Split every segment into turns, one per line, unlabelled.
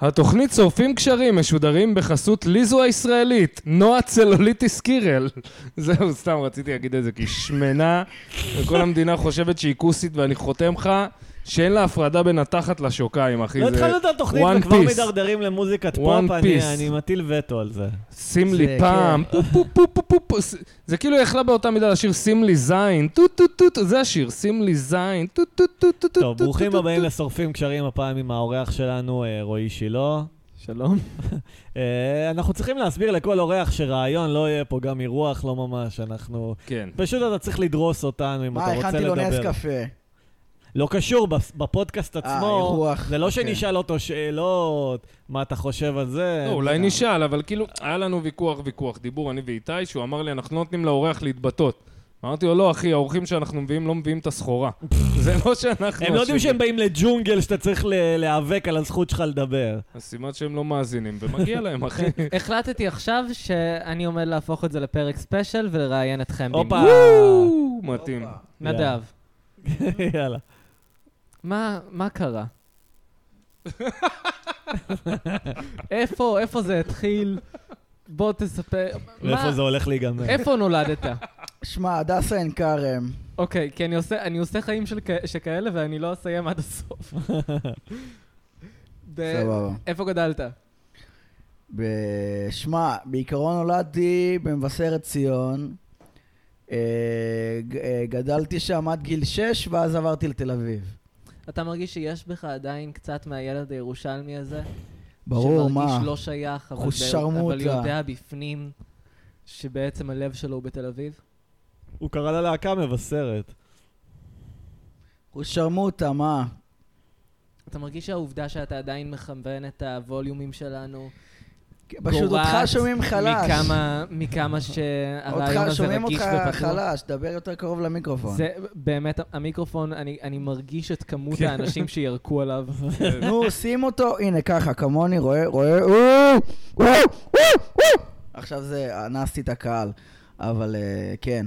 התוכנית שורפים קשרים משודרים בחסות ליזו הישראלית, נועה צלוליטיס קירל. זהו, סתם רציתי להגיד את זה, כי היא שמנה, וכל המדינה חושבת שהיא כוסית, ואני חותם לך שאין לה הפרדה בין התחת לשוקיים, אחי.
לא
זה
התחלנו את התוכנית
one
וכבר
piece.
מידרדרים למוזיקת
One
פופ, אני-
piece.
אני מטיל וטו על זה. כן.
שים לי
זה,
פעם, פו פו פו פו פו פו, ס- זה כאילו היא יכלה באותה מידה לשיר שים לי זין, טו טו טו טו, זה השיר, שים לי זין, טו טו טו טו טו.
טוב,
טו,
ברוכים
טו,
הבאים
טו.
לשורפים קשרים, הפעם עם האורח שלנו, אה, רועי שילה.
שלום.
אה, אנחנו צריכים להסביר לכל אורח שרעיון לא יהיה פה גם אירוח, לא ממש, אנחנו...
כן.
פשוט אתה צריך לדרוס אותנו אם אתה
מה,
רוצה
הכנתי לו נס
לדבר.
קפה.
לא קשור, בפ- בפודקאסט
אה,
עצמו,
אירוח,
זה לא
אוקיי.
שנשאל אותו שאלות, מה אתה חושב על זה.
לא, אולי
אתה-
נשאל, אבל כאילו, היה לנו ויכוח, ויכוח, דיבור, אני ואיתי, שהוא אמר לי, אנחנו לא נותנים לאורח להתבטאות. אמרתי לו, לא, אחי, האורחים שאנחנו מביאים לא מביאים את הסחורה. זה לא אוקיי. שאנחנו...
הם לא יודעים
אשמים.
שהם באים לג'ונגל שאתה צריך ל- להיאבק על הזכות שלך לדבר.
אז סימן שהם לא מאזינים, ומגיע להם, אחי.
החלטתי עכשיו שאני עומד להפוך את זה לפרק ספיישל ולראיין אתכם.
הופה,
במקום.
וואו, מתאים.
נדב,
יאללה.
מה מה קרה? איפה, איפה זה התחיל? בוא תספר.
לאיפה
מה-
זה הולך להיגמר?
איפה נולדת?
שמע, הדסה עין כרם.
אוקיי, כי אני עושה, אני עושה חיים של, כ- שכאלה ואני לא אסיים עד הסוף. ב-
סבבה.
איפה גדלת?
ב- שמע, בעיקרון נולדתי במבשרת ציון. אה, ג- אה, גדלתי שם עד גיל 6, ואז עברתי לתל אביב.
אתה מרגיש שיש בך עדיין קצת מהילד הירושלמי הזה?
ברור, מה?
שמרגיש לא שייך, אבל,
אחוז
ב...
שרמוטה.
אבל יודע בפנים שבעצם הלב שלו הוא בתל אביב?
הוא קרא ללהקה מבשרת.
הוא שרמוטה, מה?
אתה מרגיש שהעובדה שאתה עדיין מכוון את הווליומים שלנו,
פשוט אותך
גורעת
שומעים חלש.
מכמה, מכמה שהרעיון
אותך
הזה
שומעים
רגיש
אותך
ופתוח?
חלש, דבר יותר קרוב למיקרופון.
זה באמת, המיקרופון, אני, אני מרגיש את כמות
כן.
האנשים שירקו עליו.
נו, שים אותו, הנה ככה, כמוני, רואה, רואה, וואו, וואו, וואו. עכשיו זה, אנסתי את הקהל, אבל אה, כן.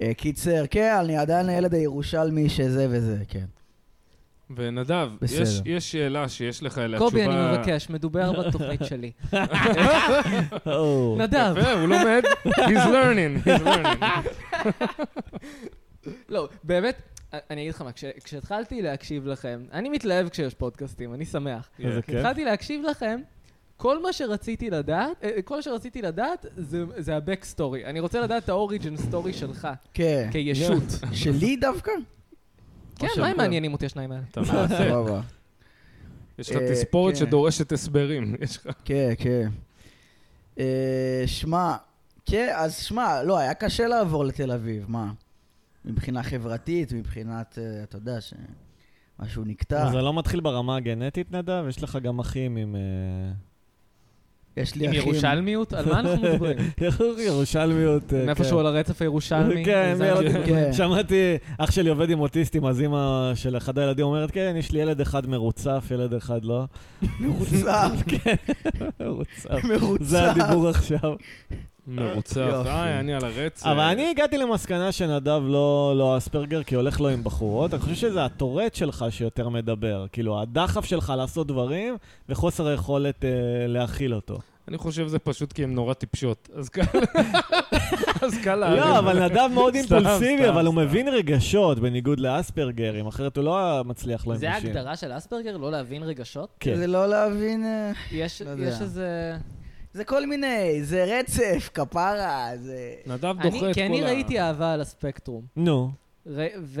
אה, קיצר, כן, אני עדיין הילד הירושלמי שזה וזה, כן.
ונדב,
בסדר.
יש- יש שאלה שיש לך אליה תשובה...
קובי, אני מבקש, מדובר בתוכנית שלי.
אה, או.
נדב,
יפה, הוא לומד, he's learning, he's learning.
לא, באמת, אני אגיד לך מה, כש- כשהתחלתי להקשיב לכם, אני מתלהב כשיש פודקאסטים, אני שמח.
איזה
Yeah.
כיף.
התחלתי להקשיב לכם, כל מה שרציתי לדעת, אה, כל שרציתי לדעת זה- זה ה-back story. אני רוצה לדעת את ה-origin story שלך,
כן.
כישות.
שלי דווקא?
כן,
של
מה הם
כולם.
מעניינים אותי השניים האלה?
אתה מעשה.
סבבה.
יש לך
אה,
תספורת
כן.
שדורשת הסברים. יש לך...
כן, כן. אה, שמע, כן, אז שמע, לא, היה קשה לעבור לתל אביב, מה? מבחינה חברתית, מבחינת, אה, אתה יודע, שמשהו נקטע.
אז זה לא מתחיל ברמה הגנטית, נדב? יש לך גם אחים עם... אה,
יש לי
עם
אחים.
ירושלמיות? על מה אנחנו מדברים?
ירושלמיות. אה,
מאיפשהו
כן.
על הרצף הירושלמי?
כן,
זה
מי-
אנחנו-
כן.
שמעתי, אח שלי עובד עם אוטיסטים, אז אימא של אחד הילדים אומרת, כן, יש לי ילד אחד מרוצף, ילד אחד לא.
מרוצף,
כן, מרוצף. זה
כן, מרוצף.
הדיבור עכשיו.
מרוצף.
יופי.
איי, אה, אני על הרצף.
אבל אני הגעתי למסקנה שנדב לא, לא אספרגר, כי הולך לו עם בחורות. אני חושב שזה הטורט שלך שיותר מדבר. כאילו, הדחף שלך לעשות דברים, וחוסר היכולת אה, להכיל אותו.
אני חושב זה פשוט כי הם נורא טיפשות. אז קל... אז קל להרים.
לא, אבל נדב מאוד
סתם,
אימפולסיבי,
סתם,
אבל הוא
סתם.
מבין רגשות, בניגוד לאספרגרים, אחרת הוא לא היה מצליח לו עם
זה
נשים.
ההגדרה של אספרגר? לא להבין רגשות?
כן.
זה לא להבין... אה,
יש
לא יודע.
יש איזה...
זה כל מיני, זה רצף, כפרה, זה...
נדב
אני-
דוחה את כל ה...
כי אני ראיתי אהבה על הספקטרום.
נו,
ר- ושני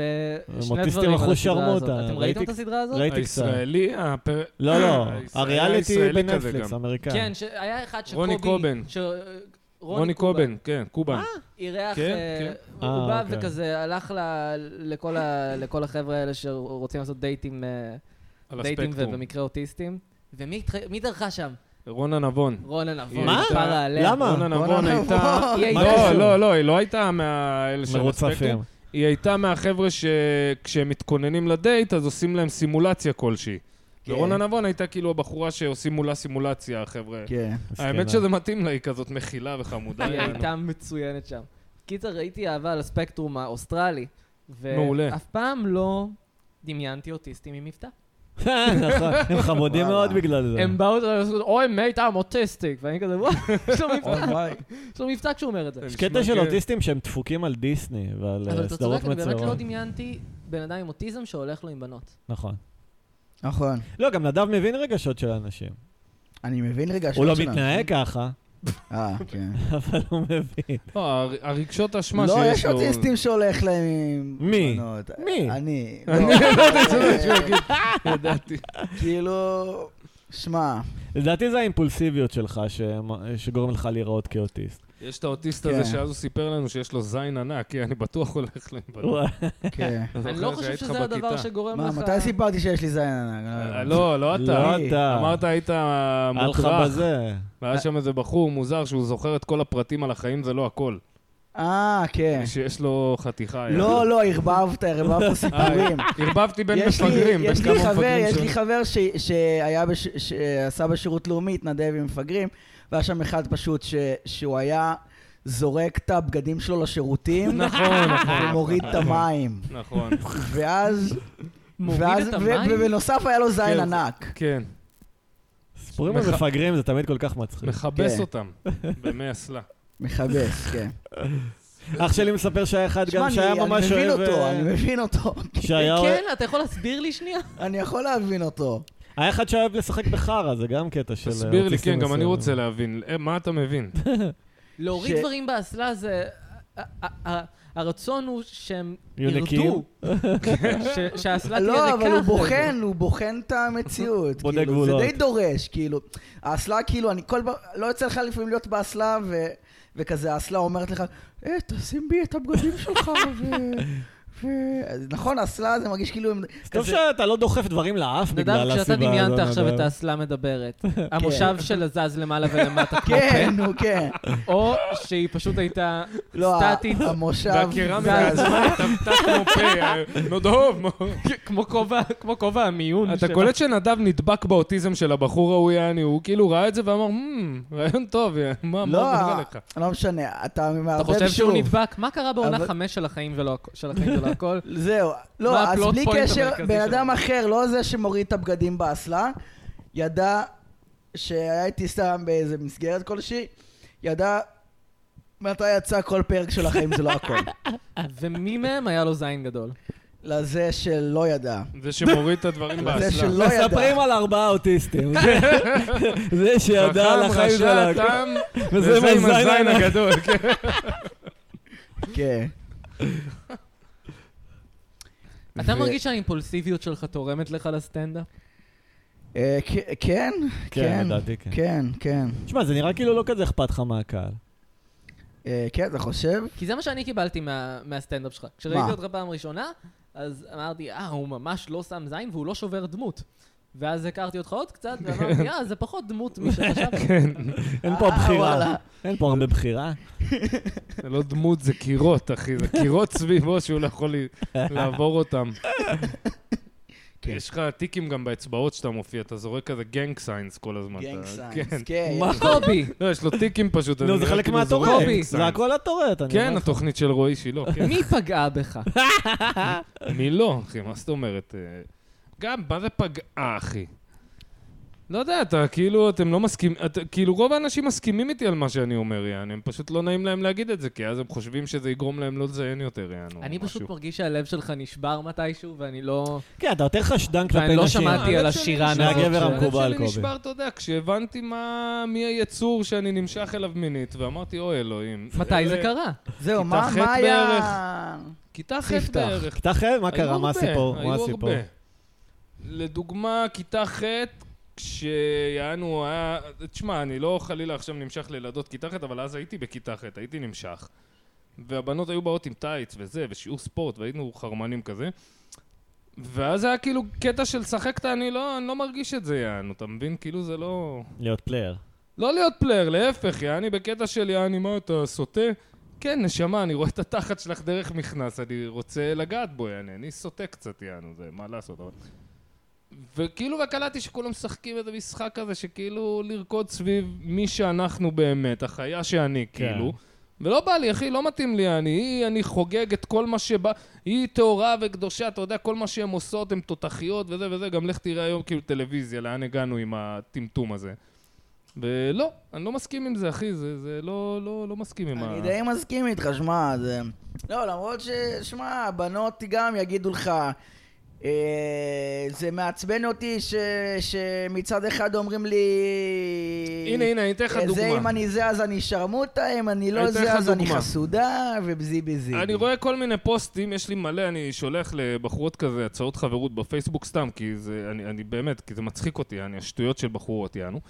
אוטיסטים
דברים על
אחוז
הסדרה הזאת.
שרמוטה,
אתם
ראיתי-
ראיתם את הסדרה הזאת?
ראיתי קצת.
הישראלי, אה, הפר...
לא, לא,
הישראלי-
הריאליטי
הישראלי כזה
בנטפליקס,
גם.
אמריקאי.
כן, שהיה אחד שקובי...
רוני קובן.
ש- אה,
רוני קובן, כן, קובן.
אירח,
כן,
אה,
כן.
הוא
אה,
בא
אוקיי.
וכזה הלך ל- לכל ה- לכל החבר'ה האלה שרוצים לעשות דייטים, אה,
על
דייטים
הספקטרום.
ובמקרה אוטיסטים. ומי התח- מי דרכה שם?
רונה נבון.
רונה נבון.
מה?
כפרה עליה.
למה?
רונה נבון הייתה...
נבון.
היא
לא,
הייתה-
לא, לא, היא לא הייתה מהאלה של
מרוצפים.
הספקטרום. היא הייתה מהחבר'ה שכשהם מתכוננים לדייט, אז עושים להם סימולציה כלשהי.
כן.
ורונה נבון הייתה כאילו הבחורה שעושים מולה סימולציה, החבר'ה.
כן.
האמת שזה מתאים לה, היא כזאת מכילה וחמודה.
היא
יענו.
הייתה מצוינת שם. קיצר, ראיתי אהבה על הספקטרום האוסטרלי.
מעולה.
ואף פעם לא דמיינתי אוטיסטים עם מבטא.
נכון, הם חמודים
וואלה.
מאוד בגלל זה.
הם באו, אוי, מייט, I'm autistic, ואני כזה, וואי, יש לו מבטא, יש לו מבטא כשהוא אומר את זה.
יש קטע של
כן.
אוטיסטים שהם דפוקים על דיסני ועל
אבל
אה,
אתה צודק,
סדרות
אני באמת לא
מצוירות.
דמיינתי בן אדם עם אוטיזם שהולך לו עם בנות.
נכון.
נכון.
לא, גם נדב מבין רגשות של אנשים.
אני מבין רגע
הוא לא
שלנו.
מתנהג ככה,
אה, כן.
אבל הוא מבין.
לא, הר- הרגשות האשמה
לא,
שיש
יש
לו...
אוטיסטים שהולך להם עם...
מי?
בנות.
מי?
אני.
אני
לא,
ידעתי את זה, זה מה שהוא יגיד. ידעתי.
כאילו... שמע,
לדעתי זה האימפולסיביות שלך שמ- שגורם לך להיראות כאוטיסט.
יש את האוטיסט
כן.
הזה שאז הוא סיפר לנו שיש לו זין ענק, כי אני בטוח הולך לבנות.
וואי,
כן.
אני לא חושב שזה הדבר שגורם
מה,
לך...
מתי סיפרתי שיש לי זין ענק?
לא,
לא, לא.
לא אתה.
לא אתה.
אמרת היית
היה לך
מוטרח,
בזה.
והיה שם איזה בחור מוזר שהוא זוכר את כל הפרטים על החיים, זה לא הכל.
אה, כן.
שיש לו חתיכה.
לא, לא, ערבבת, ערבבת סיפורים.
ערבבתי בין
יש לי-
מפגרים, בין
יש לי
כמה
חבר,
מפגרים
יש לי
שונים.
חבר ש- שהיה בש- שעשה בשירות לאומי, התנדב עם מפגרים, והיה שם אחד פשוט ש- שהוא היה זורק את הבגדים שלו לשירותים,
נכון, נכון.
ומוריד את המים.
נכון,
ואז...
מוריד
ואז-
את
ו-
המים?
ובנוסף היה לו זין
כן.
ענק.
כן.
סיפורים
מח-
על מפגרים זה תמיד כל כך מצחיק.
מכבס
כן.
אותם במי אסלה.
מכבס, כן.
אח שלי מספר שהיה אחד
שמע,
גם
אני
שהיה
אני
ממש
מבין
אוהב...
אותו,
אה,
אני מבין אותו.
שהיה
כן, אתה יכול להסביר לי שנייה?
אני יכול להבין אותו.
היה אחד שאוהב לשחק בחרא, זה גם קטע של...
תסביר לי,
אוטיסטים
כן, גם אני
מסוימים.
רוצה להבין. אה, מה אתה מבין?
להוריד
ש-
דברים באסלה זה... ה- ה- ה- הרצון הוא שהם
יהיו
ירדו.
נקיים?
ש- שהאסלה תהיה
לא,
ריקה.
אבל הוא
אחרי זה.
בוחן, הוא בוחן את המציאות.
בודק
כאילו,
גבולות.
זה די דורש, כאילו. האסלה, כאילו, אני כל פעם, לא יוצא לך לפעמים להיות באסלה, ו- וכזה, האסלה אומרת לך, אה, תשים בי את הבגדים שלך, ו... ו- אז נכון, האסלה זה מרגיש כאילו... הם-
אז טוב
כזה-
שאתה לא דוחף דברים לאף בגלל
נדב,
הסיבה הזאת.
כשאתה דמיינת עכשיו
אבל-
את האסלה מדברת, המושב שלה זז למעלה ולמטה,
כן, נו, כן.
או שהיא פשוט הייתה
לא, ה-
סטטית,
המושב...
והקרמיקה
זז.
הזו התאבטה כמו פה, אה, נודוב.
כמו כובע- כמו כובע המיון
אתה קולט שנדב נדבק באוטיזם של הבחור ההוא, יעני, הוא כאילו ראה את זה ואמר, "מ, רעיון טוב, יא, מה מה
לא,
אומר לך?
לא משנה, אתה
אתה
מערבב שוב.
חושב שהוא נדבק? מה קרה בעונה
אבל-
חמש של החיים ולא הכ- של החיים ולא הכל?
זהו.
מה
לא, אז
הפלוט
בלי
פוינט
קשר,
המרכזי
בן אדם
שלנו?
אחר, לא זה שמוריד את הבגדים באסלה, ידע שהיה איתי סתם באיזה מסגרת כלשהי, ידע מתי יצא כל פרק של החיים זה לא הכל.
ומי מהם היה לו זין גדול?
לזה שלא ידע.
זה שמוריד את הדברים
לזה
באסלה.
שלא
מספרים
ידע.
על ארבעה אוטיסטים. זה- זה שידע על
חכם,
החיים
רשע,
שלו.
תם,
וזה עם הזין
הגדול.
הגדול.
כן.
כן.
אתה
ו-
מרגיש שהאימפולסיביות שלך תורמת לך לסטנדאפ?
אה, כ- כן,
כן,
כן,
לדעתי כן.
כן, כן.
תשמע, זה נראה כאילו לא כזה אכפת לך מהקהל.
אה, כן, אתה חושב?
כי זה מה שאני קיבלתי מה- מהסטנדאפ שלך. כשראיתי
מה?
אותך פעם ראשונה, אז אמרתי, אה, הוא ממש לא שם זין והוא לא שובר דמות. ואז הכרתי אותך עוד קצת, ואמרתי, אה, זה פחות דמות משחשבתי.
כן.
אין פה
אה, וואלה.
בחירה. אין פה הרבה בחירה.
זה לא דמות, זה קירות, אחי. זה קירות סביבו שהוא לא יכול ל- לעבור אותם.
כן.
יש לך טיקים גם באצבעות שאתה מופיע, אתה זורק כזה גנג סיינס כל הזמן. אתה-
גנג סיינס,
כן.
כן.
מה?
קובי,
לא, יש לו טיקים פשוט.
נו,
אני
זה
נראה
חלק
כאילו זורק
מהטורט.
gang
זה
signs.
הכל הטורט. אני
כן,
אומר.
התוכנית של רועי שילה, כן.
מי פגעה בך?
לא,
מי לא, אחי? מה זאת אומרת? אה, גם, מה זה פגעה, אחי? לא יודע, אתה כאילו, אתם לא מסכימים, כאילו רוב האנשים מסכימים איתי על מה שאני אומר, יענו, הם פשוט לא נעים להם להגיד את זה, כי אז הם חושבים שזה יגרום להם לא לזיין יותר, יענו,
אני
או
פשוט
משהו.
מרגיש שהלב שלך נשבר מתישהו, ואני לא...
כן, אתה יותר חשדן כלפי נשים.
ואני לא שמעתי
הלב
על
שלי
השירה
נשבר.
הזאת.
מהגבר
של-
המקובל.
הלב שלי
קובי.
נשבר, אתה יודע, כשהבנתי מה, מי היצור שאני נמשך אליו מינית, ואמרתי, אוי אלוהים. אה,
מתי זה
אה,
אלה-
קרה?
זהו,
כיתה
מה
ח'
מה
בערך.
היה...
כיתה ח'
ספתח.
בערך.
כיתה ח', כן, מה
היו
קרה? מה
הרבה,
הסיפור? מה
היו
הסיפור?
הרבה. לדוגמה, כיתה ח', כשיענו היה... תשמע, אני לא חלילה עכשיו נמשך לילדות כיתה ח', אבל אז הייתי בכיתה ח', הייתי נמשך. והבנות היו באות עם טייץ וזה, ושיעור ספורט, והיינו חרמנים כזה. ואז היה כאילו קטע של שחק את ה- אני לא, אני לא מרגיש את זה, יענו, אתה מבין? כאילו זה לא...
להיות פלייר.
לא להיות פלייר, להפך, יעני בקטע של יעני, מה אתה סוטה? כן, נשמה, אני רואה את התחת שלך דרך מכנס, אני רוצה לגעת בו, יעני, אני סוטה קצת, יענו, זה מה לעשות, אבל... וכאילו, וקלטתי שכולם משחקים איזה משחק כזה, שכאילו לרקוד סביב מי שאנחנו באמת, החיה שאני,
כן.
כאילו, ולא בא לי, אחי, לא מתאים לי, אני, היא, אני חוגג את כל מה שבא, היא טהורה וקדושה, אתה יודע, כל מה שהן עושות, הן תותחיות וזה וזה, גם לך תראה היום כאילו טלוויזיה, לאן הגענו עם הטמטום הזה. ולא, אני לא מסכים עם זה, אחי, זה, זה לא, לא, לא מסכים עם
אני די מסכים איתך, שמע, זה... לא, למרות ש... שמע, הבנות גם יגידו לך... אה, זה מעצבן אותי ש... שמצד אחד אומרים לי...
הנה, הנה, אני אתן לך
אה, זה
דוגמה.
אם אני זה אז אני שרמוטה, אם אני
אני
לא
אתן
זה
לך
אז אני
דוגמה.
חסודה, ובזי בזי.
אני רואה כל מיני פוסטים, יש לי מלא, אני שולח לבחורות כזה הצעות חברות בפייסבוק סתם, כי זה, אני, אני באמת, כי זה מצחיק אותי, אני, השטויות של בחורות, יענו.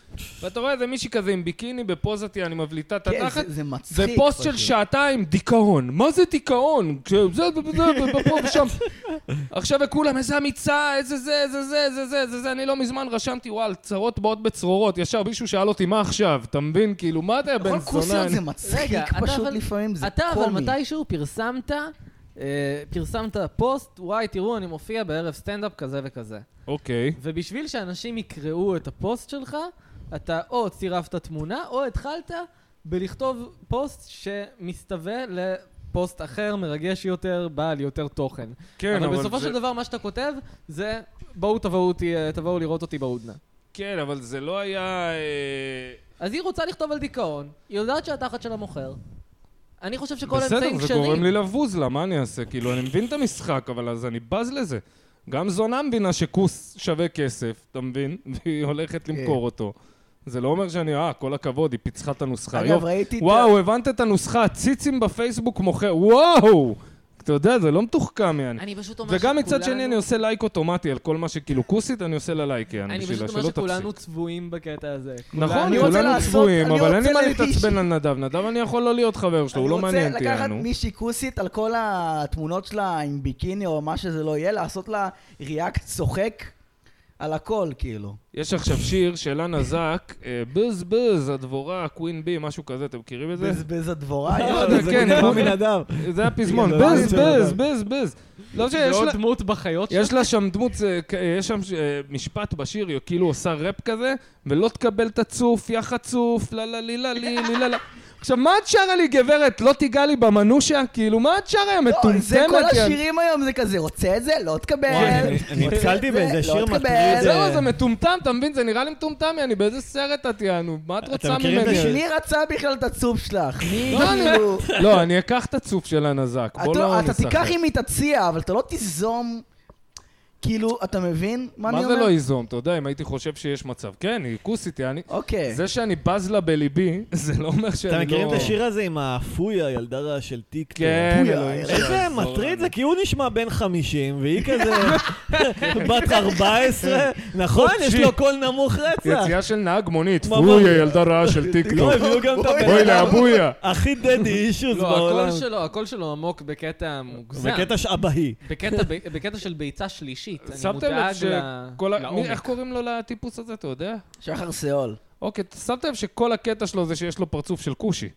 ואתה רואה איזה מישהי כזה עם ביקיני בפוזת, יעני, מבליטה את
כן,
התחת,
זה- זה מצחיק.
זה פוסט של
פשוט.
שעתיים, דיכאון. מה זה דיכאון? כש- זה, זה, זה, פה ושם. עכשיו וכולם, איזה אמיצה, איזה זה, איזה זה, איזה זה, איזה זה. אני לא מזמן רשמתי, וואל, צרות באות בצרורות. ישר מישהו שאל אותי, מה עכשיו? אתה מבין? כאילו, מה אתה בן
כל
זונה?
כוסיות זה
אני-
מצחיק,
רגע, אתה
פשוט
אבל-
לפעמים זה
אתה אבל
קומי.
מתישהו פרסמת, אה, פרסמת פוסט, וואי, תראו, אני מופיע בערב סטנדאפ כזה וכזה.
אוקיי.
ובשביל שאנשים יקראו את הפוסט שלך, אתה או צירפת תמונה, או התחלת בלכתוב פוסט שמסתווה לפוסט אחר, מרגש יותר, בעל יותר תוכן.
כן,
אבל בסופו
זה-
של דבר, מה שאתה כותב, זה בואו תבואו אותי, אה, תבואו לראות אותי בהודנה.
כן, אבל זה לא היה... אה,
אז היא רוצה לכתוב על דיכאון, היא יודעת שהתחת שלה מוכר. אני חושב שכל האמצעים
בסדר, זה גורם
כשרים.
לי לבוז לה, מה אני אעשה? כאילו, אני מבין את המשחק, אבל אז אני בז לזה. גם זונה מבינה שכוס שווה כסף, אתה מבין? והיא
כן.
הולכת למכור אותו. זה לא אומר שאני, אה, כל הכבוד, היא פיצחה את הנוסחה.
אגב,
יופ,
ראיתי את ה-
וואו, הבנת את הנוסחה, ציצים בפייסבוק מוכר, וואו! אתה יודע, זה לא מתוחכם, יעני.
אני פשוט אומר
וגם מצד
שכולנו-
שני, אני עושה לייק אוטומטי על כל מה שכאילו כוסית, אני עושה לה לייק, יעני,
אני
בשבילה, שלא
פשוט
תפסיק.
אומר שכולנו צבועים בקטע הזה.
נכון,
אני רוצה
כולנו
לעשות-
צבועים,
אני
אבל אין לי מה
רוצה
להתעצבן על נדב. נדב אני יכול לא להיות חבר שלו, הוא לא מעניין אותי,
אני רוצה
יענו.
לקחת מישהי כוסית על כל התמונות שלה עם ביקיני או מה שזה לא יהיה, לעשות לה ריאקט צוחק על הכל, כאילו.
יש עכשיו שיר של אנה זק, אה, בז בז, הדבורה, קווין בי, משהו כזה, אתם מכירים את זה?
בזבז הדבורה,
לא,
יאללה.
זה
זה
כן,
גניבה
בוא-
מן אדם.
זה הפזמון,
זה לא
בז
של
בז
אדם.
בז בז. לא
זה
שיש לה...
עוד כאילו, דמות בחיות שלך?
יש לה שם דמות, זה כ- יש שם אה, משפט בשיר, היא כאילו עושה ראפ כזה, ולא תקבל את הצוף, יא חצוף, לה לה לי לה לי לי לה לה. עכשיו, מה את שרה לי, גברת? לא תיגע לי במנושה? כאילו, מה את שרה, יא מטומטמת?
לא, זה כל
יא-
השירים היום, זה כזה, רוצה את זה? לא תקבל.
וואי, אני- כן, אני
רוצה
נתקלתי
את זה?
באיזה
לא
שיר
תקבל.
מטריד, אה,
זה-
זהו, זה מטומטם, אתה מבין? זה נראה לי מטומטם, יעני, באיזה סרט את יענו? מה את רוצה
מכירים את
ממני?
השיר?
מי רצה בכלל את הצוף שלך? מי
לא,
כאילו...
לא, אני אקח את הצוף של הנזק,
אתה
בוא
לא-
לא
אתה
נשחק.
תיקח אם היא תציע, אבל אתה לא תיזום... כאילו, אתה מבין מה אני
מה
אומר?
זה לא ייזום? אתה יודע, אם הייתי חושב שיש מצב. כן, היא כוסית, יעני.
אוקיי.
זה שאני בז לה בליבי, זה לא אומר שאני
אתם
לא...
מכירים את השיר הזה עם האפויה, ילדה רעה של טיקטוק?
כן,
פויה,
אלוהים.
איך
איזה
תעזור
מטריד
לנו.
זה, כי הוא נשמע בן 50, והיא כזה בת 14, נכון? יש לו קול נמוך רצח.
יציאה של נהג מונית,
ממש.
פויה, ילדה רעה של טיקטוק.
לא, הביאו גם את
אוי
הבן אדם
לאבויה.
הכי דדי אישוז
לא,
בעולם.
הקול שלו, הקול שלו עמוק בקטע מוגזם.
בקטע שבהי.
בקטע, ב- בקטע של ביצה שלישית. אני
שמתם לב
מודאג ל-
שכל ה... מי-
לעומק.
איך קוראים לו לטיפוס הזה, אתה יודע?
שחר שאול.
אוקיי, שמתם לב שכל הקטע שלו זה שיש לו פרצוף של כושי.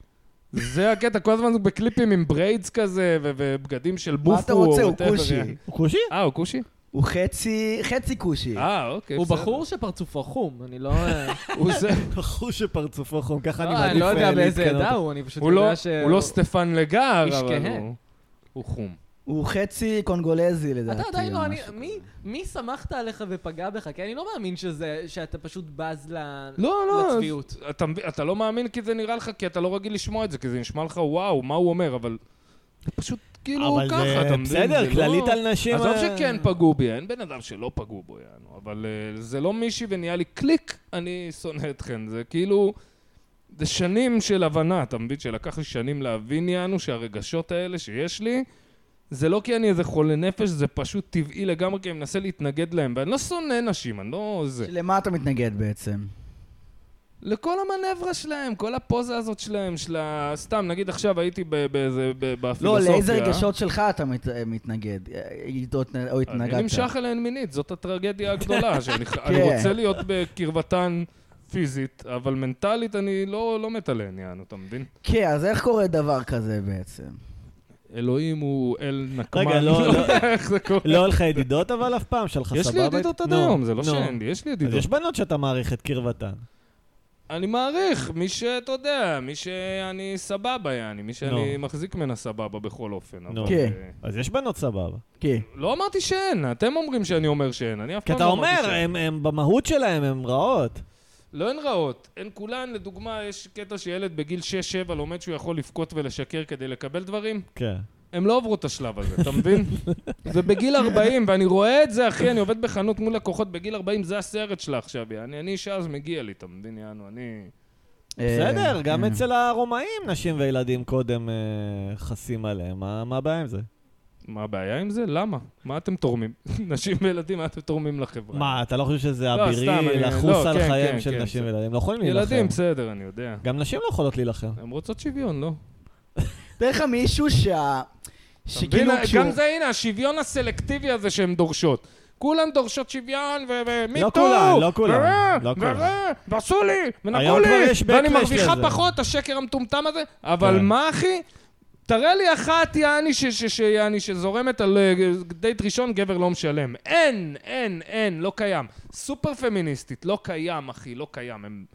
זה הקטע, כל הזמן הוא בקליפים עם בריידס כזה, ו- ובגדים של בופו.
מה אתה רוצה?
או
הוא
whatever.
כושי.
הוא כושי?
אה, הוא כושי?
הוא חצי, חצי כושי.
אה, אוקיי.
הוא
בסדר.
בחור שפרצוחו חום, אני לא... אה,
הוא זה.
בחור שפרצופו חום, ככה אני
לא,
מעדיף
אני לא יודע
אה,
באיזה
להתקנא
עדה
אותו.
הוא, אני פשוט
הוא לא,
יודע ש...
הוא לא סטפן לגר,
איש
אבל
כהה.
הוא... הוא חום.
הוא חצי קונגולזי לדעתי.
אתה עדיין
או
לא... אני-
משהו.
מי- מי שמחת עליך ופגע בך? כי אני לא מאמין שזה... שאתה פשוט בז ל...
לא, לא,
לצביעות.
אז- אתה, מבין- אתה לא מאמין כי זה נראה לך, כי אתה לא רגיל לשמוע את זה, כי זה נשמע לך וואו, מה הוא אומר, אבל... זה פשוט כאילו
אבל
ככה,
זה
אתה מבין? זה
בסדר,
לא-
כללית על נשים...
עזוב
אה,
שכן פגעו בי, אין בן אדם שלא פגעו בו, יענו, אבל אה, זה לא מישהי ונהיה לי קליק, אני שונא אתכן, זה כאילו... זה שנים של הבנה, אתה מבין? שלקח לי שנים להבין, יענו, שהרגשות האלה שיש לי, זה לא כי אני איזה חולה נפש, זה פשוט טבעי לגמרי, כי אני מנסה להתנגד להם, ואני לא שונא נשים, אני לא... זה...
למה אתה מתנגד בעצם?
לכל המנברה שלהם, כל הפוזה הזאת שלהם, של ה... סתם, נגיד עכשיו הייתי ב- באיזה... ב-
לא,
בפילוסופיה.
לאיזה רגשות שלך אתה מת- מתנגד? אה, או התנגדת?
אני נמשך אליהן מינית, זאת הטרגדיה הגדולה, שאני ח-
כן.
אני רוצה להיות בקרבתן פיזית, אבל מנטלית אני לא לא מת עליהן, יענו, אתה מבין?
כן, אז איך קורה דבר כזה בעצם?
אלוהים הוא אל נקמן.
רגע, לא, לא.
איך זה קורה?
לא היה לך ידידות אבל אף פעם? שלך סבבה?
יש לי ידידות עד
נו,
היום, זה לא
נו.
שאין לי, יש לי
אז
ידידות.
יש בנות שאתה מעריך את קרבתן.
אני מעריך, מי שאתה יודע, מי שאני סבבה, יעני, מי שאני מחזיק ממנה סבבה בכל אופן.
נו.
אבל,
כן.
אה,
אז יש בנות סבבה.
כי,
לא אמרתי שאין, אתם אומרים שאני אומר שאין, אני אף
כי
פעם
אתה
לא אמרתי
אומר,
שאין.
הם- הם במהות שלהם הם רעות.
לא הן רעות, הן כולן, לדוגמה, יש קטע שילד בגיל 6-7 לומד שהוא יכול לבכות ולשקר כדי לקבל דברים,
כן.
הם לא עברו את השלב הזה, אתה מבין? ובגיל 40, ואני רואה את זה, אחי, אני עובד בחנות מול לקוחות, בגיל 40 זה הסרט שלה עכשיו, יעני, אני שאז מגיע לי, אתה מבין, יענו, אני...
אה,
בסדר, גם
אה.
אצל הרומאים נשים וילדים קודם אה, חסים עליהם, מה מה הבעיה עם זה?
מה הבעיה עם זה? למה? מה אתם תורמים? נשים וילדים, מה אתם תורמים לחברה?
מה, אתה לא חושב שזה
לא, סתם,
אבירי
אני-
לחוס
לא,
על
כן,
חייהם
כן,
של
כן,
נשים
זה-
וילדים? לא יכולים להילחם.
ילדים, בסדר, אני יודע.
גם נשים לא יכולות להילחם.
הן רוצות שוויון, לא?
תאר לך מישהו שה...
אתה מבין?
שכאילו כשהוא...
גם זה, הנה, השוויון הסלקטיבי הזה שהן דורשות. כולן דורשות שוויון, ומי
לא כולן, לא כולן, לא כולן.
ועשו לי, ונגעו
היום כבר
לי,
יש
ואני
backlash
מרוויחה
לזה.
פחות, השקר המטומטם הזה. אבל
כן.
מה, אחי? תראה לי אחת, יעני, ש- ש- ש- יעני, שזורמת על אה, דייט ראשון, גבר לא משלם. אין, אין, אין, לא קיים. סופר פמיניסטית, לא קיים, אחי, לא קיים. הן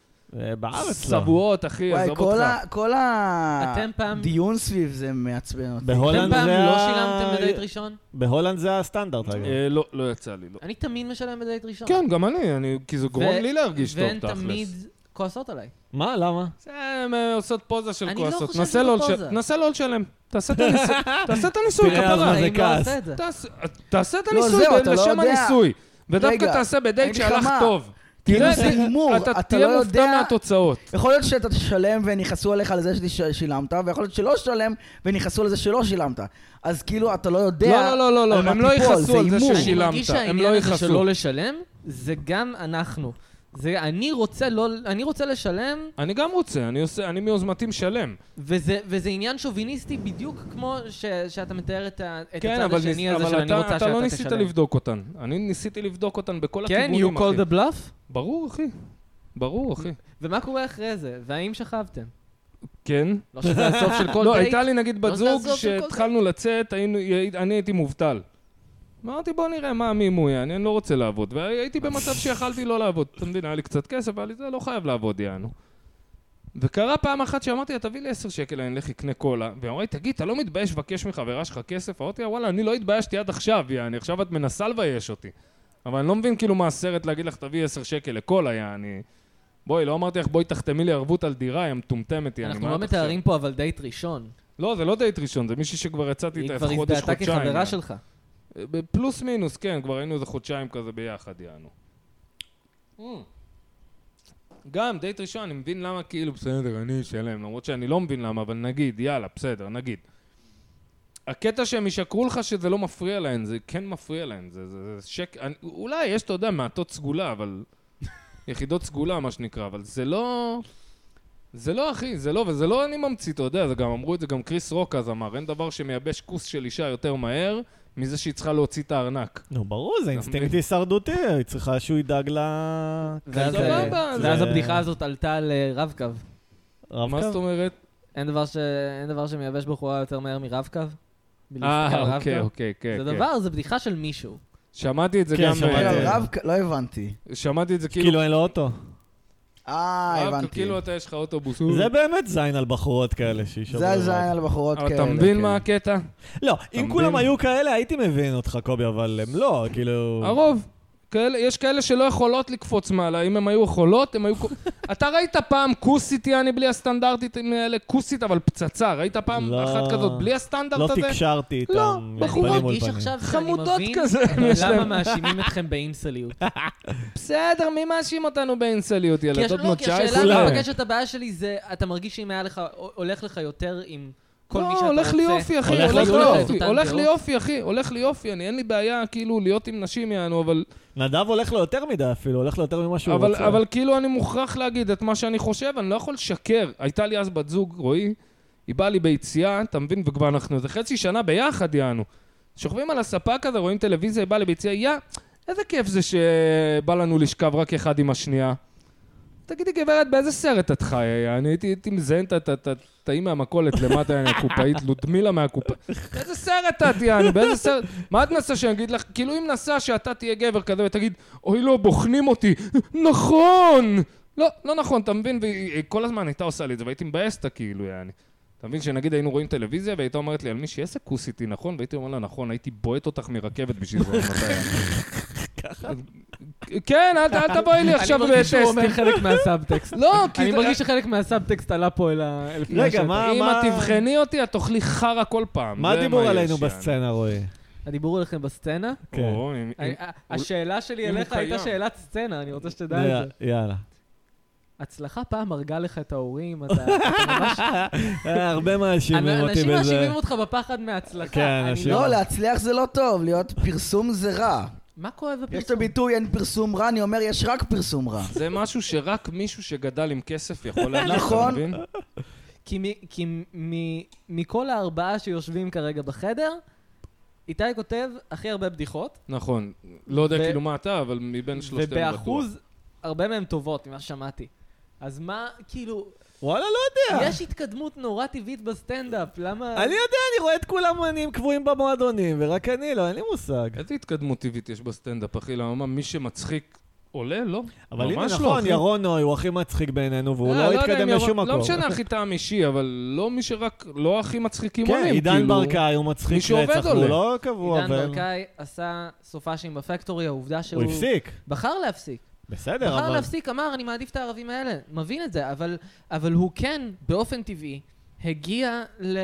אה, בארץ לא.
צבועות, אחי,
וואי,
עזוב
כל
אותך.
ה- כל
אתם פעם-
הדיון סביב זה מעצבן אותי.
בהולנד
אתם פעם
זה
לא
ה-
שילמתם בדייט ראשון?
בהולנד זה הסטנדרט, אגב.
אה, לא, לא יצא לי, לא.
אני תמיד משלם בדייט
לא.
ראשון.
כן, גם אני, אני, כי זה גורם
ו-
לי להרגיש טוב,
והן
תכלס.
תמיד כועסות עליי.
מה, למה?
זה, הן אה, עושות פוזה של
אני לא
כועסות.
חושב
נסה
שזו
לא לש-
פוזה.
נסה לא לשלם. תעשה את הניסוי, תעשה את הניסוי,
תראה, אז מה
כפרה.
זה
האם לא
כעס?
עושה את זה?
תעשה- תעשה את
לא,
הניסוי
זהו,
ב-
אתה לא
לשם
יודע.
הניסוי. ודווקא
רגע,
תעשה בדייט
אין לך
שהלך
מה.
טוב.
כאילו
תראה,
זה הימור, אתה
תהיה
לא
מופתע
יודע-
מהתוצאות.
יכול להיות שאתה תשלם ונכעסו עליך על זה ששילמת, ויכול להיות שלא תשלם ונכעסו על זה שלא שילמת. אז כאילו, אתה לא יודע...
לא, לא, לא, לא,
על מה
הם לא
תיפול,
יכעסו
זה
על זה
הימור.
ששילמת.
אני מרגיש
הם לא
שהעניין הזה
יכעסו.
שלא לשלם, זה גם אנחנו. זה אני רוצה לא, אני רוצה לשלם,
אני גם רוצה, אני עושה, אני מיוזמתי משלם.
וזה, וזה עניין שוביניסטי בדיוק כמו ש, שאתה מתאר את, ה, את
כן,
הצד
אבל ניס-
השני הזה של
אבל
אני רוצה
אתה
שאתה
אתה לא
תשלם.
ניסית לבדוק אותן. אני ניסיתי לבדוק אותן בכל
כן,
הכיוונים,
you
אחי.
call the bluff?
ברור, אחי. ברור, אחי.
ומה קורה אחרי זה? והאם שכבתם?
כן.
לא שזה הסוף של כל
לא,
דייט?
הייתה לי נגיד בת
לא
זוג,
תעזוב את כל
כשהתחלנו לצאת, היינו- הי- אני הייתי מובטל. אמרתי, בוא נראה מה מי הוא יעני, אני לא רוצה לעבוד. והייתי במצב שיכלתי לא לעבוד. אתה מבין, היה לי קצת כסף, היה לי זה, לא חייב לעבוד, יענו. וקרה פעם אחת שאמרתי לה, תביא לי 10 שקל, אני אלך אקנה קולה. והיא אמרה לי, תגיד, אתה לא מתבייש לבקש מחברה שלך כסף? אמרתי לה, וואלה, אני לא התביישתי עד עכשיו, יעני, עכשיו את מנסה לבייש אותי. אבל אני לא מבין כאילו מה הסרט להגיד לך, תביאי 10 שקל לקולה, יעני. בואי, לא אמרתי לך, בואי תחתמי לי ערבות על דירה, יא מטומטמת, יעני.
אנחנו
מה
לא
את עכשיו?"
מתארים פה אבל דייט ראשון.
לא, זה לא דייט ראשון, זה מישהי שכבר יצאתי
היא
איתה
כבר
חודש, חודשיים.
הזדהתה כחברה
יענו.
שלך.
ב- פלוס מינוס, כן, כבר היינו איזה חודשיים כזה ביחד, יענו. Hmm. גם, דייט ראשון, אני מבין למה כאילו, בסדר, אני אשלם, למרות שאני לא מבין למה, אבל נגיד, יאללה, בסדר, נגיד. הקטע שהם ישקרו לך שזה לא מפריע להן, זה כן מפריע להן, זה, זה, זה שק... אני, אולי יש, אתה יודע, מעטות סגולה, אבל... יחידות סגולה, מה שנקרא, אבל זה לא... זה לא, אחי, זה לא, וזה לא אני ממציא, אתה יודע, זה גם אמרו את זה, גם קריס רוק אז אמר, אין דבר שמייבש כוס של אישה יותר מהר מזה שהיא צריכה להוציא את הארנק.
נו, ברור, זה אינסטינקט
מבין?
הישרדותי, היא צריכה שהוא ידאג ל...
ואז-
לא
אה,
סבבה,
ואז
זה-
הבדיחה הזאת עלתה על אה, רב-קו.
מה זאת
רב-קו?
אומרת?
אין דבר ש- אין דבר שמייבש בחורה יותר מהר מרב-קו? מלהסתכל על
אה, אוקיי,
רב-קו?
אוקיי, כן.
זה
כן.
דבר, זה בדיחה של מישהו.
שמעתי את זה
כן,
גם...
שמעתי.
אה,
אבל רב, לא הבנתי.
שמעתי את זה כאילו...
כאילו אין לו אוטו.
אה,
רב,
הבנתי.
כאילו אתה יש לך אוטובוס.
זה באמת זין על בחורות כאלה שישבו.
זה הזין על בחורות
אבל
כאלה.
אתה מבין
כן.
מה הקטע?
לא,
מבין?
אם כולם היו כאלה, הייתי מבין אותך, קובי, אבל הם לא, כאילו...
הרוב. כאלה, יש כאלה שלא יכולות לקפוץ מעלה, אם הן היו יכולות, הן היו... אתה ראית פעם כוסית, יעני, בלי הסטנדרטית האלה? כוסית, אבל פצצה. ראית פעם
לא.
אחת כזאת בלי הסטנדרט
לא
הזה?
תקשרתי איתם.
לא, בחורות
פנים
אני
מול
מרגיש
פנים.
עכשיו שאני
חמודות
מבין
כזה, יש
למה
להם.
מאשימים אתכם באינסליות.
כן, בסדר, מי מאשים אותנו באינסליות,
כי הש-
ילדות
לא,
בנות
כי
19?
השאלה
כולם.
המפגשת הבעיה שלי זה, אתה מרגיש שאם היה לך, הולך לך יותר עם כל מי
לא,
שאתה רוצה.
הולך לי יופי, אחי,
הולך
הולך
לך
לי
טוב.
יופי, הולך לי יופי, אחי, הולך לי יופי, אני אין לי בעיה כאילו להיות עם נשים יענו, אבל-
נדב הולך לו יותר מדי אפילו, הולך לו יותר ממה שהוא
אבל-
רוצה.
אבל כאילו אני מוכרח להגיד את מה שאני חושב, אני לא יכול לשקר. הייתה לי אז בת זוג, רועי, היא באה לי ביציאה, אתה מבין, וכבר אנחנו איזה חצי שנה ביחד יענו. שוכבים על הספה כזה, רואים טלוויזיה, היא באה לי ביציאה, יא, איזה כיף זה שבא לנו לשכב רק אחד עם השנייה. תגידי, גברת, באיזה סרט את חיה? אני הייתי הייתי מזיין את ה- את ה- את ה- את ההיא מהמכולת למטה, אני הקופאית, לודמילה מהקופאית. באיזה סרט את, יעני? באיזה סרט? מה את מנסה שאני אגיד לך? כאילו, אם נסה שאתה תהיה גבר כזה ותגיד, אוי לא, בוחנים אותי. נכון! לא, לא נכון, אתה מבין? והיא היא כל הזמן הייתה עושה לי את זה, והייתי מבאס אותה כאילו, יעני. אתה מבין שנגיד היינו רואים טלוויזיה, והיא הייתה אומרת לי, על מי שיעשה כוס איתי, נכון? והייתי אומר לה, נכון, הייתי בועט אותך מרכבת בשביל זה. כן, אל- אל תבואי לי עכשיו
אני מרגיש שהוא אומר
בטסטים.
חלק מהסאבטקסט.
לא, כי...
אני
זה-
מרגיש שחלק מהסאבטקסט עלה פה אל ה- אל פני
רגע,
השטח.
מה-
אם את תבחני אותי, את תאכלי חרא כל פעם.
מה
זה
הדיבור
יש,
עלינו
יעני.
בסצנה, רועי?
הדיבור עליכם בסצנה?
כן.
או, אם- אם-
ה- ה- השאלה שלי
אם
אליך
הוא
הייתה
קיים.
שאלת סצנה, אני רוצה שתדע את זה.
יאללה.
הצלחה פעם הרגה לך את ההורים, אתה אתה ממש...
אה, הרבה מאשימים אותי
אנשים
בזה.
מאשימים אותך בפחד מההצלחה.
כן,
אני
אנשים-
לא-
לא, להצליח זה לא טוב, להיות פרסום זה רע.
מה כואב בפרסום?
יש את הביטוי אין פרסום רע, אני אומר יש רק פרסום רע.
זה משהו שרק מישהו שגדל עם כסף יכול להגיד, אתה
נכון.
מבין?
כי, מ, כי מ, מ, מכל הארבעה שיושבים כרגע בחדר, איתי כותב הכי הרבה בדיחות,
נכון. לא יודע
ו-
כאילו מה אתה, אבל מבין שלושתנו בטוח.
ובאחוז הרבה מהן טובות, ממה ששמעתי. אז מה, כאילו,
וואלה, לא יודע.
יש התקדמות נורא טבעית בסטנדאפ, למה...
אני יודע, אני רואה את כולם עניים קבועים במועדונים, ורק אני לא, אין לי מושג.
איזה התקדמות טבעית יש בסטנדאפ, אחי? למה מי שמצחיק עולה? לא.
אבל הנה,
ממש לא,
נכון,
אחי.
ירון נוי הוא הכי מצחיק בעינינו, והוא
אה,
לא
יודע
התקדם
אם ירון-
לשום מקום.
לא משנה, הכי טעם אישי, אבל לא מי שרק, לא הכי מצחיקים
כן,
עולים.
עידן
כאילו.
ברקאי הוא מצחיק
מי שעובד
רצח, הוא
עולה.
לא קבוע,
עידן
אבל...
ברקאי עשה סופאשים בפקטורי, העובדה שהוא...
הוא הפסיק.
בחר להפסיק.
בסדר,
בחר
אבל...
להפסיק, אמר, אני מעדיף את הערבים האלה. מבין את זה, אבל, אבל הוא כן, באופן טבעי, הגיע ל,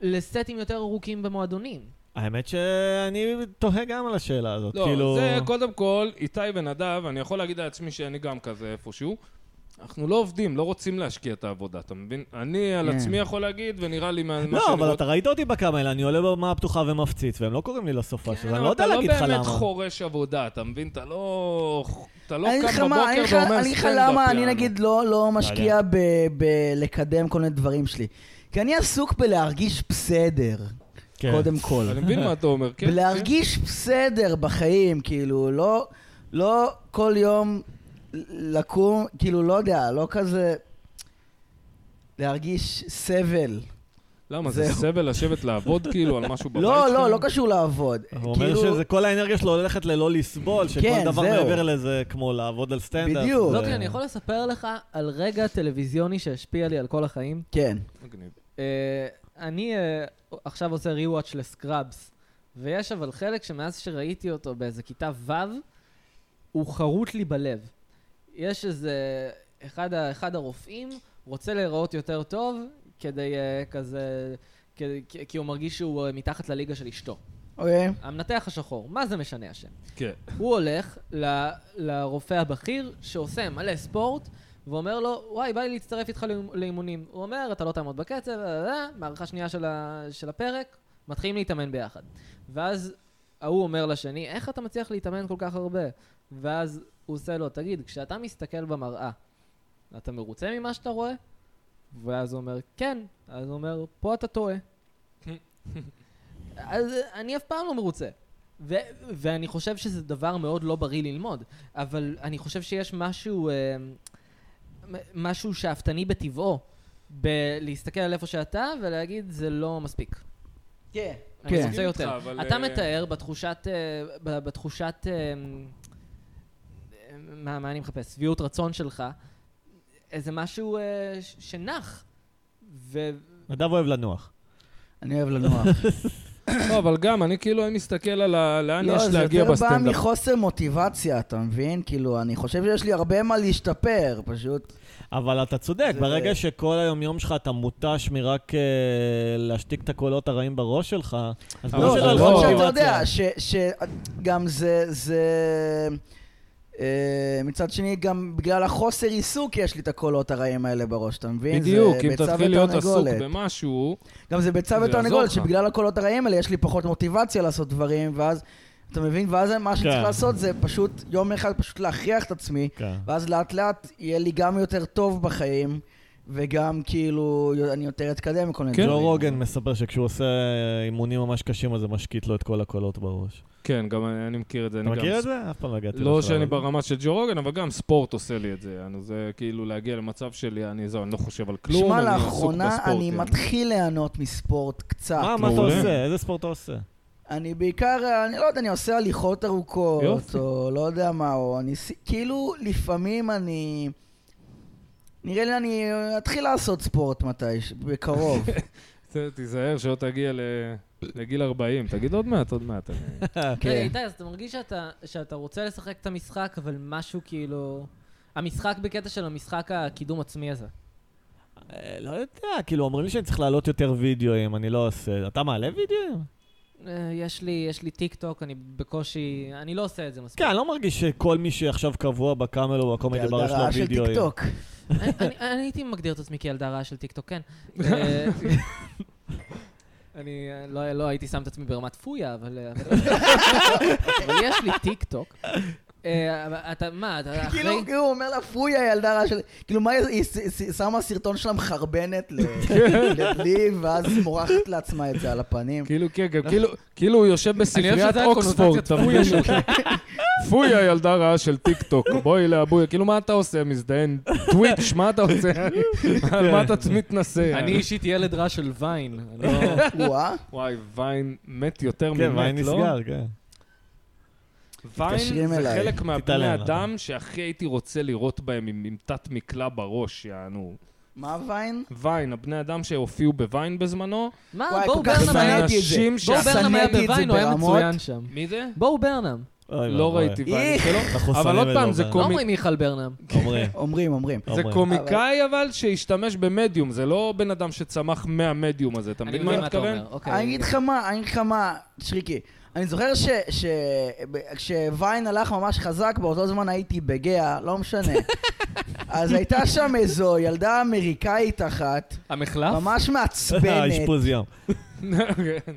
לסטים יותר ארוכים במועדונים.
האמת שאני תוהה גם על השאלה הזאת,
לא,
כאילו...
זה קודם כל, איתי ונדב, אני יכול להגיד לעצמי שאני גם כזה איפשהו. אנחנו לא עובדים, לא רוצים להשקיע את העבודה, אתה מבין? אני על
כן.
עצמי יכול להגיד, ונראה לי מה מה שאני...
לא, אבל
רואה-
אתה ראית אותי בכמה אלה, אני עולה בבמה הפתוחה ומפציץ, והם לא קוראים לי לסופה שלו,
כן,
אני
אבל
לא יודע להגיד לך
אתה לא
למה.
באמת חורש עבודה, אתה מבין? אתה לא... אתה לא
אני אגיד לך
קם
מה, אני
בבוקר
אגיד לך-
ואומר
אני אגיד לך
סטנדאפ,
למה, אני
יענו."
נגיד לא לא משקיע בלקדם כל מיני דברים שלי. כי אני עסוק בלהרגיש בסדר,
כן.
קודם כל.
אני מבין מה אתה אומר, כן.
ולהרגיש בסדר בחיים, כאילו, לא, לא כל יום לקום, כאילו, לא יודע, לא כזה... להרגיש סבל.
כן. למה, זה
זהו.
סבל לשבת לעבוד כאילו על משהו בבית
לא,
שלך?
לא, לא קשור לעבוד. כאילו-
הוא אומר
כאילו-
שזה כל האנרגיה שלו הולכת ללא לסבול, שכל
כן,
דבר
זהו.
מעבר לזה כמו לעבוד על סטנדאפ.
בדיוק.
זה-
כן,
לא, כי אני יכול לספר לך על רגע טלוויזיוני שהשפיע לי על כל החיים.
כן.
מגניב.
אה, אני אה, עכשיו עושה rewatch לסקראבס, ויש אבל חלק שמאז שראיתי אותו באיזה כיתה ו', הוא חרוט לי בלב. יש איזה... אחד, ה- אחד הרופאים רוצה להיראות יותר טוב כדי אה, כזה... כדי, כי- כי הוא מרגיש שהוא אה, מתחת לליגה של אשתו.
אוקיי.
המנתח השחור, מה זה משנה השם?
כן.
הוא הולך ל, לרופא הבכיר שעושה מלא ספורט, ואומר לו, וואי, בא לי להצטרף איתך לאימ- לאימונים. הוא אומר, אתה לא תעמוד בקצב, אה, אה, אה, מערכה שנייה של, ה, של הפרק, מתחילים להתאמן ביחד. ואז ההוא אומר לשני, איך אתה מצליח להתאמן כל כך הרבה? ואז הוא עושה לו, תגיד, כשאתה מסתכל במראה, אתה מרוצה ממה שאתה רואה? ואז הוא אומר, כן. אז הוא אומר, פה אתה טועה. אז אה, אני אף פעם לא מרוצה. ו- ואני חושב שזה דבר מאוד לא בריא ללמוד, אבל אני חושב שיש משהו, אה, מ- משהו שאפתני בטבעו, בלהסתכל על איפה שאתה ולהגיד, זה לא מספיק.
כן.
אני
כן.
רוצה יותר.
איתך, אבל,
אתה
אה,
מתאר בתחושת, אה, ב- בתחושת, אה, מה מה אני מחפש? שביעות רצון שלך, איזה משהו אה, ש- שנח. ו...
נדב אוהב לנוח.
אני אוהב לנוח.
לא, אבל גם, אני כאילו, אני מסתכל על ה- לאן
לא,
יש
זה
להגיע
יותר בא
בסטנדאפ.
מחוסר מוטיבציה, אתה מבין? כאילו, אני חושב שיש לי הרבה מה להשתפר, פשוט.
אבל אתה צודק,
זה-
ברגע שכל היומיום שלך אתה מותש מרק אה, להשתיק את הקולות הרעים בראש שלך, אז
אבל
ברור
לא,
זה
שלא
לא
זה
יהיה לך
לא שאתה
מוטיבציה.
יודע, שגם זה, זה... אה, מצד שני, גם בגלל החוסר עיסוק יש לי את הקולות הרעים האלה בראש, אתה מבין? זה
בדיוק, אם
ביצה
תתחיל להיות עסוק
ותרנגולת.
במשהו,
גם זה ביצה
זה יעזור
ותרנגולת,
לך.
שבגלל הקולות הרעים האלה יש לי פחות מוטיבציה לעשות דברים, ואז, אתה מבין? ואז מה
כן.
שצריך לעשות זה פשוט, יום אחד פשוט להכריח את עצמי,
כן.
ואז לאט לאט יהיה לי גם יותר טוב בחיים, וגם כאילו אני יותר אתקדם מכל מיני
כן.
ג'ו רוגן מספר שכשהוא עושה אימונים ממש קשים, אז זה משקיט לו את כל הקולות בראש.
כן, גם אני אני מכיר את זה.
אתה
אני גם
מכיר את זה? אף פעם לא הגעתי
לא
לשלב
שאני
הזה.
ברמה של ג'ו רוגן, אבל גם ספורט עושה לי את זה. יענו, זה כאילו להגיע למצב שלי, אני זהו, אני לא חושב על כלום,
שמע,
אני עסוק
לאחרונה
בספורט. כן.
אני
יענו.
מתחיל ליהנות מספורט קצת.
מה, מה אתה
מעולה.
עושה? איזה ספורט אתה עושה?
אני בעיקר, אני לא יודע, אני עושה הליכות ארוכות,
יופי.
או לא יודע מה, או אני... ס- כאילו, לפעמים אני... נראה לי אני אתחיל לעשות ספורט מתי, בקרוב.
ת- תיזהר שלא תגיע ל- לגיל 40. תגיד עוד מעט, עוד מעט. אני-
כן.
רגע, איתי, אז אתה מרגיש שאתה- שאתה רוצה לשחק את המשחק, אבל משהו כאילו... המשחק בקטע של המשחק הקידום עצמי הזה.
אה, לא יודע, כאילו, אומרים לי שאני צריך להעלות יותר וידאוים, אני לא עושה... אתה מעלה וידאוים?
אה, יש לי, יש לי טיק טוק, אני בקושי... אני לא עושה את זה מספיק.
כן, אני לא מרגיש שכל מי שעכשיו קבוע בקאמל או בקומדי בר יש לו
בהגדרה של
וידאוים.
טיקטוק.
אני- אני- אני הייתי מגדיר את עצמי כילדה רעה של טיקטוק, כן. אה, אני אה, לא- לא הייתי שם את עצמי ברמת פויה, אבל אה, אבל- אבל יש לי טיקטוק. אה, אבל אתה, מה, אתה אחרי...
כאילו, כאילו, הוא אומר לה, פוי הילדה רעה של... כאילו, מה, היא ש- ש- שמה סרטון שלה מחרבנת ל-
כן.
לבלי, ואז מורחת לעצמה את זה על הפנים.
כאילו, כן, גם כאילו- כאילו הוא יושב בספריית אוקספורד, אתה מבין? פוי הילדה רעה של טיק טוק, בואי לאבוי, כאילו מה אתה עושה, מזדיין? טוויץ', מה אתה עושה?
כן.
על מה אתה מתנשא?
אני אישית ילד רע של ויין. אני לא-
וואה.
וואי, ויין מת יותר
כן, מה
ממת, לא?
נסגר, כן.
ויין
מתקשרים
זה
אליי.
חלק מהבני
תתעלם, נכון.
אדם שהכי הייתי רוצה לראות בהם עם עם תת מקלע בראש, יענו.
מה ויין?
ויין, הבני אדם שהופיעו בוויין בזמנו,
מה,
וואי,
בואו
כל כך
ברנם היה...
שנאתי את זה.
אנשים ש...
בואו ברנם היה
שנאתי את זה
בוויין, הוא היה
ברמות.
מצוין שם.
מי
לא
זה?
בואו ברנם.
אוי
לא
ואבוי.
ראיתי ויין
איך?
שלו.
אנחנו
אבל
שונאים
עוד
את
פעם,
לא
זה
ברנם.
לא
קומי...
אומרים מיכל ברנם.
אומרים,
אומרים, אומרים.
זה
אומרים.
קומיקאי אבל שהשתמש במדיום, זה לא בן אדם שצמח מהמדיום הזה, אתה
אני
מבין מה
מבין
אני
מה אתה
מתכוון?
אומר, אוקיי.
אני אגיד לך מה, אני אגיד לך מה, שריקי. אני זוכר ש- ש- ב- כשוויין הלך ממש חזק, באותו זמן הייתי בגאה, לא משנה. אז הייתה שם איזו ילדה אמריקאית אחת,
המחלף?
ממש מעצבנת.
האשפוז יום.
כן.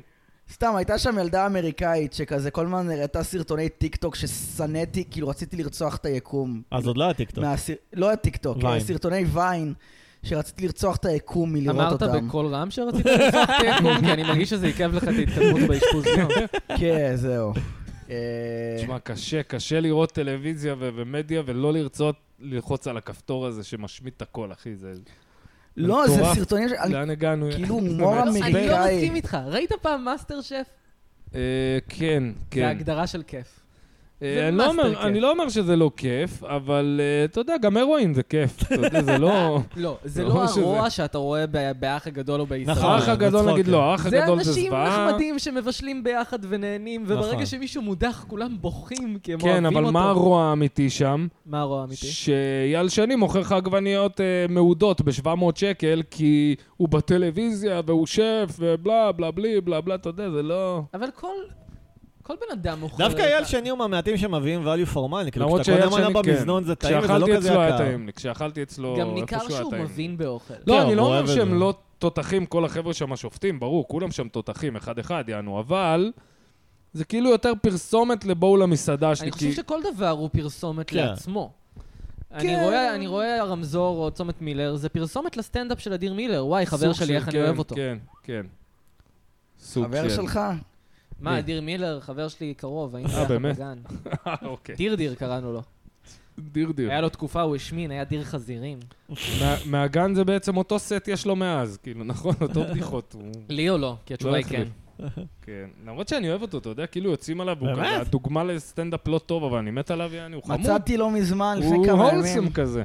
סתם, הייתה שם ילדה אמריקאית שכזה כל הזמן הראתה סרטוני טיק טוק ששנאתי, כאילו רציתי לרצוח את היקום.
אז עוד לא היה טיקטוק.
מהסר... לא הטיק טוק,
ויין.
סרטוני ויין, שרציתי לרצוח את היקום מלראות
אמרת
אותם.
בקול רם שרצית לרצוח תיקום? כי אני מרגיש שזה עיכב לך את ההתקדמות באשפוז יום.
כן, זהו. אה,
תשמע, קשה, קשה לראות טלוויזיה ו- ומדיה ולא לרצות ללחוץ על הכפתור הזה שמשמיט את הכל, אחי, זה...
לא, זה
מטורף.
סרטונים ש... אני-
לאן הגענו?
כאילו הומור
אני לא
אמריקאי.
מסכים איתך. ראית פעם מאסטר שף?
אה, כן,
זה
כן.
הגדרה של כיף. זה
אה, אני לא
מאסטר
אומר-
כיף.
אני לא אומר שזה לא כיף, אבל אה, אתה יודע, גם הרואין זה כיף. אתה יודע, זה לא...
לא, זה
לא
לא
שזה-
הרוע שאתה רואה ב- באח הגדול או בישראל.
נכון.
האח הגדול,
בצחוק,
נגיד
כן.
לא, האח
זה
הגדול זה
אנשים
זוועה.
נחמדים שמבשלים ביחד ונהנים, וברגע
נכון.
שמישהו מודח כולם בוכים כי הם
כן,
אוהבים אותו.
אבל מה הרוע האמיתי שם?
מה הרוע האמיתי?
שאייל שני מוכר לך עגבניות אה, מעודות ב-700 שקל, כי הוא בטלוויזיה והוא שף ובלה בלה בלי בלה בלה, אתה יודע, זה לא...
אבל כל... כל בן אדם מוכר...
דווקא אייל שני הוא מהמעטים שמביאים value for money, כאילו
אה, למרות
כשאתה קונה
שאייל
מנה
שני, כן.
במזנון זה טעים וזה לא
כשאכלתי
כזה
אצלו היה
יקר.
טעים לי, כשאכלתי אצלו
גם ניכר
איפשהו היה
שהוא
טעים לי.
מבין באוכל.
לא,
כן,
אני לא
הוא
אומר
אוהב את
שהם
זה.
לא תותחים, כל החבר'ה שם השופטים, ברור, כולם שם תותחים, אחד-אחד, יענו, אבל זה כאילו יותר פרסומת לבואו למסעדה שלי,
אני חושב
כי...
שכל דבר הוא פרסומת
כן.
לעצמו. אני רואה- אני רואה הרמזור או צומת מילר, זה פרסומת לסטנדאפ של אדיר מילר. וואי, חבר
סוג
שלי,
של-
איך אני
כן,
אוהב אותו.
כן, כן. סוג
חבר
של...
שלך?
מה,
מי?
אדיר מילר, חבר שלי קרוב, היינו
אה,
ביחד
באמת?
בגן.
אה, אוקיי.
דירדיר קראנו לו.
דיר דיר.
היה לו תקופה, הוא השמין, היה דיר חזירים.
מה- מהגן זה בעצם אותו סט יש לו מאז, כאילו, נכון? אותו בדיחות. הוא-
לי או לא? כי התשובה
לא
היא כן.
החליף. כן. למרות שאני אוהב אותו, אתה יודע, כאילו יוצאים עליו, הוא
באמת?
כזה הדוגמה לסטנדאפ לא טוב, אבל אני מת עליו, יעני, הוא חמוד.
מצאתי לא מזמן, לפני
הוא
כמה
הולסם
ימים,
כזה.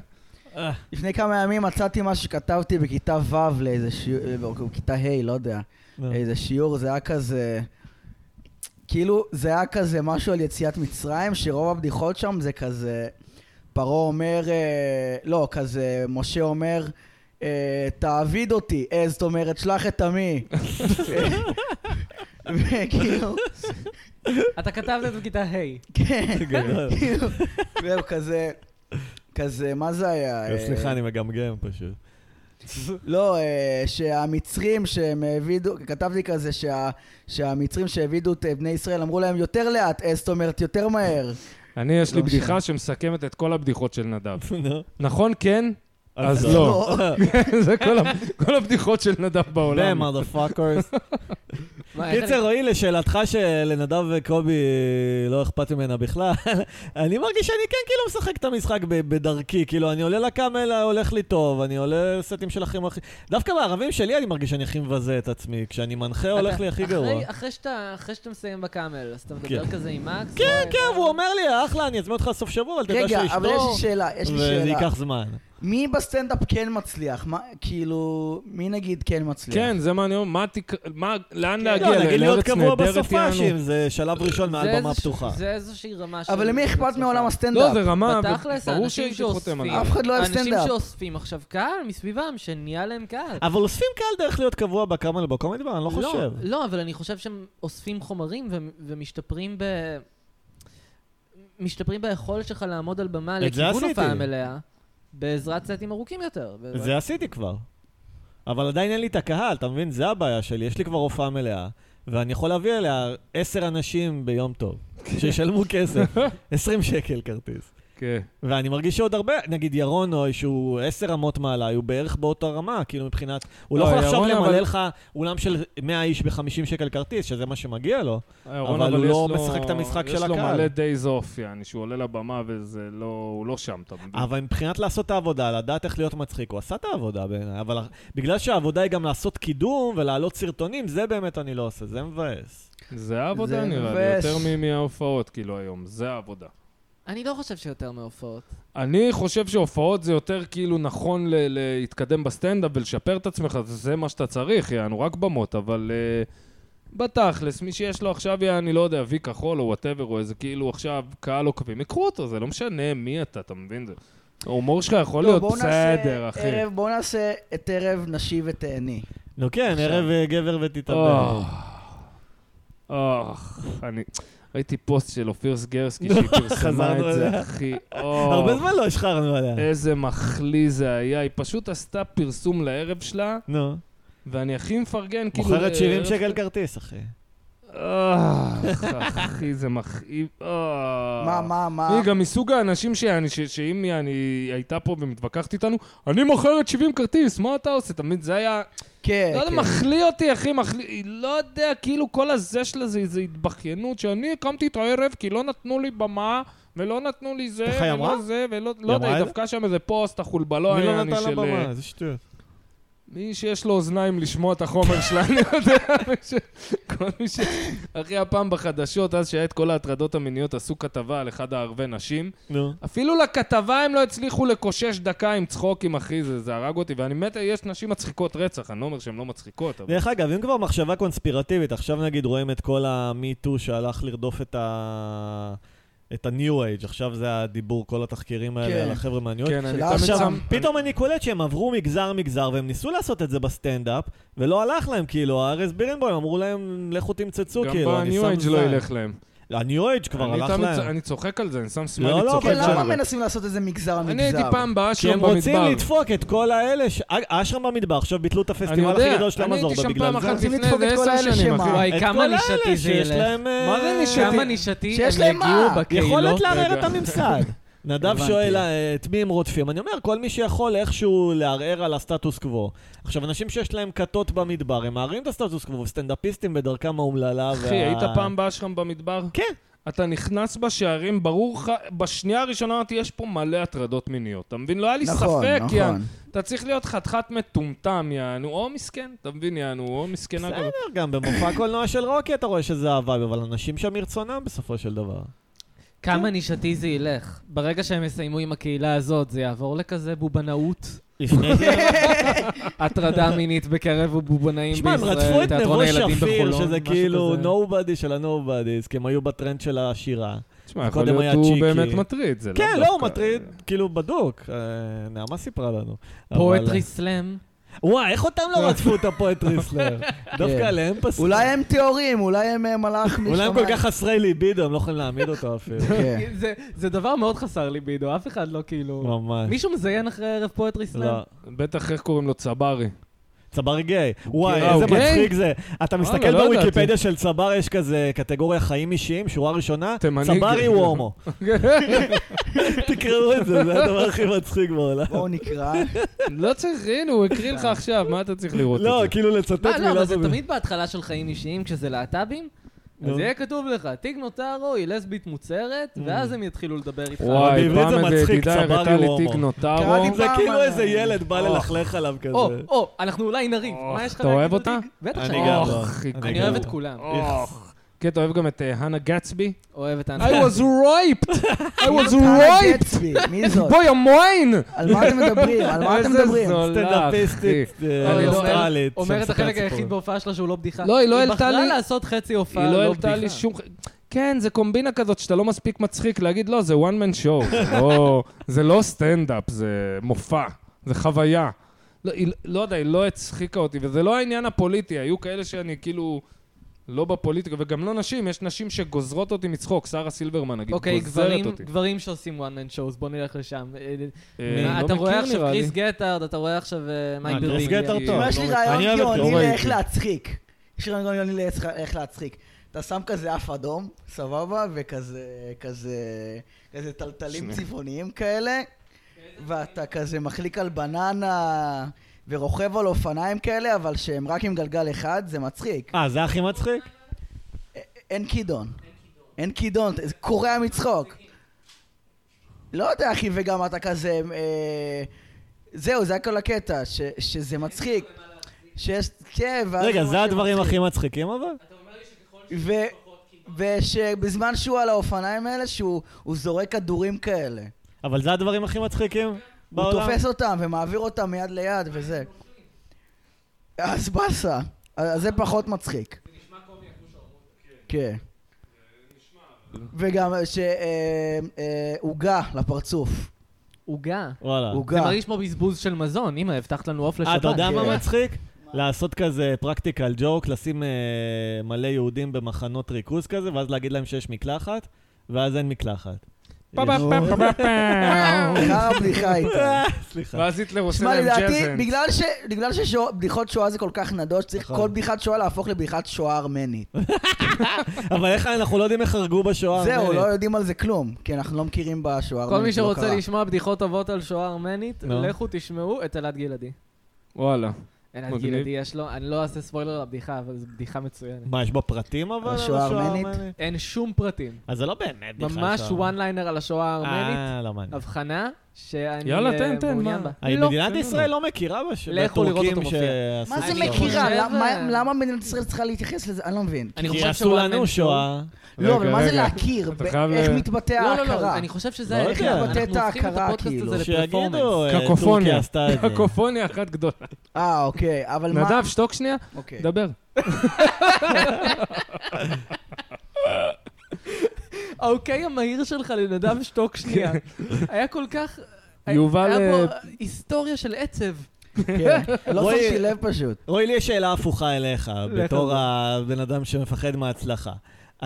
לפני כמה ימים מצאתי מה שכתבתי בכיתה ו' לאיזה שיעור, או בכיתה ה', לא יודע,
נו.
איזה שיעור, זה היה כזה, כאילו, זה היה כזה משהו על יציאת מצרים, שרוב הבדיחות שם זה כזה, פרעה אומר, אה, לא, כזה, משה אומר, אה, תעביד אותי, אה, זאת אומרת, שלח את עמי. וכאילו,
אתה כתבת את זה בכיתה ה'.
כן.
גדול.
כאילו, זהו, כזה, כזה, מה זה היה? אה,
סליחה, אני מגמגם פשוט.
לא, אה, שהמצרים שהם העבידו, כתבתי כזה שה- שהמצרים שהעבידו את אה, בני ישראל אמרו להם יותר לאט, אה, זאת אומרת יותר מהר.
אני, יש לי
לא
בדיחה שמסכמת את כל הבדיחות של נדב.
נו.
נכון, כן? אז
אז
לא. זה כל ה- כל הבדיחות של נדב
דם,
בעולם.
מודפאקרס.
מה, איך
קיצר, רועי, לשאלתך שלנדב וקובי לא אכפת ממנה בכלל, אני מרגיש שאני כן כאילו משחק את המשחק ב- בדרכי, כאילו, אני עולה לקאמל, הולך לי טוב, אני עולה סטים של אחים הכי... דווקא בערבים שלי אני מרגיש שאני הכי מבזה את עצמי, כשאני מנחה הולך
אתה-
לי הכי
אחרי-
גרוע.
אחרי שאתה אחרי שאתה מסיים בקאמל, אז אתה
כן.
מדבר כזה עם מקס?
כן,
וואי,
כן, והוא אומר לי, אחלה, אני אזמין אותך לסוף שבוע, אבל תדע
רגע,
לא.
שאשתו,
אבל יש לי שאלה, יש לי
וזה
שאלה.
ייקח זמן.
מי בסטנדאפ כן מצליח? מה, כאילו, מי נגיד כן מצליח?
כן, זה מה אני אומר, מה תק- מה- לאן
לא,
להגיע?
נגיד להיות
לארץ
קבוע
נהדרת
בסופאשים,
יענו?
זה שלב ראשון
זה
מעל במה
איזוש-
פתוחה.
זה איזושהי רמה של...
אבל למי אכפת
הצלחה.
מעולם
לא,
הסטנדאפ?
זה רמה,
בתכלס,
ברור
האנשים
שהייתי חותם
שאוספים,
עליו.
אף אחד לא אוהב סטנדאפ.
האנשים שאוספים עכשיו קהל מסביבם, שנהיה להם קהל.
אבל אוספים קהל דרך להיות קבוע בקאמל בקומדי בר? אני לא חושב.
לא, אבל אני חושב שהם אוספים חומרים ו- ומשתפרים ב... משתפרים ביכולת שלך לעמוד על במה
את זה
לכיוון
עשיתי.
הופעה מלאה, בעזרת סטים ארוכים יותר.
לא.
זה עשיתי כבר. אבל עדיין אין לי את הקהל, אתה מבין? זה הבעיה שלי. יש לי כבר הופעה מלאה, ואני יכול להביא אליה עשר אנשים ביום טוב, שישלמו כסף, 20 שקל כרטיס.
כן.
ואני מרגיש שעוד הרבה, נגיד ירון אוי, שהוא עשר אמות מעליי, הוא בערך באותה רמה, כאילו מבחינת... הוא לא
לא,
יכול עכשיו
ירון,
למלא
אבל-
לך אולם של 100 איש ב-50 שקל כרטיס, שזה מה שמגיע לו.
ירון,
אבל הוא
אה, יש
לא
לו-
משחק את המשחק של
יש לו
הקהל.
מלא דייז אוף, יעני, שהוא עולה לבמה וזה לא... הוא לא שם, אתה מבין?
אבל מבחינת לעשות את העבודה, לדעת איך להיות מצחיק, הוא עשה את העבודה בעיניי, אבל בגלל שהעבודה היא גם לעשות קידום ולהעלות סרטונים, זה באמת אני לא עושה, זה מבאס.
זה העבודה
זה
נראה לי,
מבאס.
יותר מ- מההופעות, כאילו, היום. זה העבודה.
אני לא חושב שיותר מהופעות.
אני חושב שהופעות זה יותר כאילו נכון ל- להתקדם בסטנדאפ ולשפר את עצמך, זה- זה מה שאתה צריך, יענו, רק במות, אבל uh, בתכלס, מי שיש לו עכשיו, יעני, לא יודע, וי כחול או וואטאבר, או איזה כאילו עכשיו קהל עוקבים, יקחו אותו, זה לא משנה מי אתה, אתה מבין? זה- ההומור שלך יכול
טוב,
להיות
בואו נעשה
בסדר, אחי.
ערב- בואו נעשה את ערב נשי ותהני.
נו כן,
עכשיו.
ערב אה, גבר ותתאבד.
אוח, אוח, אני... ראיתי פוסט של אופיר סגרסקי שהיא פרסמה
חזרנו
את זה,
אליה.
אחי.
הרבה
אוח.
זמן לא השחרנו עליה.
איזה מחליא זה היה, היא פשוט עשתה פרסום לערב שלה,
נו,
ואני הכי מפרגן, כאילו...
מוכרת 70
ערב-
שקל כרטיס, אחי.
אוח, אחי, זה מכאיב, אוח.
מה, מה, מה?
היא אה. גם מסוג האנשים שאני, ש- שאם אני הייתה פה ומתווכחת איתנו, אני מוכרת 70 כרטיס, מה אתה עושה? תמיד זה היה...
כן,
אה,
לא יודע,
כן.
מחליא אותי, אחי, מחליא... היא לא יודע, כאילו כל הזה שלה זה איזו התבכיינות, שאני הקמתי את הערב כי לא נתנו לי במה, ולא נתנו לי זה,
ככה היא אמרה?
ולא זה, ולא... לא
היא
יודע,
אמרה
היא
את זה?
דפקה שם איזה פוסט, החולבלו
מי
היה,
לא
אני
נתן לה
של... אה,
במה? איזה שטויות.
מי שיש לו אוזניים לשמוע את החומר שלה, אני יודע, מי ש- כל מי ש... אחי, הפעם בחדשות, אז שהיה את כל ההטרדות המיניות, עשו כתבה על אחד הערבי נשים.
נו.
אפילו לכתבה הם לא הצליחו לקושש דקה עם צחוקים, אחי, זה, זה הרג אותי. ואני מת, יש נשים מצחיקות רצח, אני לא אומר שהן לא מצחיקות, אבל...
דרך אגב, אם כבר מחשבה קונספירטיבית, עכשיו נגיד רואים את כל המיטו שהלך לרדוף את ה... את ה-new age, עכשיו זה הדיבור, כל התחקירים האלה
כן.
על החבר'ה מה-new age.
כן, אני
של
תמיד
עכשיו,
שם...
פתאום אני קולט שהם עברו מגזר-מגזר, והם ניסו לעשות את זה בסטנדאפ, ולא הלך להם, כאילו, ארז בירנבוים אמרו להם, לכו תמצצו,
גם
כאילו, אני
בניו
שם
אייג'
זין.
לא ילך להם.
לא, הניו אייג' כבר
אני
הלך
תמיד-
להם.
אני צוחק על זה, אני שם
לא,
שמאלית,
לא,
צוחק
כן,
אבל
על
למה
זה.
מנסים לעשות איזה מגזר מגזר?
אוקיי, אני הייתי פעם
כי
באשרם
הם רוצים
במדבר.
לדפוק את כל האלה, ש- א- אשרם במדבר, עכשיו ביטלו את
אני
הפסטיבל הכי
יודע,
גדול של
אני
המזור,
הייתי שם
בגלל
פעם
זה.
אחת
רוצים
לפני
לדפוק את
איזה
כל
עשר
האלה
שנים,
שמה?
אחי.
וואי,
אה, את
כמה
כל האלה
נישתי זה
שיש
ילך.
להם, אה,
מה זה נישתי?
כמה נישתי
שיש
הם
להם מה?
יגיעו בקהילות.
יכולת לערער
רגע.
את הממסד. נדב
הבנתי.
שואל אה, את מי הם רודפים. אני אומר, כל מי שיכול איכשהו לערער על הסטטוס קוו. עכשיו, אנשים שיש להם כתות במדבר, הם מערערים את הסטטוס קוו, וסטנדאפיסטים בדרכם האומללה. וה-
אחי, היית פעם באשרם במדבר?
כן.
אתה נכנס בשערים, ברור לך, בשנייה הראשונה אמרתי, יש פה מלא הטרדות מיניות. אתה מבין? לא היה לי
נכון,
ספק,
נכון.
יענו. אתה צריך להיות חתיכת מטומטם, יענו, או מסכן, אתה מבין, יענו, או מסכנה
בסדר,
גם.
גם במופע קולנוע של רוקי אתה רואה שזה אהבה, אבל אנשים שם מרצונם בסופו של דבר.
כמה נישתי זה ילך. ברגע שהם יסיימו עם הקהילה הזאת, זה יעבור לכזה בובנאות,
לפני זה...
הטרדה מינית בקרב הבובנאים
תשמע,
בישראל,
הם רדפו את נבו
תיאטרון הילדים
שפיר,
בחולון,
שזה
משהו
כאילו
כזה.
nobody של ה-nobodies, כי הם היו בטרנד של השירה.
תשמע, יכול
קודם היה
להיות הוא
צ'יקי.
באמת מטריד, זה לא
כן, לא, הוא
דווקא-
מטריד, כאילו, בדוק. אה, נעמה סיפרה לנו. אבל-
פואטרי סלאם.
וואי, איך אותם לא רדפו את הפואטרי סלאם? דווקא
כן.
עליהם פסקו.
אולי הם טהורים, אולי הם אה, מלאך משמיים.
אולי הם כל כך חסרי ליבידו, הם לא יכולים להעמיד אותו אפילו.
כן.
זה- זה דבר מאוד חסר ליבידו, אף אחד לא כאילו...
ממש.
מישהו מזיין אחרי ערב פואטרי סלאם?
לא.
בטח איך קוראים לו צברי.
צבר גיי. וואי,
גיי. אה,
איזה
הוא גיי?
מצחיק זה. אתה מסתכל
לא ידעתי.
בוויקיפדיה של צבר, יש כזה קטגוריה חיים אישיים, שורה ראשונה,
תימני
צברי
גיי.
הוא הומו. תקראו את זה, זה הדבר הכי מצחיק בעולם.
בואו נקרא.
לא צריך, הנה, הוא הקריא לך עכשיו, מה אתה צריך לראות את זה?
לא, כאילו לצטט
מה, לא, אבל
מילה
זה
במילה.
תמיד בהתחלה של חיים אישיים, כשזה להט"בים.
נו.
אז יהיה כתוב לך, טיג נוטרו היא לסבית מוצהרת, ואז הם יתחילו לדבר איתך.
וואי,
בעברית זה
פעם איזה
מצחיק,
ידידה
צברי
הראתה לי
הוא
תיק
הומו.
נוטרו.
קראתי
זה כאילו
פעם,
איזה
אה,
ילד בא
או.
ללכלך עליו
או,
כזה.
או, אנחנו אולי נריב,
או,
מה יש לך
אתה אוהב
להגיד
אותה?
לטיג? בטח
אני
שאני
גם
אוהב.
לא.
אוח, היא
אני
גרועה.
אוהב את כולם.
אוח. כן, אתה אוהב גם את אה, הנה גצבי?
אוהב את
I
האנשים.
was raped! I was
טנה
raped!
גצבי, מי זאת?
בואי, המוין!
על מה אתם מדברים? על מה אתם
איזה
מדברים?
זול.
סטנדאפיסטית אה,
אוי, לא,
אוסטרלית.
אומר את
שמספרת
החלק היחיד
סיפורים.
בהופעה שלה שהוא לא בדיחה.
לא, היא לא העלתה
היא
לי-
בחרה לעשות חצי
היא
הופעה,
לא
לא
העלתה לי
בדיחה.
שום... כן, זה קומבינה כזאת שאתה לא מספיק מצחיק להגיד, לא, זה one man show. זה לא- זה לא סטנדאפ, זה מופע, זה חוויה. לא, היא- לא יודע, היא לא הצחיקה אותי, וזה לא העניין הפוליטי, היו כאלה שאני כאילו לא בפוליטיקה, וגם לא נשים, יש נשים שגוזרות אותי מצחוק, שרה סילברמן נגיד,
אוקיי,
גוזרת
גברים-
אותי.
גברים שעושים one man shows, בוא נלך לשם. אה,
אה, לא
אתה
מכיר,
רואה עכשיו
נראה לי.
קריס גטארד, אתה רואה עכשיו אה, מייק
אה, קריס
ברדינגר.
גטארד טוב.
יש לי רעיון
אני אוהב את
גאוני
לא ראיתי.
לאיך להצחיק. יש לי רעיון גאוני לאיך- איך להצחיק. אתה שם כזה אף אדום, סבבה, וכזה כזה, כזה טלטלים צבעוניים כאלה, ואתה כזה מחליק על בננה ורוכב על אופניים כאלה, אבל שהם רק עם גלגל אחד, זה מצחיק.
אה, זה הכי מצחיק?
א- אין כידון. אין כידון, זה קורע מצחוק. לא יודע, אחי, וגם אתה כזה... אה, זהו, זה הכל הקטע, ש- שזה מצחיק. שיש... כן, ואז
רגע,
זה
זה
משהו
הדברים
מצחיק.
הכי מצחיקים אבל?
ו... ושבזמן שהוא על האופניים האלה, שהוא הוא זורק כדורים כאלה.
אבל זה הדברים הכי מצחיקים
הוא
בעולם?
תופס אותם ומעביר אותם מיד ליד וזה. אז באסה. אז זה פחות מצחיק. כן. וגם שעוגה לפרצוף.
עוגה.
וואלה.
זה
עוגה.
מרגיש כמו בזבוז של מזון, אמא, הבטחת לנו עוף לשבת.
אה, אתה יודע
כן.
מה מצחיק? לעשות כזה פרקטיקל ג'וק, לשים אה, מלא יהודים במחנות ריכוז כזה, ואז להגיד להם שיש מקלחת, ואז אין מקלחת.
פה, פה, פה, פה, פה.
אחר הבדיחה איתה.
אה, סליחה.
ואז היטלר עושה
שמע,
להם
לדעתי,
ג'אזן.
בגלל ש- בגלל שבדיחות שואה זה כל כך נדוש, צריך
נכון.
כל בדיחת שואה להפוך לבדיחת שואה ארמנית.
אבל איך אנחנו לא יודעים איך הרגו בשואה.
זהו,
הארמנית.
לא יודעים על זה כלום, כי אנחנו לא מכירים בשואה
נכון, כל
הארמנית.
מי
זה לא קרה.
שרוצה לשמוע בדיחות טובות על שואה ארמנית,
נו.
לכו תשמעו את אלעד גלעדי.
וואלה.
אלעד
מגניב.
גלעדי יש לו, אני לא אעשה ספוילר לבדיחה, אבל זו בדיחה מצוינת.
מה, יש בה פרטים אבל? על
השואה הארמנית?
הארמנית?
אין שום פרטים.
אז זה לא באמת בכלל
ממש
שואה.
וואן ליינר על השואה הארמנית,
אה, לא מעניין.
הבחנה שאני
יאללה,
אה,
תן, תן,
מעוניין
מה?
בה.
אה,
לא,
מדינת
תן
ישראל לא מכירה בש...
כן, לכו לראות אותו
בטורקים
מופיע.
שעשו
מה זה
אני
מכירה?
חושב-
למה- למה מדינת ישראל צריכה להתייחס לזה? אני לא מבין.
אני
כי
חושב
עשו
שוואן
לנו
מן
שואה.
לא, אבל
רגע,
מה זה
רגע.
להכיר?
אתה
ב-
חייב אה,
איך
ל-
מתבטא
לא, לא,
ההכרה?
לא, אני חושב שזה
לא
ההכרח.
יודע.
אנחנו
מבטא את
הופכים את
ההכרה,
הפודקאסט
כאילו.
הזה לפרפורמנס.
שיגידו, אה, טורקיה
קקופוניה.
עשתה את זה.
קקופוניה אחת גדולה.
אה, אוקיי, אבל מה...
נדב, שתוק שנייה,
אוקיי.
דבר.
האוקיי המהיר שלך לנדב שתוק שנייה. היה כל כך...
יובל,
היה פה היסטוריה של עצב.
כן. לא
רועי-
שמתי לב פשוט.
רועי, לי יש שאלה הפוכה אליך,
לך על
בתור
זה.
הבן אדם שמפחד מההצלחה.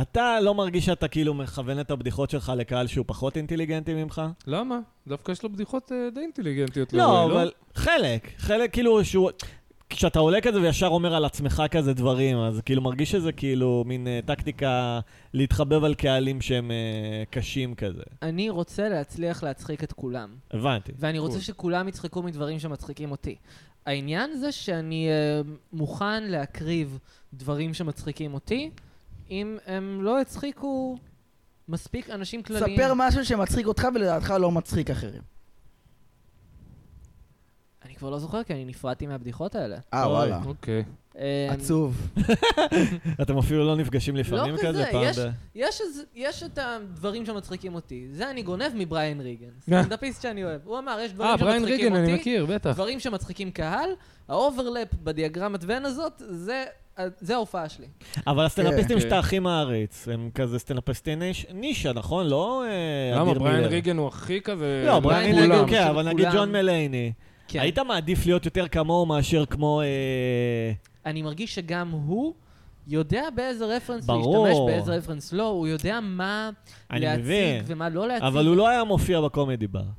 אתה לא מרגיש שאתה כאילו מכוון את הבדיחות שלך לקהל שהוא פחות אינטליגנטי ממך?
למה? דווקא יש לו בדיחות אה, די אינטליגנטיות.
לא,
לרועי,
אבל חלק, חלק כאילו שהוא... כשאתה עולה כזה וישר אומר על עצמך כזה דברים, אז כאילו מרגיש שזה כאילו מין אה, טקטיקה להתחבב על קהלים שהם אה, קשים כזה.
אני רוצה להצליח להצחיק את כולם.
הבנתי.
ואני רוצה
קול.
שכולם יצחקו מדברים שמצחיקים אותי. העניין זה שאני אה, מוכן להקריב דברים שמצחיקים אותי, אם הם לא הצחיקו מספיק אנשים כלליים.
ספר משהו שמצחיק אותך ולדעתך לא מצחיק אחרים.
אני כבר לא זוכר, כי אני נפרדתי מהבדיחות האלה.
אה,
אוי.
וואלה.
אוקיי.
אה,
עצוב.
אתם אפילו לא נפגשים לפעמים
לא
כזה
כזה,
פעם
יש-
ב...
יש, איזה- יש את הדברים שמצחיקים אותי. זה אני גונב מבריין ריגן. סטנדאפיסט שאני אוהב. הוא אמר, יש דברים
אה, בריין
שמצחיקים
ריגן,
אותי.
אני מכיר, בטח.
דברים שמצחיקים קהל, האוברלאפ בדיאגרמת ון הזאת, זה, אה, זה ההופעה שלי.
אבל הסטנדאפיסטים
כן.
שאתה הכי מעריץ, הם כזה סטנדאפיסטים ניש- נישה, נכון? לא אה,
למה,
אדיר
בריין
מילר.
ריגן הוא הכי כזה...
לא,
בריין
בריין
לכולם.
ריגן,
ריגן,
כן,
של
אבל
כולם.
נגיד ג'ון מלייני.
כן.
היית מעדיף להיות יותר כמוהו מאשר כמו... אה,
אני מרגיש שגם הוא יודע באיזה רפרנס
ברור.
להשתמש, באיזה רפרנס לא, הוא יודע מה
אני
להציג
מבין.
ומה לא להציג.
אבל הוא לא היה מופיע בקומדי בר.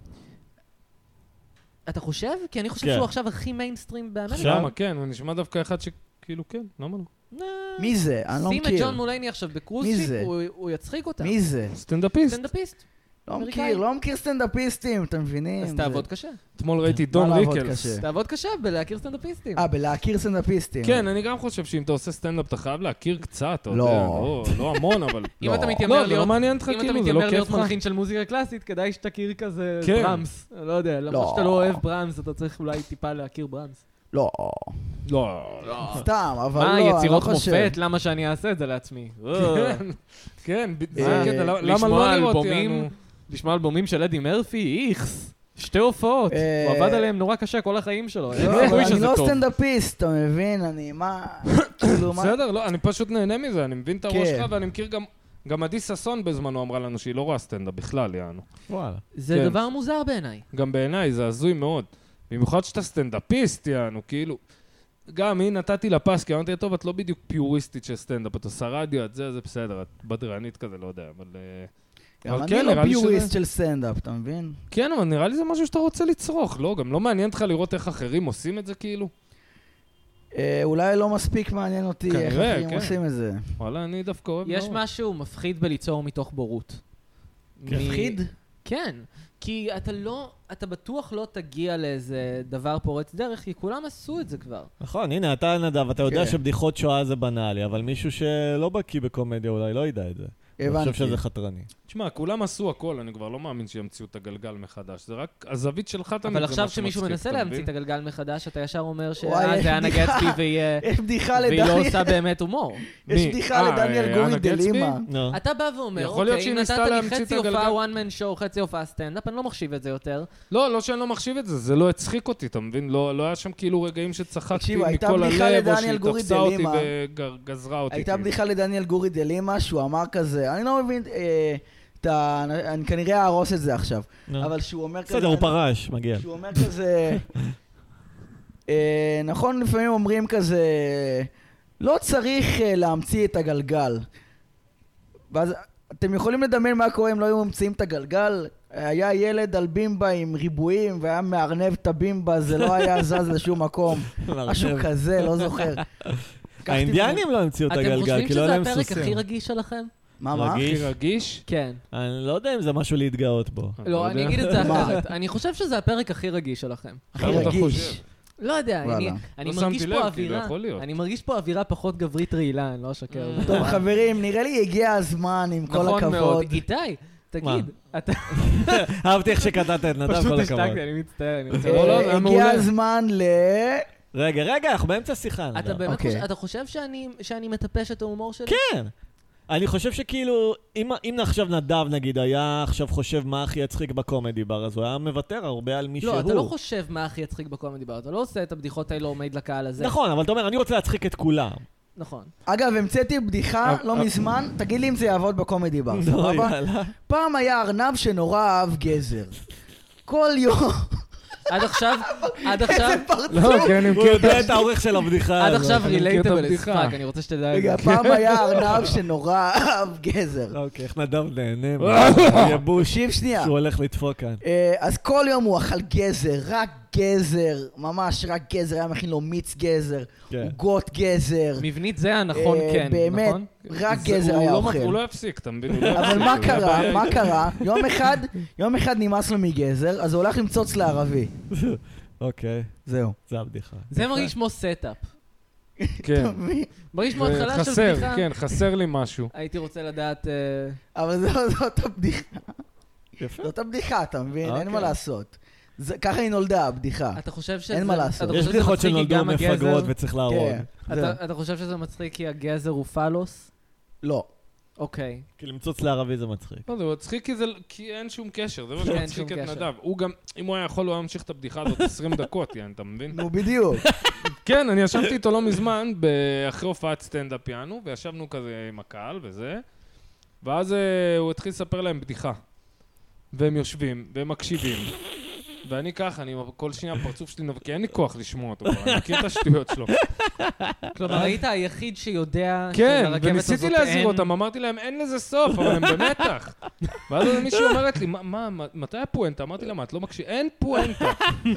אתה חושב? כי אני חושב
כן.
שהוא עכשיו הכי מיינסטרים באמריקה.
עכשיו?
למה, כן, הוא נשמע דווקא אחד שכאילו, כן, למה לא?
אה,
מי זה? אני לא
שים את
מכיר.
ג'ון מולייני עכשיו בקרוז
מי
שיפ,
זה?
הוא- הוא יצחיק אותם.
מי זה?
סטנדאפיסט.
סטנדאפיסט.
לא
אמריקאי.
מכיר, לא מכיר סטנדאפיסטים, אתם מבינים?
אז
כן, זה-
תעבוד קשה.
אתמול ראיתי
מה
דון
לעבוד
ריקלס.
קשה?
תעבוד קשה בלהכיר סטנדאפיסטים.
אה, בלהכיר סטנדאפיסטים.
כן, אני גם חושב שאם אתה עושה סטנדאפ, אתה חייב להכיר קצת, אתה
לא.
יודע, לא לא המון, אבל...
אם אתה מתיימר
לא, זה
להיות...
לא מעניין אותך,
אם אתה
כאילו, זה לא
מתיימר להיות
כיף לך.
מלחין של מוזיקה קלאסית, כדאי שתכיר כזה
כן.
בראמס. לא יודע, למרות
לא.
שאתה לא אוהב בראמס, אתה צריך אולי טיפה להכיר בראמס.
לא,
לא.
סתם, אבל לא,
מה,
אני לא חושב.
יצירות מופת? למה שאני אעשה את זה לעצמי?
כן, כן, ב- זה
אה,
הקטע, למה- למה
לשמוע
לא לראות
אלבומים?
יענו?
לשמוע אלבומים של אדי מרפי, איכס. שתי הופעות.
אה,
הוא עבד עליהם נורא קשה כל החיים שלו. אה, אין
לא, אבל
סיכוי
אני
שזה
לא
טוב.
סטנדאפיסט, אתה מבין? אני מה... כאילו, מה...
בסדר, לא, אני פשוט נהנה מזה, אני מבין את הראש
כן.
שלך ואני מכיר גם... גם עדי ששון בזמנו אמרה לנו שהיא לא רואה סטנדאפ בכלל, יענו.
וואלה.
זה
כן.
דבר מוזר בעיניי.
גם בעיניי זה הזוי מאוד. במיוחד שאתה סטנדאפיסט, יענו, כאילו... גם, היא נתתי לה פס, כי אמרתי לה, טוב, את לא בדיוק פיוריסטית של סטנדאפ, את עושה רדיו, את זה, זה בסדר, את בדרנית כזה, לא יודע, אבל... אה,
גם
אבל
אני
כן,
לא
נראה לי שזה-
פיוריסט של סטנדאפ, אתה מבין?
כן, אבל נראה לי זה משהו שאתה רוצה לצרוך, לא? גם לא מעניין אותך לראות איך אחרים עושים את זה, כאילו?
אה, אולי לא מספיק מעניין אותי איך
כנראה,
אחרים
כן.
עושים את זה.
וואלה, אני דווקא אוהב
יש
מאוד.
משהו מפחיד בליצור מתוך בורות. מ-
מפחיד?
כן. כי אתה לא, אתה בטוח לא תגיע לאיזה דבר פורץ דרך, כי כולם עשו את זה כבר.
נכון, הנה, אתה נדב, אתה יודע
כן.
שבדיחות שואה זה בנאלי, אבל מישהו שלא בקיא בקומדיה אולי לא ידע את זה.
הבנתי.
אני חושב שזה חתרני.
תשמע, כולם עשו הכל, אני כבר לא מאמין שימציאו את הגלגל מחדש. זה רק הזווית שלך תמיד.
אבל
זה
עכשיו
מה
כשמישהו
שמצחיק,
מנסה
אתה
להמציא
מבין?
את הגלגל מחדש, אתה ישר אומר
וואי,
שאה, זה אנה
בדיחה.
גצפי והיא אה,
יש בדיחה
והיא לא
לדניאל,
עושה באמת הומור.
יש
מי?
בדיחה
אה,
לדניאל
אה,
גורי
אנה גצבי?
דלימה.
נו.
אתה בא ואומר,
יכול להיות
אוקיי,
שהיא
אם
ניסתה
נתת לי
להמציא את
חצי הופעה
הגלגל."
one man show, חצי הופעה סטנדאפ, אני לא מחשיב את זה יותר.
לא, לא שאני לא מחשיב את זה, זה לא הצחיק אותי, אתה מבין? לא לא היה שם כאילו רגעים שצחקתי
תקשיב, הייתה
מכל
בדיחה
הלב, או
לדניאל
שהיא
גורי
תפסה אותי
דלימה.
וגזרה אותי.
הייתה
כאילו.
בדיחה לדניאל גורי דלימה, שהוא אמר כזה, אני לא מבין, אה, את ה- אני כנראה אהרוס את זה עכשיו,
אה.
נו.
אבל שהוא אומר כזה...
בסדר, הוא פרש, מגיע.
שהוא אומר כזה... אה, נכון, לפעמים אומרים כזה, לא צריך אה, להמציא את הגלגל. ואז אתם יכולים לדמיין מה קורה אם לא היו ממציאים את הגלגל? היה ילד על בימבה עם ריבועים והיה מארנב את הבימבה, זה לא היה זז לשום מקום. משהו כזה, לא זוכר. לקחתי
האינדיאנים לא המציאו את
אתם
הגלגל,
חושבים
כי לא היה
שזה
להם
הפרק הכי
סוסים.
רגיש שלכם?
מה, מה?
רגיל.
הכי רגיש?
כן.
אני לא יודע אם זה משהו להתגאות בו.
לא,
יודע.
אני אגיד את זה
מה?
אחרת. אני חושב שזה הפרק הכי רגיש שלכם.
הכי
למה אתה
רגיש.
חושב?
לא יודע, אני-
וואלה.
אני
לא
מרגיש
שמתי
פה
לב, כאילו,
אווירה,
יכול להיות. אה.
אני מרגיש פה אווירה פחות גברית רעילה, אני לא אשקר.
טוב, חברים, נראה לי הגיע הזמן, עם כל
נכון מאוד.
הכבוד.
איתי, תגיד, אתה אה.
אהבתי איך שקטעת את נדב,
פשוט
כל הכבוד.
השתקתי, אני מצטער. אני
לא, לא,
מצטער.
זה היה
אה, הגיע
מעולה.
הזמן ל...
רגע, רגע, אנחנו באמצע שיחה.
אתה
נדב.
באמת
אוקיי.
חושב- אתה חושב שאני- שאני מטפש את ההומור שלי?
כן. אני חושב שכאילו, אם, אם עכשיו נדב נגיד היה עכשיו חושב מה הכי יצחיק בקומדי בר, אז הוא היה מוותר הרבה על מי שהוא.
לא, אתה לא חושב מה הכי יצחיק בקומדי בר, אתה לא עושה את הבדיחות האלה עומד לקהל הזה.
נכון, אבל אתה אומר, אני רוצה להצחיק את כולם.
נכון.
אגב, המצאתי בדיחה
אה,
לא
אה.
מזמן, תגיד לי אם זה יעבוד בקומדי בר,
לא,
אה, סבבה?
יאללה.
פעם היה ארנב שנורא אהב גזר. כל יום,
עד עכשיו, עד עכשיו,
איזה פרצוף.
לא, כי אני
הוא
מכיר את
יודע את
ה...
האורך של הבדיחה
עד
הזאת.
עכשיו
אני מכיר את
רילייטבל
הבדיחה.
פאק, אני רוצה שתדע את זה.
רגע,
כן.
פעם היה ארנב שנורא אהב גזר.
אוקיי, איך נדב נהנה מהייבוש
תקשיב שנייה.
שהוא הולך לדפוק כאן.
אה, אז כל יום הוא אכל גזר, רק גזר, ממש רק גזר, היה מכין לו מיץ גזר,
כן.
עוגות גזר.
מבנית זה הנכון
אה,
כן,
באמת,
נכון?
רק
זה-
גזר
הוא
היה
לא-
אוכל.
הוא לא יפסיק, אתה מבין? הוא לא
אבל
יפסיק,
מה
זה
קרה?
הבעיה.
מה קרה? יום אחד, יום אחד נמאס לו מגזר, אז הוא הולך למצוץ לערבי.
אוקיי,
זהו.
זה הבדיחה.
זה מרגיש כמו סטאפ.
כן.
מרגיש כמו התחלה של
חסר,
בדיחה.
כן, חסר לי משהו.
הייתי רוצה לדעת... אה,
אבל זו- זאת הבדיחה,
יפה.
זאת הבדיחה, אתה מבין? אין
אוקיי.
מה לעשות. זה- ככה היא נולדה, הבדיחה.
אתה חושב שזה...
אה, אין מה
אתה
לעשות.
חושב
יש
שזה
בדיחות
מצחיק כי
שנולדו
גם הגזר-
מפגרות וצריך להרוג.
כן,
אתה-
זהו.
אתה חושב שזה מצחיק כי הגזר הוא פלוס?
לא.
אוקיי.
כי למצוץ לערבי זה מצחיק.
לא, זה מצחיק כי, זה, כי אין שום קשר, זה מה
אין
שמצחיק
שום
את
קשר.
נדב. הוא גם, אם הוא היה יכול, הוא היה ממשיך את הבדיחה הזאת 20 דקות, יעני, אתה מבין?
נו, בדיוק.
כן, אני ישבתי איתו לא מזמן, ב- אחרי הופעת סטנדאפ יענו, וישבנו כזה עם הקהל וזה, ואז אה, הוא התחיל לספר להם בדיחה. והם יושבים, והם מקשיבים. ואני ככה, אני עם כל שנייה הפרצוף שלי, נב- כי אין לי כוח לשמוע אותו, כבר, אני מכיר את השטויות שלו.
כלומר,
אה.
היית היחיד שיודע
כן,
שלרכבת
וניסיתי
הזאת
להזהיר
אין-
אותם, אמרתי להם, אין לזה סוף, אבל הם במתח. ואז מישהי אומרת לי, "מה- מה, מה- מתי הפואנטה? אמרתי לה, מה, את לא מקשיבה? אין פואנטה.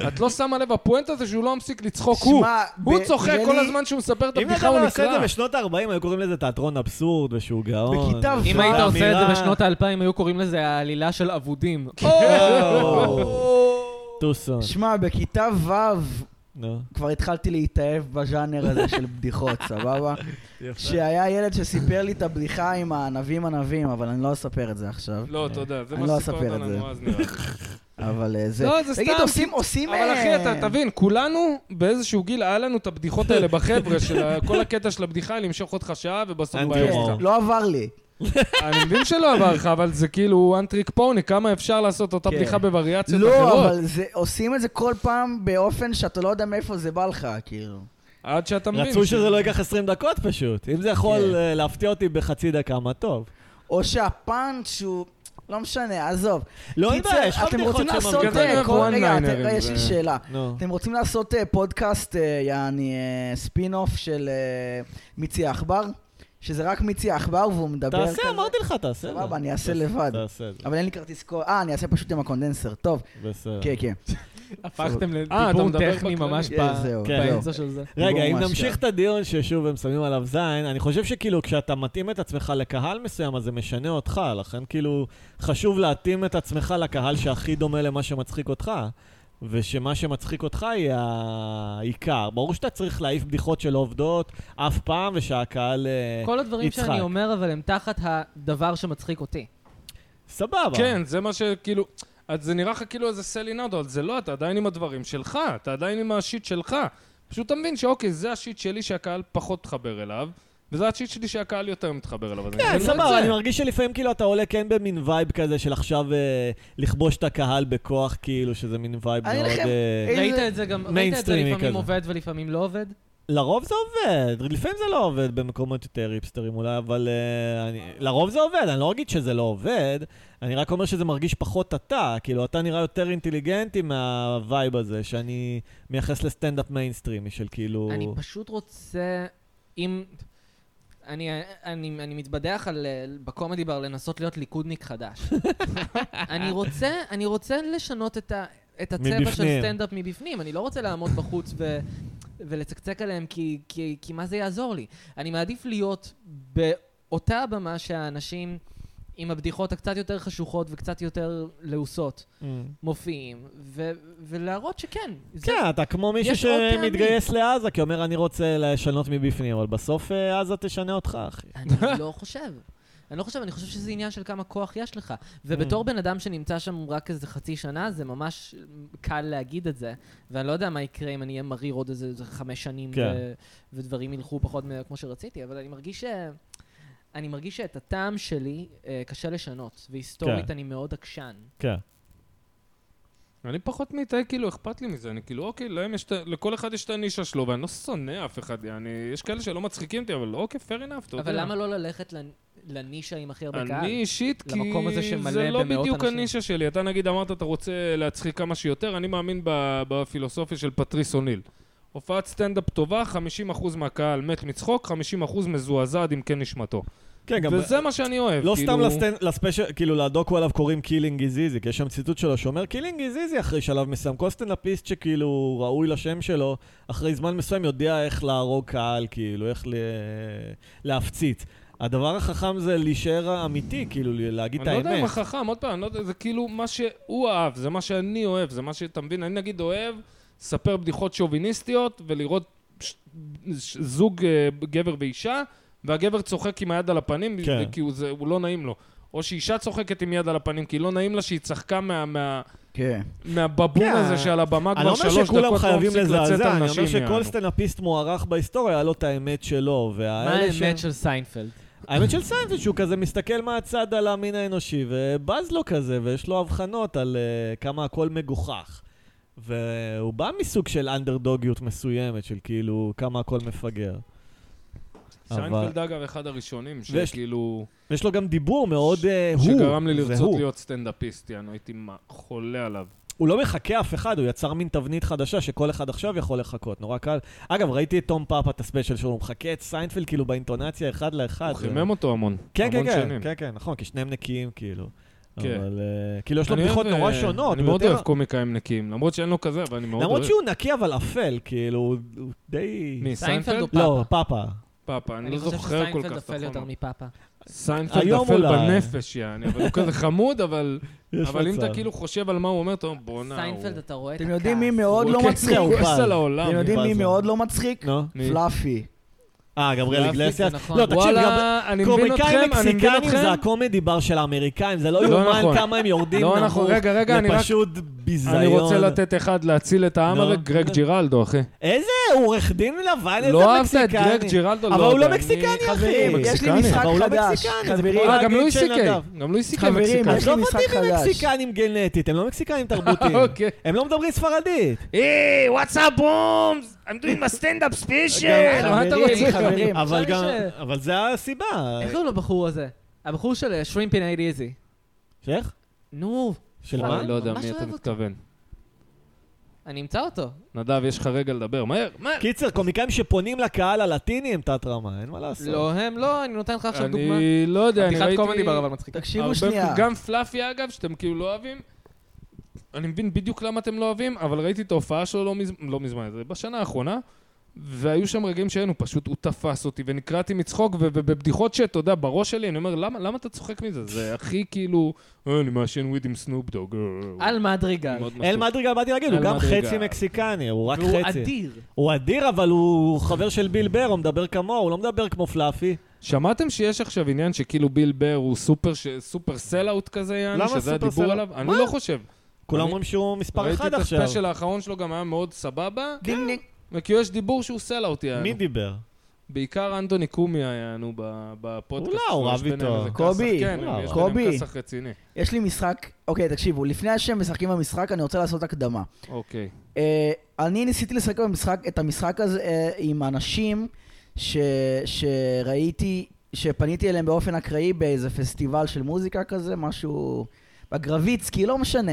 את לא שמה לב, הפואנטה זה שהוא לא מפסיק לצחוק, הוא.
שמע,
הוא
ב-
צוחק
נראה
כל
לי
הזמן שהוא מספר את
אם נדב
הבדיחה, הוא
היה עושה את
נקרע.
זה בשנות ה-40, היו קוראים לזה תיאטרון אבסורד ושהוא גאון.
בכיתה
אם
זו
אה,
היית עושה את זה
אמירה-
בשנות האלפיים, היו קוראים לזה העלילה של אבודים.
כן, טוסון.
שמע, בכיתה ו'
נו.
כבר התחלתי להתאהב בז'אנר הזה של בדיחות, סבבה? שהיה ילד שסיפר לי את הבדיחה עם הענבים ענבים, אבל אני לא אספר את זה עכשיו.
לא, תודה, זה
אני
מה
לא
שסיפרת
אספר את זה.
לנו אז נראה לי.
אבל אה, זה...
לא, זה
תגיד,
סתם,
עושים, עושים...
אבל אחי,
אה,
אתה תבין, כולנו באיזשהו גיל, היה לנו את הבדיחות האלה בחבר'ה, של ה- כל הקטע של הבדיחה, למשוך אותך שעה ובסוף
אין
בעיה
כן,
כלום.
אותך.
לא עבר לי.
אני מבין שלא עבר לך, אבל זה כאילו one trick pony, כמה אפשר לעשות אותה
כן.
בדיחה בווריאציות
לא,
אחרות,
אבל זה- עושים את זה כל פעם באופן שאתה לא יודע מאיפה זה בא לך, כאילו.
עד שאתה מבין.
רצו
ש-
שזה לא ייקח 20 דקות פשוט. אם זה יכול
כן.
אה, להפתיע אותי בחצי דקה, מה טוב.
או שהפאנץ' הוא... לא משנה, עזוב.
לא, אין
קיצר,
בעיה, יש לך
אתם
בדיחות
רוצים
שם,
לעשות...
אבל-
אה,
כן,
כל-
one-liners
רגע, אתם- רגע,
ו-
יש לי שאלה.
נו.
אתם רוצים לעשות אה, פודקאסט, אה, יעני אה, ספין-אוף של אה, מיצי עכבר? שזה רק מיצי עכבר והוא מדבר
תעשה, אמרתי לך, תעשה.
סבבה, אני אעשה
תעשה-
לבד.
תעשה את זה,
אבל אין לי כרטיס קול. אה, אני אעשה פשוט עם הקונדנסר. טוב,
בסדר.
כן, כן.
הפכתם
אה, אתה
לדיבור
מדבר
טכני
בכללי.
ממש
כן,
ב-
זהו,
כן.
באמצע של זה.
רגע,
דיבור
אם
ממש
נמשיך
טוב.
את הדיון ששוב הם שמים עליו זין, אני חושב שכאילו כשאתה מתאים את עצמך לקהל מסוים, אז זה משנה אותך, לכן כאילו חשוב להתאים את עצמך לקהל שהכי דומה למה שמצחיק אותך, ושמה שמצחיק אותך יהיה העיקר. ברור שאתה צריך להעיף בדיחות שלא עובדות אף פעם, ושהקהל... אה,
כל הדברים
יצחק.
שאני אומר, אבל הם תחת הדבר שמצחיק אותי.
סבבה.
כן, זה מה שכאילו... אז זה נראה לך כאילו איזה סלי נאדו, אבל זה לא, אתה עדיין עם הדברים שלך, אתה עדיין עם השיט שלך. פשוט אתה מבין שאוקיי, זה השיט שלי שהקהל פחות מתחבר אליו, וזה השיט שלי שהקהל יותר מתחבר אליו. אז אני כאילו לא אתן
כן,
לו את זה.
סבבה, אני מרגיש שלפעמים כאילו אתה עולה כן במין וייב כזה של עכשיו אה, לכבוש את הקהל בכוח, כאילו שזה מין וייב
אני
מאוד...
לכם-
אה,
איזה-
ראית את זה גם, ראית את זה
מיינסטרימי
לפעמים
כזה.
עובד ולפעמים לא עובד?
לרוב זה עובד, לפעמים זה לא עובד במקומות יותר היפסטרים אולי, אבל uh, אני, לרוב זה עובד, אני לא אגיד שזה לא עובד, אני רק אומר שזה מרגיש פחות אתה, כאילו אתה נראה יותר אינטליגנטי מהווייב הזה, שאני מייחס לסטנדאפ מיינסטרימי של כאילו...
אני פשוט רוצה, אם... אני, אני, אני מתבדח על, אה, בקומדי בר לנסות להיות ליכודניק חדש. אני, רוצה, אני רוצה לשנות את, ה, את הצבע של
מבפנים.
סטנדאפ מבפנים. אני לא רוצה לעמוד בחוץ ו, ולצקצק עליהם, כי, כי, כי מה זה יעזור לי? אני מעדיף להיות באותה הבמה שהאנשים עם הבדיחות הקצת יותר חשוכות וקצת יותר לעוסות
Mm.
מופיעים, ו, ולהראות שכן. זה-
כן, אתה כמו מישהו
יש עוד פעמים.
שמתגייס לעזה, כי אומר אני רוצה לשנות מבפנים, אבל בסוף אה, עזה תשנה אותך, אחי.
אני לא חושב. אני לא חושב, אני חושב שזה עניין של כמה כוח יש לך. ובתור בן אדם שנמצא שם רק איזה חצי שנה, זה ממש קל להגיד את זה. ואני לא יודע מה יקרה אם אני אהיה מריר עוד איזה איזה חמש שנים,
כן.
ו- ודברים ילכו פחות מ- כמו שרציתי, אבל אני מרגיש ש... אני מרגיש שאת הטעם שלי אה, קשה לשנות, והיסטורית
כן.
אני מאוד עקשן.
כן.
אני פחות מתאי, כאילו, אכפת לי מזה. אני כאילו, אוקיי, להם יש את ה- לכל אחד יש את הנישה שלו, ואני לא שונא אף אחד. אני, יש כאלה שלא מצחיקים אותי, אבל אוקיי, fair enough, אתה יודע.
אבל למה לא ללכת לנ- לנישה עם הכי הרבה קהל?
אני אישית, כי
למקום הזה שמלא
זה לא
במאות
בדיוק
אנשים.
הנישה שלי. אתה נגיד אמרת, אתה רוצה להצחיק כמה שיותר, אני מאמין ב- בפילוסופיה של פטריס אוניל. הופעת סטנדאפ טובה, 50% מהקהל מת מצחוק, 50% מזועזע עד עמקי נשמתו.
כן, גם...
וזה מה שאני אוהב.
לא
כאילו-
סתם לסטנ- לספיישל, כאילו לדוקו עליו קוראים קילינג איז איזי, כי יש שם ציטוט שלו שאומר קילינג איז איזי אחרי שלב מסוים. כל סטנדאפיסט שכאילו ראוי לשם שלו, אחרי זמן מסוים יודע איך להרוג קהל, כאילו, איך ל... להפציץ. הדבר החכם זה להישאר אמיתי, כאילו, ל- להגיד את
אני לא
האמת.
יודע אם החכם, עוד פעם, אני לא יודע, זה כאילו מה שהוא אהב, זה מה שאני אוהב, זה מה שאתה מבין, אני נגיד אוהב לספר בדיחות שוביניסטיות ולראות ש- ש- זוג אה, גבר ואישה, והגבר צוחק עם היד על הפנים,
כן.
כי הוא זה- הוא לא נעים לו. או שאישה צוחקת עם יד על הפנים, כי לא נעים לה שהיא צחקה מה- מה-
כן.
מהבבון
כן.
הזה שעל הבמה
אני לא
כבר
אומר
שלוש דקות לא
שכולם חייבים
מפסיק לצאת
לזעזע,
על
אני
נשים.
אומר
יענו.
שכל סטנדאפיסט מוערך בהיסטוריה, היה לו את האמת שלו.
מה האמת של סיינפלד?
האמת של סיינפלד שהוא כזה מסתכל מהצד על המין האנושי ובז לו כזה, ויש לו הבחנות על uh, כמה הכל מגוחך. והוא בא מסוג של אנדרדוגיות מסוימת, של כאילו כמה הכל מפגר. אבל...
שיינפלד אגב אחד הראשונים,
ויש-
שכאילו,
ויש לו גם דיבור מאוד uh, הוא.
שגרם לי
זה
לרצות
הוא.
להיות סטנדאפיסט, יענו, הייתי מה- חולה עליו.
הוא לא מחכה אף אחד, הוא יצר מין תבנית חדשה שכל אחד עכשיו יכול לחכות, נורא קל. אגב, ראיתי את תום פאפה, את הספיישל שלו, הוא מחכה את סיינפלד כאילו באינטונציה אחד לאחד.
הוא
זה-
חימם אותו המון,
כן,
המון
כן, כן,
שנים.
כן, כן, נכון, כי שניהם נקיים, כאילו.
כן.
אבל אה, כאילו יש לו
אני
בדיחות
אוהב,
נורא
אה,
שונות.
אני מאוד
ויותר-
אוהב קומיקאים נקיים, למרות שאין לו כזה, אבל אני מאוד אוהב.
למרות שהוא נקי אבל אפל, כאילו, הוא- הוא די...
מי,
סיינפלד או
סיינפלד?
פאפה?
לא, פאפה.
פאפה, אני
אני
לא
חושב
זוכר כל כך
שסיינפלד
את
אפל יותר
החומר.
מפאפה.
סיינפלד
היום
אפל
אולי.
בנפש, יעני, אבל הוא כזה חמוד, אבל
יש
אבל אם
מצב.
אתה כאילו חושב על מה הוא אומר, אתה אומר, בואנה, הוא...
סיינפלד, אתה רואה את
אתם יודעים מי
הכעס.
מאוד
הוא
לא
כן,
זהו,
מצחיק?
הוא כועס
אבל.
על העולם.
אתם יודעים מי
בזון.
מאוד לא מצחיק?
נו.
מי?
פלאפי.
אה, גבריאל
גרפית,
איגלסיאס?
זה נכון.
לא, תקשיב, גבר-
וואלה, אני מבין
קומיקאים
אתכם, אני מבין
מקסיקנים זה
אתכם.
הקומדי בר של האמריקאים, זה לא
לא נכון.
יאומן כמה הם יורדים
לא
נמוך.
נכון, רגע, רגע, אני
זה
רק-
פשוט ביזיון.
אני רוצה לתת אחד להציל את העם
נו.
הרי, גרג ג'ירלדו, אחי.
איזה עורך דין לבן, איזה מקסיקני.
לא אהבת את גרג ג'ירלדו?
אבל הוא לא
אני-
מקסיקני, אחי.
חברים,
יש לי
מקסיקני.
משחק
אבל הוא לא
חדש.
מקסיקני, זה
חברים,
כמו
אה, גם
להגיד
לואי
של
סי-קיי.
נדב.
גם לואי סי-קיי
חברים,
מקסיקני.
יש לי
עזוב אותי
משחק חדש.
ממקסיקנים גנטית, הם לא מקסיקנים תרבותיים.
אוקיי.
הם לא מדברים ספרדית.
כן,
היי, וואטס אפ בומס? I'm doing my stand-up special. מה אתה
חברים,
רוצה?
חברים.
אבל
אפשר
גם...
ש-
אבל זה הסיבה.
איך קוראים לבחור הזה? הבחור של אה, שרימפין אייד איזי.
איך?
נו,
של
וואי,
מה?
אני לא יודע
ממש
מי אתה
אוהב אותו.
מתכוון.
אני אמצא אותו.
נדב, יש לך רגע לדבר, מהר, מהר.
קיצר, קומיקאים שפונים לקהל הלטיני הם תת-רמה, אין מה לעשות.
לא הם, לא, אני נותן לך עכשיו דוגמה.
אני לא יודע, אני
בדיחת
ראיתי...
קומדי בר אבל מצחיקה.
תקשיבו
הרבה-
שנייה.
גם פלאפי, אגב, שאתם כאילו לא אוהבים. אני מבין בדיוק למה אתם לא אוהבים, אבל ראיתי את ההופעה שלו לא, מז... לא מזמן, זה בשנה האחרונה, והיו שם רגעים שהיינו, פשוט הוא תפס אותי, ונקרעתי מצחוק, ו- ובבדיחות שאתה יודע, בראש שלי, אני אומר, למה, למה אתה צוחק מזה? זה הכי כאילו, "אה, אני מעשן וויד עם סנופ דוג. אה,
על מדריגל.
מאוד מצחיק.
אל מדריגל, באתי להגיד, הוא
אל
גם
מדריגל.
חצי מקסיקני, הוא רק
והוא
חצי.
אדיר.
הוא אדיר, אבל הוא חבר של ביל בר, הוא מדבר כמוהו, הוא לא מדבר כמו פלאפי.
שמעתם שיש עכשיו עניין שכאילו ביל בר הוא סופר, ש... סופר סל-אאוט כזה, יעני,
למה
שזה
סופר
הדיבור
סל-אאוט?
עליו? אני לא חושב.
כולם
אני-
אומרים שהוא מספר
ראיתי
אחד
את
עכשיו.
הספיישל האחרון שלו, גם היה מאוד סבבה.
דינג דינג.
וכאילו יש דיבור שהוא סל-אאוט, יענו.
מי דיבר?
בעיקר אנטוני קומי היה, נו, ב- בפודקאסט.
אולי,
שלו,
הוא
יש
רב
ביניהם
איתו.
איזה כסח.
קובי,
כן,
אולי,
יש
קובי.
ביניהם כסח רציני.
יש לי משחק, אוקיי, תקשיבו, לפני שהם משחקים במשחק, אני רוצה לעשות הקדמה.
אוקיי.
אה, אני ניסיתי לשחק במשחק, את המשחק הזה אה, עם אנשים ש, שראיתי, שפניתי אליהם באופן אקראי באיזה פסטיבל של מוזיקה כזה, משהו... בגרביצקי, לא משנה.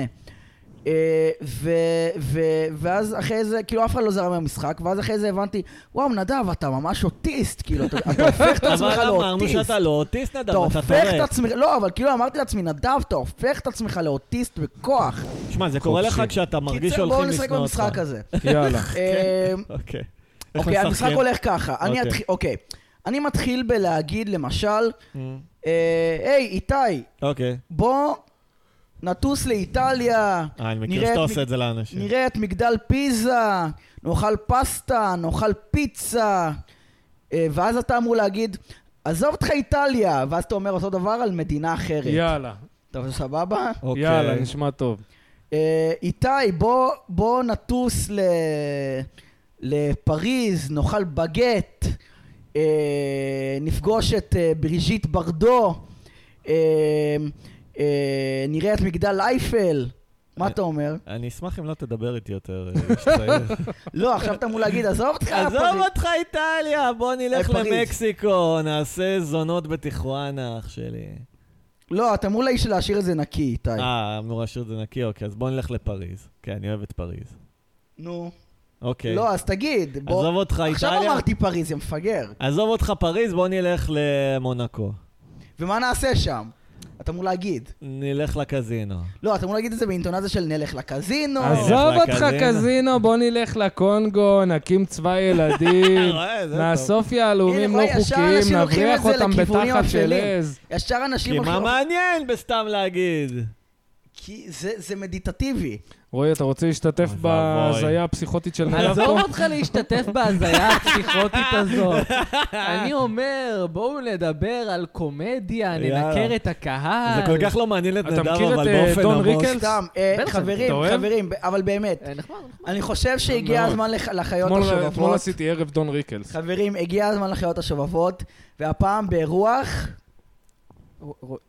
אה, ו, ו, ואז אחרי זה, כאילו אף אחד לא זרם במשחק, ואז אחרי זה הבנתי, וואו, נדב, אתה ממש אוטיסט, כאילו, אתה, אתה הופך את עצמך
אבל אמרנו
לאוטיסט.
שאתה לא אוטיסט, נדב,
אתה
אתה
הופך את
טורק.
עצמך, לא, אבל כאילו אמרתי לעצמי, נדב, אתה הופך את עצמך לאוטיסט בכוח.
שמע, זה קורה לך
חופשי.
כשאתה מרגיש
קיצר,
שהולכים
בואו
לשנוא אותך.
נשחק במשחק הזה.
יאללה.
אה,
אוקיי. איך
אוקיי,
משחקים?
המשחק הולך ככה. אני
אוקיי.
אתחיל, אוקיי. אני מתחיל בלהגיד, למשל,
Mm,
אה, היי, איתי,
אוקיי.
בוא נטוס לאיטליה,
אה, אני מכיר
נראה
שאתה
את
עושה את זה לאנשים.
נראה את מגדל פיזה, נאכל פסטה, נאכל פיצה. אה, ואז אתה אמור להגיד, עזוב אותך איטליה, ואז אתה אומר אותו דבר על מדינה אחרת.
יאללה.
טוב, זה סבבה?
אוקיי.
יאללה, נשמע טוב.
אה, איתי, בוא, בוא נטוס ל... לפריז, נאכל בגט, אה, נפגוש את אה, בריז'יט ברדו, אה, אה, נראה את מגדל אייפל. מה אתה אומר?
אני אשמח אם לא תדבר איתי יותר, אה, איש צעיר.
לא, עכשיו אתה אמור להגיד, עזוב אותך,
עזוב
פריז."
אותך איטליה, בוא נלך
אה, פריז.
למקסיקו, נעשה זונות בטיחואנה, אח שלי.
לא, אתה אמור להש- להשאיר את זה נקי, איתי.
אה, אמור להשאיר את זה נקי, אוקיי, אז בוא נלך לפריז. כן, אני אוהב את פריז.
נו.
אוקיי.
לא, אז תגיד. בוא-
עזוב אותך
עכשיו
איטליה.
אמרתי פריז, יא מפגר.
עזוב אותך פריז, בוא נלך למונקו.
ומה נעשה שם? אתה אמור להגיד.
נלך לקזינו.
לא, אתה אמור להגיד את זה באינטונציה של נלך לקזינו.
עזוב
נלך
אותך
לקזינו.
קזינו, בוא נלך לקונגו, נקים צבא ילדים,
רואה, אה, זה טוב.
נאסוף יהלומים
הנה,
לא
רואה, ישר
חוקיים,
אנשים לוקחים
נבריח
את זה
אותם
לכיוונים
בתחת של
אפלים.
עז.
ישר
כי
אנשים...
מה
הולכים-
מעניין בסתם להגיד?
כי זה, זה מדיטטיבי.
רועי, אתה רוצה להשתתף
אוי ואבוי.
בהזיה הפסיכוטית של מירב פה?
עזוב אותך להשתתף בהזיה הפסיכוטית הזאת. אני אומר, בואו נדבר על קומדיה,
יאללה.
ננקר את
אה.
הקהל.
זה כל כך לא מעניין את
אתה
נדב,
מכיר
אבל
את, אה,
באופן
דון
עמוק.
ריקלס?
סתם, אה,
בטח,
חברים,
אתה אוהב?
חברים, ב- אבל באמת,
אה, נחמד, נחמד.
אני חושב שהגיע
מאוד.
הזמן לח- לחיות
אתמול- לא- אתמול
השובבות.
עשיתי ערב דון ריקלס.
חברים, הגיע הזמן לחיות השובבות, והפעם ברוח...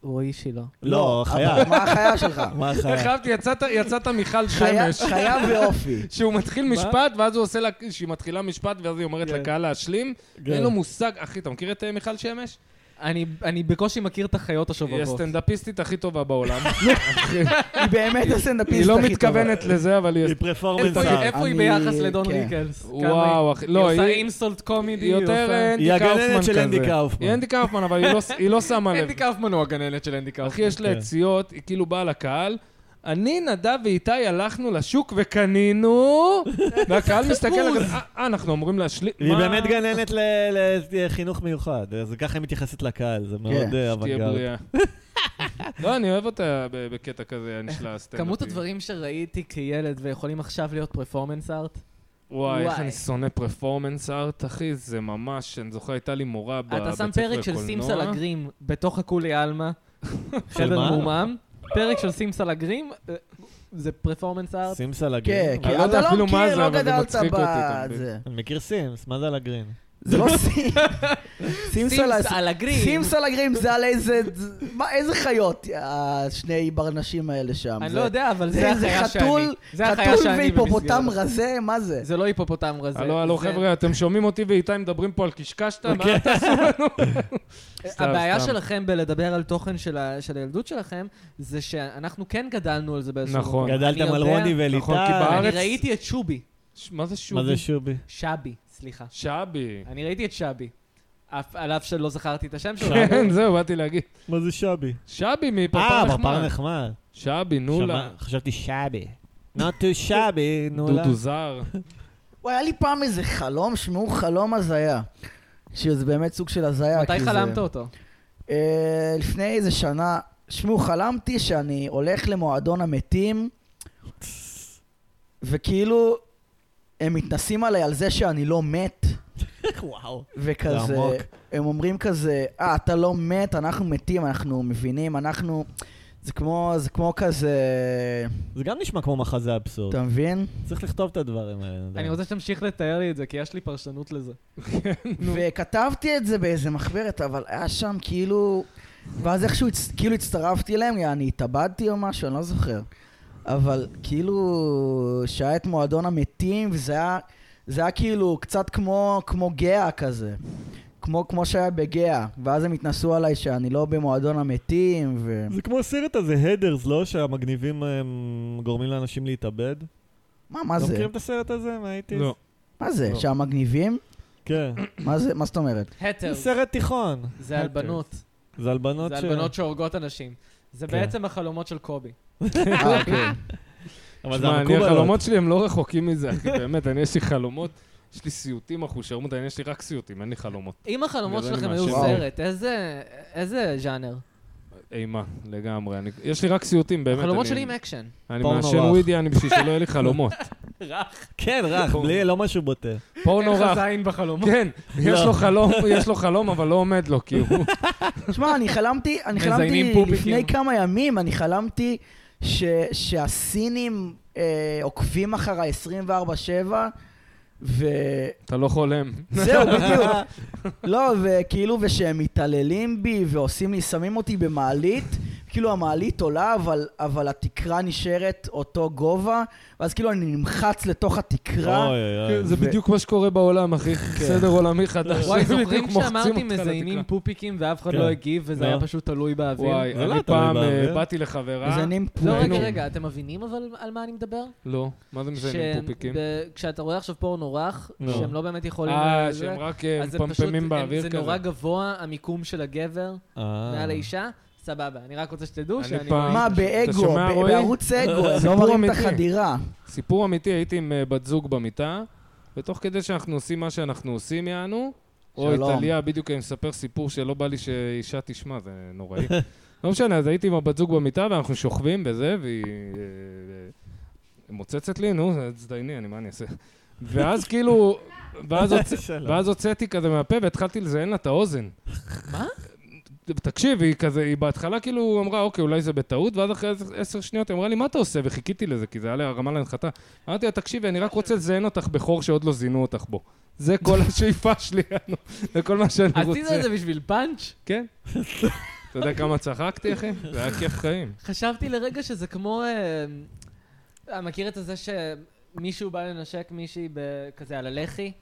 רועי שילה.
לא, חיה.
אבל מה החיה שלך?
מה
איך
החיה?
אהבתי, יצאת- יצאת מיכל
חיה-
שמש.
חיה ואופי.
שהוא מתחיל משפט, ואז הוא עושה לה, שהיא מתחילה משפט, ואז היא אומרת
כן.
לקהל להשלים.
כן.
אין לו מושג, אחי, אתה מכיר את אה, מיכל שמש?
אני אני בקושי מכיר את החיות
היא
השובבות.
הסטנדאפיסטית הכי טובה בעולם.
היא באמת
היא
הסטנדאפיסט הכי
לא
טובה.
מתכוונת לזה, אבל היא...
היא פרפורמנס
איפה היא-
ארט.
איפה היא
אני-
ביחס לדון
כן.
ריקלס? כמה היא-
וואו, אחי. לא,
היא עושה
היא
אינסולט קומידי,
היא יותר אה, אנדי
היא
קאופמן כזה.
הגננת של אנדי קאופמן.
היא אנדי קאופמן, אבל היא לא- היא לא שמה לב.
אנדי קאופמן הוא הגננת של אנדי
אחי,
קאופמן.
יש לה
כן.
יציאות, היא כאילו באה לקהל. אני, נדב ואיתי הלכנו לשוק וקנינו, והקהל מסתכל, על- אה, אה, אנחנו אמורים להשלים.
היא
מה?
באמת גננת ל- לחינוך מיוחד, אז ככה היא מתייחסת לקהל, זה מאוד
כן,
אה,
שתהיה
אוונגרד.
בריאה. לא, אני אוהב אותה ב- בקטע כזה, אני שלה הסטנדאפי.
כמות הדברים שראיתי כילד ויכולים עכשיו להיות פרפורמנס ארט,
וואי, איך
וואי.
אני שונא פרפורמנס ארט, אחי, זה ממש, אני זוכר, הייתה לי מורה בבית ספר
אתה
לקולנוע.
שם פרק של סימס על הגרים בתוך הכולי עלמא, חדר
מה?
מורמם, פרק של סימס על הגרים, אה, זה פרפורמנס ארט.
סימס על
כן,
הגרין.
אני
כי
לא יודע
אתה לא
אפילו מה
מכיר,
זה,
לא
אבל זה
גדלת
מצחיק אותי תמיד.
בזה.
אני מכיר סימס, מה זה על הגרין?
זה לא סימס. סימס על ה-
על הגרים.
סימס על הגרים זה על איזה... מה, איזה חיות, השני ברנשים האלה שם.
אני
זה-
לא יודע, אבל זה
זה- זה
החיה שאני.
חתול,
זה החיה
חתול
שאני
והיפופוטם
במסגרת.
רזה, מה זה?
זה לא היפופוטם רזה.
הלו, הלו,
זה-
חבר'ה, אתם שומעים אותי ואיתי מדברים פה על קשקשתא? מה
כן.
אתה עושה לנו? סתם,
הבעיה
סתם.
שלכם בלדבר על תוכן של ה- של הילדות שלכם, זה שאנחנו כן גדלנו על זה באיזשהו...
נכון.
מקום. אני
גדלתם על
יודע-
רוני
נכון, כי
ואליטל.
בארץ-
אני ראיתי את שובי.
ש- מה זה
מה
שובי?
זה שובי?
שבי, סליחה.
שבי.
אני ראיתי את שבי. אף- על אף שלא זכרתי את השם שלו.
כן, זהו, באתי להגיד.
מה זה שבי?
שבי
אה,
מפרפר
פרפר
נחמד.
נחמד.
שבי, נולה.
שמע- חשבתי שבי. Not too לא. שבי, נולה.
דודו זר.
וואי, היה לי פעם איזה חלום, שמעו חלום הזיה. שזה באמת סוג של הזיה.
מתי
כי זה-
חלמת אותו?
אה, לפני איזה שנה, שמעו, חלמתי שאני הולך למועדון המתים, וכאילו, הם מתנסים עליי על זה שאני לא מת,
וואו. זה
וכזה,
עמוק.
הם אומרים כזה, אה, אתה לא מת, אנחנו מתים, אנחנו מבינים, אנחנו... זה כמו, זה כמו כזה,
זה גם נשמע כמו מחזה אבסורד.
אתה מבין?
צריך לכתוב את הדברים האלה.
אני רוצה שתמשיך לתאר לי את זה, כי יש לי פרשנות לזה.
וכתבתי את זה באיזה מחברת, אבל היה שם כאילו... ואז איכשהו הצ- כאילו הצטרפתי אליהם, אני התאבדתי או משהו, אני לא זוכר. אבל כאילו, שהיה את מועדון המתים, וזה היה, זה היה כאילו קצת כמו, כמו גאה כזה. כמו, כמו שהיה בגאה. ואז הם התנסו עליי שאני לא במועדון המתים, ו...
זה כמו הסרט הזה, הדרס, לא? שהמגניבים הם, גורמים לאנשים להתאבד?
מה, מה
לא
זה?
מכירים את הסרט הזה מהאיטיז?
לא.
מה זה?
לא.
שהמגניבים?
כן.
מה זה? מה זאת אומרת?
התר.
זה סרט תיכון.
זה על בנות.
זה על בנות
זה
ש...
על בנות שהורגות אנשים. זה
כן.
בעצם החלומות של קובי.
אה, אוקיי.
אבל זה
שמע, אני,
המקובלות.
החלומות שלי הם לא רחוקים מזה, אחי, באמת, אני, יש לי חלומות, יש לי סיוטים אחושרמוט, אני, יש לי רק סיוטים, אין לי חלומות.
אם החלומות
גדלנו
שלכם היו
מהשם.
סרט, איזה- איזה ז'אנר?
אימה, לגמרי. אני, יש לי רק סיוטים, באמת.
החלומות
אני,
שלי עם אקשן.
אני
פורנו
מעשן
רך.
ווידי, אני בשביל שלא יהיה לי חלומות.
כן, רך, בלי, לא משהו בוטה.
פורנו
אין לך
רך.
זין בחלומות.
כן,
לא.
יש לו חלום, יש לו חלום, אבל לא עומד לו, כי הוא...
שמע, אני חלמתי, אני
מזיינים
חלמתי
פופיקים.
לפני כמה ימים, אני חלמתי ש, שהסינים אה, עוקבים אחריי 24-7, וזהו,
אתה לא חולם.
בדיוק. לא, וכאילו, ושהם מתעללים בי ועושים לי, שמים אותי במעלית. כאילו המעלית עולה, אבל, אבל התקרה נשארת אותו גובה, ואז כאילו אני נמחץ לתוך התקרה.
אוי, אוי.
זה
ו-
בדיוק מה שקורה בעולם, אחי.
כן.
סדר עולמי חדש.
וואי,
הם
זוכרים
בדיוק מוחצים
שאמרתי
אותך
מזיינים
לתקרה.
פופיקים ואף אחד
כן.
לא הגיב וזה
לא.
היה פשוט תלוי באוויר?
וואי,
זה לא
אני
תלוי
פעם
באוויר.
אה, באתי לחברה...
מזיינים פו-
לא, רגע,
היינו-
רגע, אתם מבינים אבל על מה אני מדבר?
לא, מה זה מזיינים פופיקים?
כשאתה רואה עכשיו פורנו רך,
נו.
שהם לא באמת יכולים...
אה,
זה,
שהם רק
אז
אה,
זה פשוט-
מפמפמים
הם-
באוויר
זה
כזה.
נורא גבוה, המיקום של הגבר
אה.
מעל האישה, סבבה. אני רק רוצה שתדעו
אני
שאני...
פעם-
מה,
אתה
באגו,
שומע,
ב-
רועי? אה,
בערוץ אגו, הם
סיפור
לא מראים את
אמיתי.
החדירה.
סיפור אמיתי, הייתי עם אה, בת זוג במיטה, ותוך כדי שאנחנו עושים מה שאנחנו עושים, יענו, או את
שלום.
עליה, בדיוק אני מספר סיפור שלא בא לי שאישה תשמע, זה נוראי. לא משנה, אז הייתי עם הבת זוג במיטה, ואנחנו שוכבים בזה, והיא... אה, אה, מוצצת לי, נו, אז דייני, אני, מה אני אעשה? ואז כאילו... ואז הוצ-
שלום.
לא. ואז הוצאתי כזה מהפה והתחלתי לזיין לה את האוזן.
מה?
תקשיב, היא כזה, היא בהתחלה כאילו אמרה, אוקיי, אולי זה בטעות, ואז אחרי עשר- עשר שניות היא אמרה לי, מה אתה עושה? וחיכיתי לזה, כי זה היה להרמה להנחתה. אמרתי לה, תקשיבי, אני רק רוצה לזיין אותך בחור שעוד לא זינו אותך בו. זה כל השאיפה שלי, יענו. זה כל מה שאני
עשית
רוצה.
את זה בשביל פאנץ'?
כן. אתה יודע כמה צחקתי, אחי? זה היה כיף חיים.
חשבתי לרגע שזה כמו... אה, אה, מכיר את זה שמישהו בא לנשק מישהי ב- כזה על הלחי?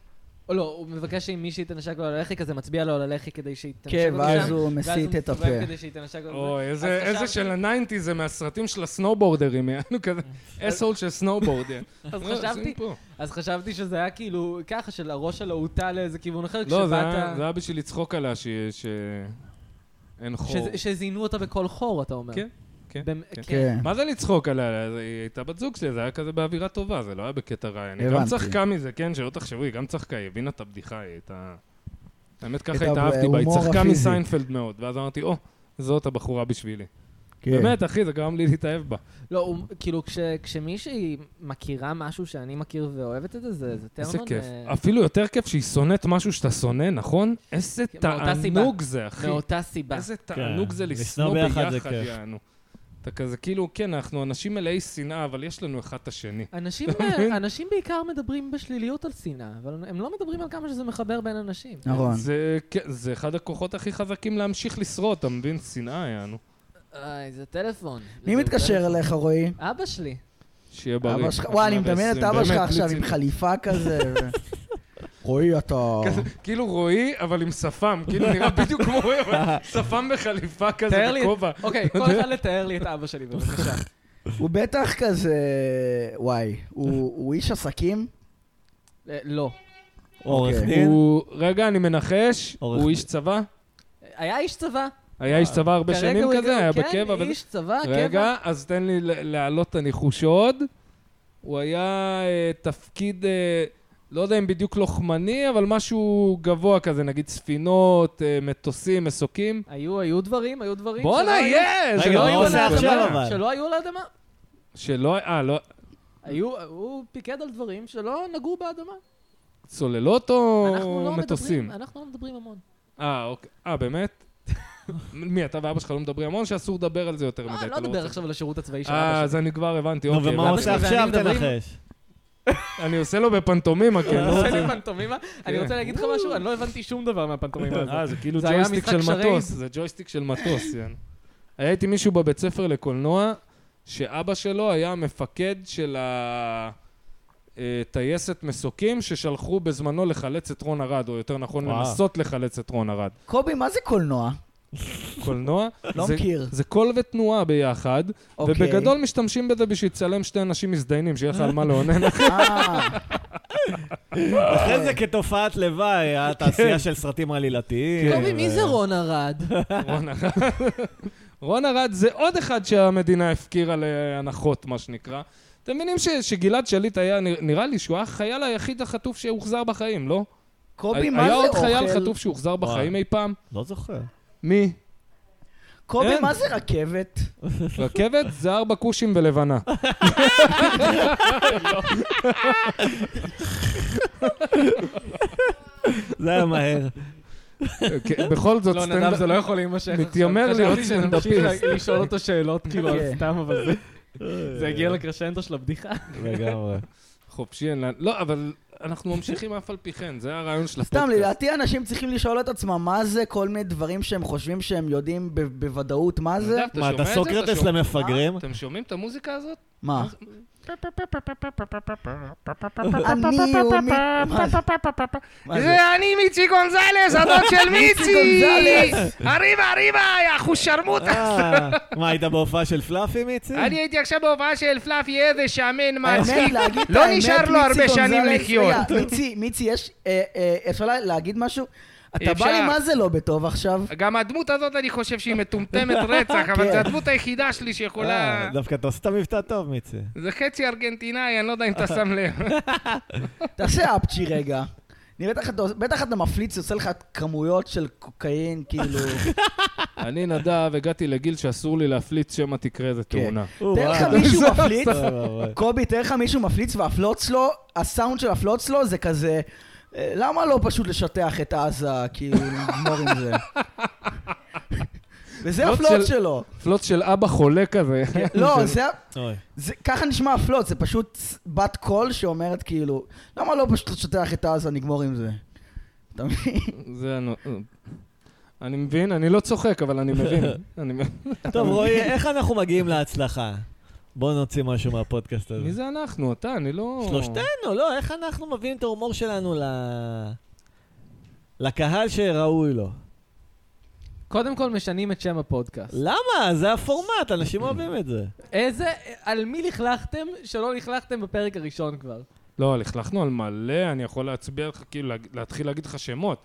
או לא, הוא מבקש שאם מישהי תנשק לו על הלחי, כזה מצביע לו על הלחי כדי שהיא תנשק
כן,
לו לשם.
ואז הוא מסיט את
ואז הוא מסתובב
הפה.
כדי שהיא תנשק לו.
אוי,
אז
איזה איזה
חשבתי-
של הניינטיז זה מהסרטים של הסנואובורדרים, יענו כזה, אסהול של סנואובורד. יענו.
אז
מה עושים
חשבתי,
פה?
אז חשבתי שזה היה כאילו ככה, של הראש שלה הוטה לאיזה כיוון אחר,
לא, זה היה-
כשבאת...
זה היה בשביל לצחוק עליה ש... ש- אין חור.
שזה- שזינו אותה בכל חור, אתה אומר.
כן, כן,
במ-
כן.
כן.
כן.
מה זה לצחוק עליה? אז היא הייתה בת זוג שלי, זה היה כזה באווירה טובה, זה לא היה בקטע רע. אני גם
הבנתי.
צחקה מזה, כן? שלא תחשבו, היא גם צחקה, היא הבינה את הבדיחה, היא הייתה... האמת,
את
ככה התאהבתי בה, היא
ההומור
צחקה
הפיזי.
מסיינפלד מאוד, ואז אמרתי, או, זאת הבחורה בשבילי.
כן.
באמת, אחי, זה גרם לי להתאהב בה.
לא, הוא, כאילו, כש, כשמישהי מכירה משהו שאני מכיר ואוהבת את זה, זה, זה טרנון...
איזה כיף.
אה,
אפילו יותר כיף שהיא שונאת משהו שאתה שונא, נכון? איזה
כן, מאותה סיבה.
תענוג זה, אחי.
מאותה סיבה.
איזה תענוג זה לשנוא
לשנוא ביחד זה
ביחד,
כיף.
יענו. אתה כזה, כאילו, כן, אנחנו אנשים מלאי שנאה, אבל יש לנו אחד את השני.
אנשים,
אתה מבין?
אנשים בעיקר מדברים בשליליות על שנאה, אבל הם לא מדברים על כמה שזה מחבר בין אנשים.
נכון.
זה, כן, זה אחד הכוחות הכי חזקים להמשיך לשרוד, אתה מבין? שנאה, יענו.
איי, זה טלפון.
מי
זה
מתקשר
טלפון.
אליך, רועי?
אבא שלי.
שיהיה בריא.
אבא שלך, וואי, אני מדמיין את אבא שלך
באמת,
עכשיו
בלי
עם
ציניות.
חליפה כזה. ו- רועי, אתה...
כאילו רועי, אבל עם שפם, כאילו נראה בדיוק כמו רועי, אבל שפם בחליפה כזה,
תאר לי-
בכובע.
אוקיי, כל אחד לתאר לי את אבא שלי, בבקשה.
הוא בטח כזה... וואי, הוא הוא איש עסקים?
אה, לא.
עורך
אוקיי.
דין?
הוא, רגע, אני מנחש,
עורך
הוא
דין.
איש צבא?
היה איש צבא.
היה איש צבא הרבה
כרגע
שנים
הוא
כזה? היה בקבע?
כן,
וזה?
איש צבא, קבע.
רגע, אז תן לי ל- להעלות את הניחוש עוד. הוא היה אה, תפקיד, אה, לא יודע אם בדיוק לוחמני, אבל משהו גבוה כזה, נגיד ספינות, אה, מטוסים, מסוקים.
היו, היו דברים, היו דברים.
בואנה,
שלא היו-
יש!
רגע,
שלא
מה
היו
הוא עושה
על
עכשיו,
האדמה.
אבל?
שלא היו על האדמה.
שלא, אה, לא,
היו, הוא פיקד על דברים שלא נגעו באדמה.
צוללות
אנחנו
או
לא
מטוסים?
מדברים, אנחנו לא מדברים המון.
אה, אוקיי. אה, באמת? מי, אתה ואבא שלך לא מדברים המון, שאסור לדבר על זה יותר מדי.
אה,
אתה
לא נדבר
רוצה.
עכשיו על השירות הצבאי של
אה,
אבא שלי.
אז אני כבר הבנתי,
נו,
אוקיי.
ומה הוא
הבנתי.
עושה
ואני
עכשיו?
מדברים.
תנחש.
אני עושה לו בפנטומימה,
אתה
כן. לא
עושה
רוצה-
לי פנטומימה? אני רוצה להגיד לך משהו, אני לא הבנתי שום דבר מהפנטומימה הזאת.
אה, זה כאילו
זה היה
ג'ויסטיק
משחק
של
שריר.
מטוס, זה ג'ויסטיק של מטוס, יענו. היה איתי מישהו בבית ספר לקולנוע, שאבא שלו היה המפקד של ה- אה, טייסת מסוקים ששלחו בזמנו לחלץ את רון ארד, או יותר נכון
וואו.
לנסות לחלץ את רון ארד.
קובי, מה זה קולנוע?
קולנוע,
לא
זה-
מכיר.
זה קול ותנועה ביחד,
אוקיי.
ובגדול משתמשים בזה בשביל לצלם שתי אנשים מזדיינים, שיהיה לך על מה לאונן.
אה,
אחרי
אוקיי.
זה כתופעת לוואי,
כן.
התעשייה של סרטים עלילתיים.
קובי, מי
ו-
זה רון ארד?
רון ארד. רון ארד זה עוד אחד שהמדינה הפקירה להנחות, מה שנקרא. אתם מבינים ש- שגלעד שליט היה, נרא- נראה לי שהוא היה החייל היחיד החטוף שהוחזר בחיים, לא?
קובי,
היה-
מה זה
היה עוד
אוכל?
חייל חטוף שהוחזר בחיים אי פעם?
לא זוכר.
מי?
קובי,
אין.
מה זה רכבת?
רכבת זה ארבע כושים ולבנה.
זה היה מהר.
כן, בכל זאת,
לא, נדב,
סטנדאפ-
זה לא יכול להימשך. עכשיו.
מתיימר להיות
חשבתי שנמשיך
סטנדאפיסט.
לה- לשאול אותו שאלות, כאילו, על
כן.
סתם, אבל זה- זה הגיע לקרשנדו של הבדיחה.
לגמרי.
חופשי, אין לאן... לא, אבל אנחנו ממשיכים אף על פי כן, זה הרעיון של הפודקאסט.
סתם, לדעתי אנשים צריכים לשאול את עצמם מה זה כל מיני דברים שהם חושבים שהם יודעים ב- בוודאות מה זה.
נדב,
מה,
שומע
אתה
את זה?
סוקרטס
שומע-
למפגרים?
אתם שומעים את המוזיקה הזאת?
מה? אני הוא מי... מה זה? מה זה?
אני מיצי גונזלס, הדוד של מיצי!
גונזלס!
אריבה, אריבה, יא אחושרמוטה!
אה, מה, היית בהופעה של פלאפי מיצי?
אה.
אה,
אני הייתי עכשיו בהופעה של פלאפי איזה שמן
האמת,
מצחיק.
להגיד את
לא
האמת,
נשאר לו
מיצי
הרבה שנים
גונזלס-
לחיות.
רגע, מיצי, מיצי, יש... אה, אה, אפשר לה- להגיד משהו? אתה
אפשר.
בא לי מה זה לא בטוב עכשיו?
גם הדמות הזאת, אני חושב שהיא מטומטמת רצח, אבל
כן. לא.
זו הדמות היחידה שלי שיכולה...
אה, דווקא אתה עושה את המבטא טוב, מיצי.
זה חצי ארגנטינאי, אני לא יודע אם אתה שם לב.
תעשה אפצ'י רגע. אני בטח אתה- בטח אתה מפליץ, עושה לך כמויות של קוקאין, כאילו...
אני, נדב, הגעתי לגיל שאסור לי להפליץ שמא תקרה איזה
תאונה.
או,
תאר לך
וואו.
מישהו מפליץ,
אוי, אוי, אוי.
קובי, תאר לך מישהו מפליץ והפלוץ לו, הסאונד של הפלוץ לו זה כזה, אה, למה לא פשוט לשטח את עזה, כאילו, לגמור עם זה? וזה
פלוץ
הפלוץ
של- כן,
שלו.
פלוט של אבא חולה כזה.
לא, זה...
אוי.
זה, ככה נשמע הפלוט, זה פשוט בת קול שאומרת כאילו, למה לא פשוט לשטח את עזה, נגמור עם זה. אתה מבין?
זה... אני מבין, אני לא צוחק, אבל אני מבין. אני מבין.
טוב, רועי, איך אנחנו מגיעים להצלחה? בוא נוציא משהו מהפודקאסט הזה.
מי זה אנחנו? אתה, אני לא...
שלושתנו, לא, איך אנחנו מביאים את ההומור שלנו ל... לקהל שראוי לו.
קודם כל משנים את שם הפודקאסט.
למה? זה הפורמט, אנשים אוהבים את זה.
איזה, על מי לכלכתם שלא לכלכתם בפרק הראשון כבר?
לא, לכלכנו על מלא, אני יכול להצביע לך, כאילו, להג- להתחיל להגיד לך שמות.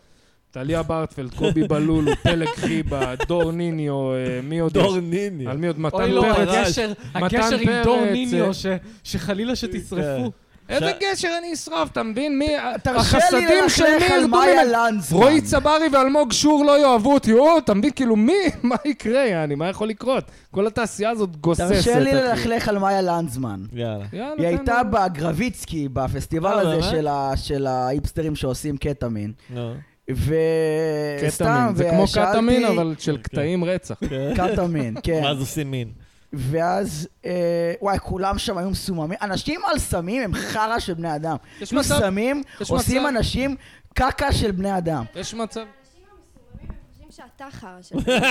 טליה ברטפלד, קובי בלולו, פלג חיבה, דור ניניו, אה, מי עוד
דור
יש?
ניני.
על מי עוד? מתן
אוי לא,
פרץ.
הקשר,
מתן
הקשר עם דור
פרץ,
ניניו,
אה,
ש- שחלילה שתשרפו.
איזה גשר אני אשרוף, אתה מבין? מי...
תרשה לי
החסדים של מי
ללכלך על
ירדו
מאיה
ממני?
לנדסמן.
רועי צברי ואלמוג שור לא יאהבו אותי, או, אתה מבין? כאילו, מי? מה יקרה, יעני? מה יכול לקרות? כל התעשייה הזאת גוססת.
תרשה לי
אחי. לא,
ללכלך על מאיה לנדסמן.
יאללה.
יאללה,
היא
תן
הייתה
לו.
בגרביצקי, בפסטיבל
אה,
הזה
באמת?
של ה- של ההיפסטרים שעושים קטמין.
נו.
וסתם,
קטמין, זה כמו
ושאלתי-
קטמין, אבל של קטעים רצח.
קטמין, כן.
ואז עושים מין.
ואז, אה, וואי, כולם שם היו מסוממים. אנשים על סמים הם חרא של בני אדם.
יש
כאילו
מצב-
סמים
יש
עושים
מצב-
אנשים קקה של בני אדם.
יש מצב,
האנשים המסוממים הם חושבים שאתה לא חרא של בן אדם.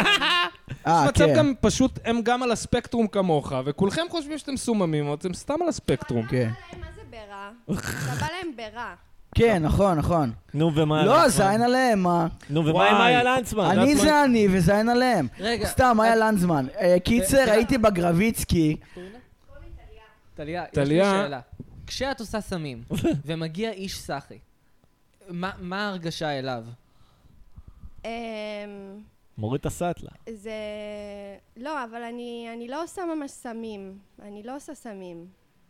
אה,
יש מצב
כן.
גם פשוט, הם גם על הספקטרום כמוך, וכולכם חושבים שאתם מסוממים, אבל אתם סתם על הספקטרום.
כן.
אתה בא להם, מה זה ברע? אתה בא להם ברע.
כן, נכון, נכון.
נו, ומה...
לא,
לנצמן?
זין עליהם, מה?
נו, ומה
וואי.
עם מאיה לנצמן?
אני
את לא-
זה אני וזין עליהם.
רגע.
סתם, היה לנדסמן. אה, קיצר, הייתי בגרביצקי.
טליה, יש לי
טליה.
שאלה. כשאת עושה סמים, ומגיע איש סאחי, מה מה ההרגשה אליו?
אמ,
מוריד את הסאטלה.
זה... לא, אבל אני, אני לא עושה ממש סמים. אני לא עושה סמים.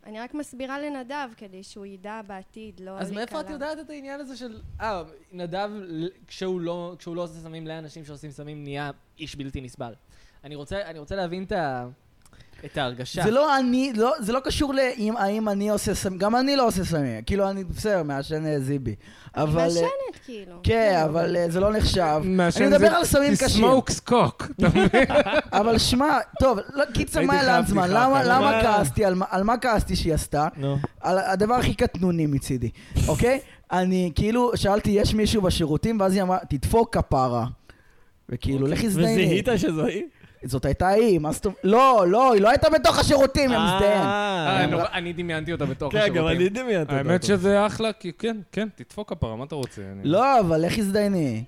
אני רק מסבירה לנדב כדי שהוא ידע בעתיד, לא
אז מאיפה את
להיקלע.
יודעת את העניין הזה של... אה, נדב, ל- כשהוא לא כשהוא לא עושה סמים לאנשים שעושים סמים, נהיה איש בלתי נסבל. אני רוצה אני רוצה להבין את ה- את ההרגשה.
זה לא אני, לא- זה לא קשור לאם האם אני עושה סמים, גם אני לא עושה סמים. כאילו, אני בסדר, מעשן אה, זיבי. אבל... אה,
מעשנת, כאילו.
כן, אבל אה, זה לא נחשב. אני מדבר על סמים קשים.
סמוקס קוק.
אבל שמע, טוב, לא, קיצר
הייתי
מה
חייב
לנדסמן,
בדיחה,
למה-
אבל-
למה
אבל-
כעסתי, על מה- על מה כעסתי שהיא עשתה?
נו.
על הדבר הכי קטנוני מצידי, אוקיי? אני כאילו, שאלתי, יש מישהו בשירותים? ואז היא אמרה, תדפוק כפרה. וכאילו, כאילו,
אוקיי.
לך הזדייני.
אוקיי. וזיהית שזו היא?
זאת הייתה היא, מה זאת אומרת? לא, לא, היא לא הייתה בתוך השירותים, יא מזדיין.
אה,
אה, נורא- אני דמיינתי אותה בתוך
כן, גם אני
השירותים.
דמיינתי אותו.
אוקיי. האמת שזה אחלה, כי כן, כן, תדפוק הפרה, מה אתה רוצה? אני-
לא, אבל לך הזדייני.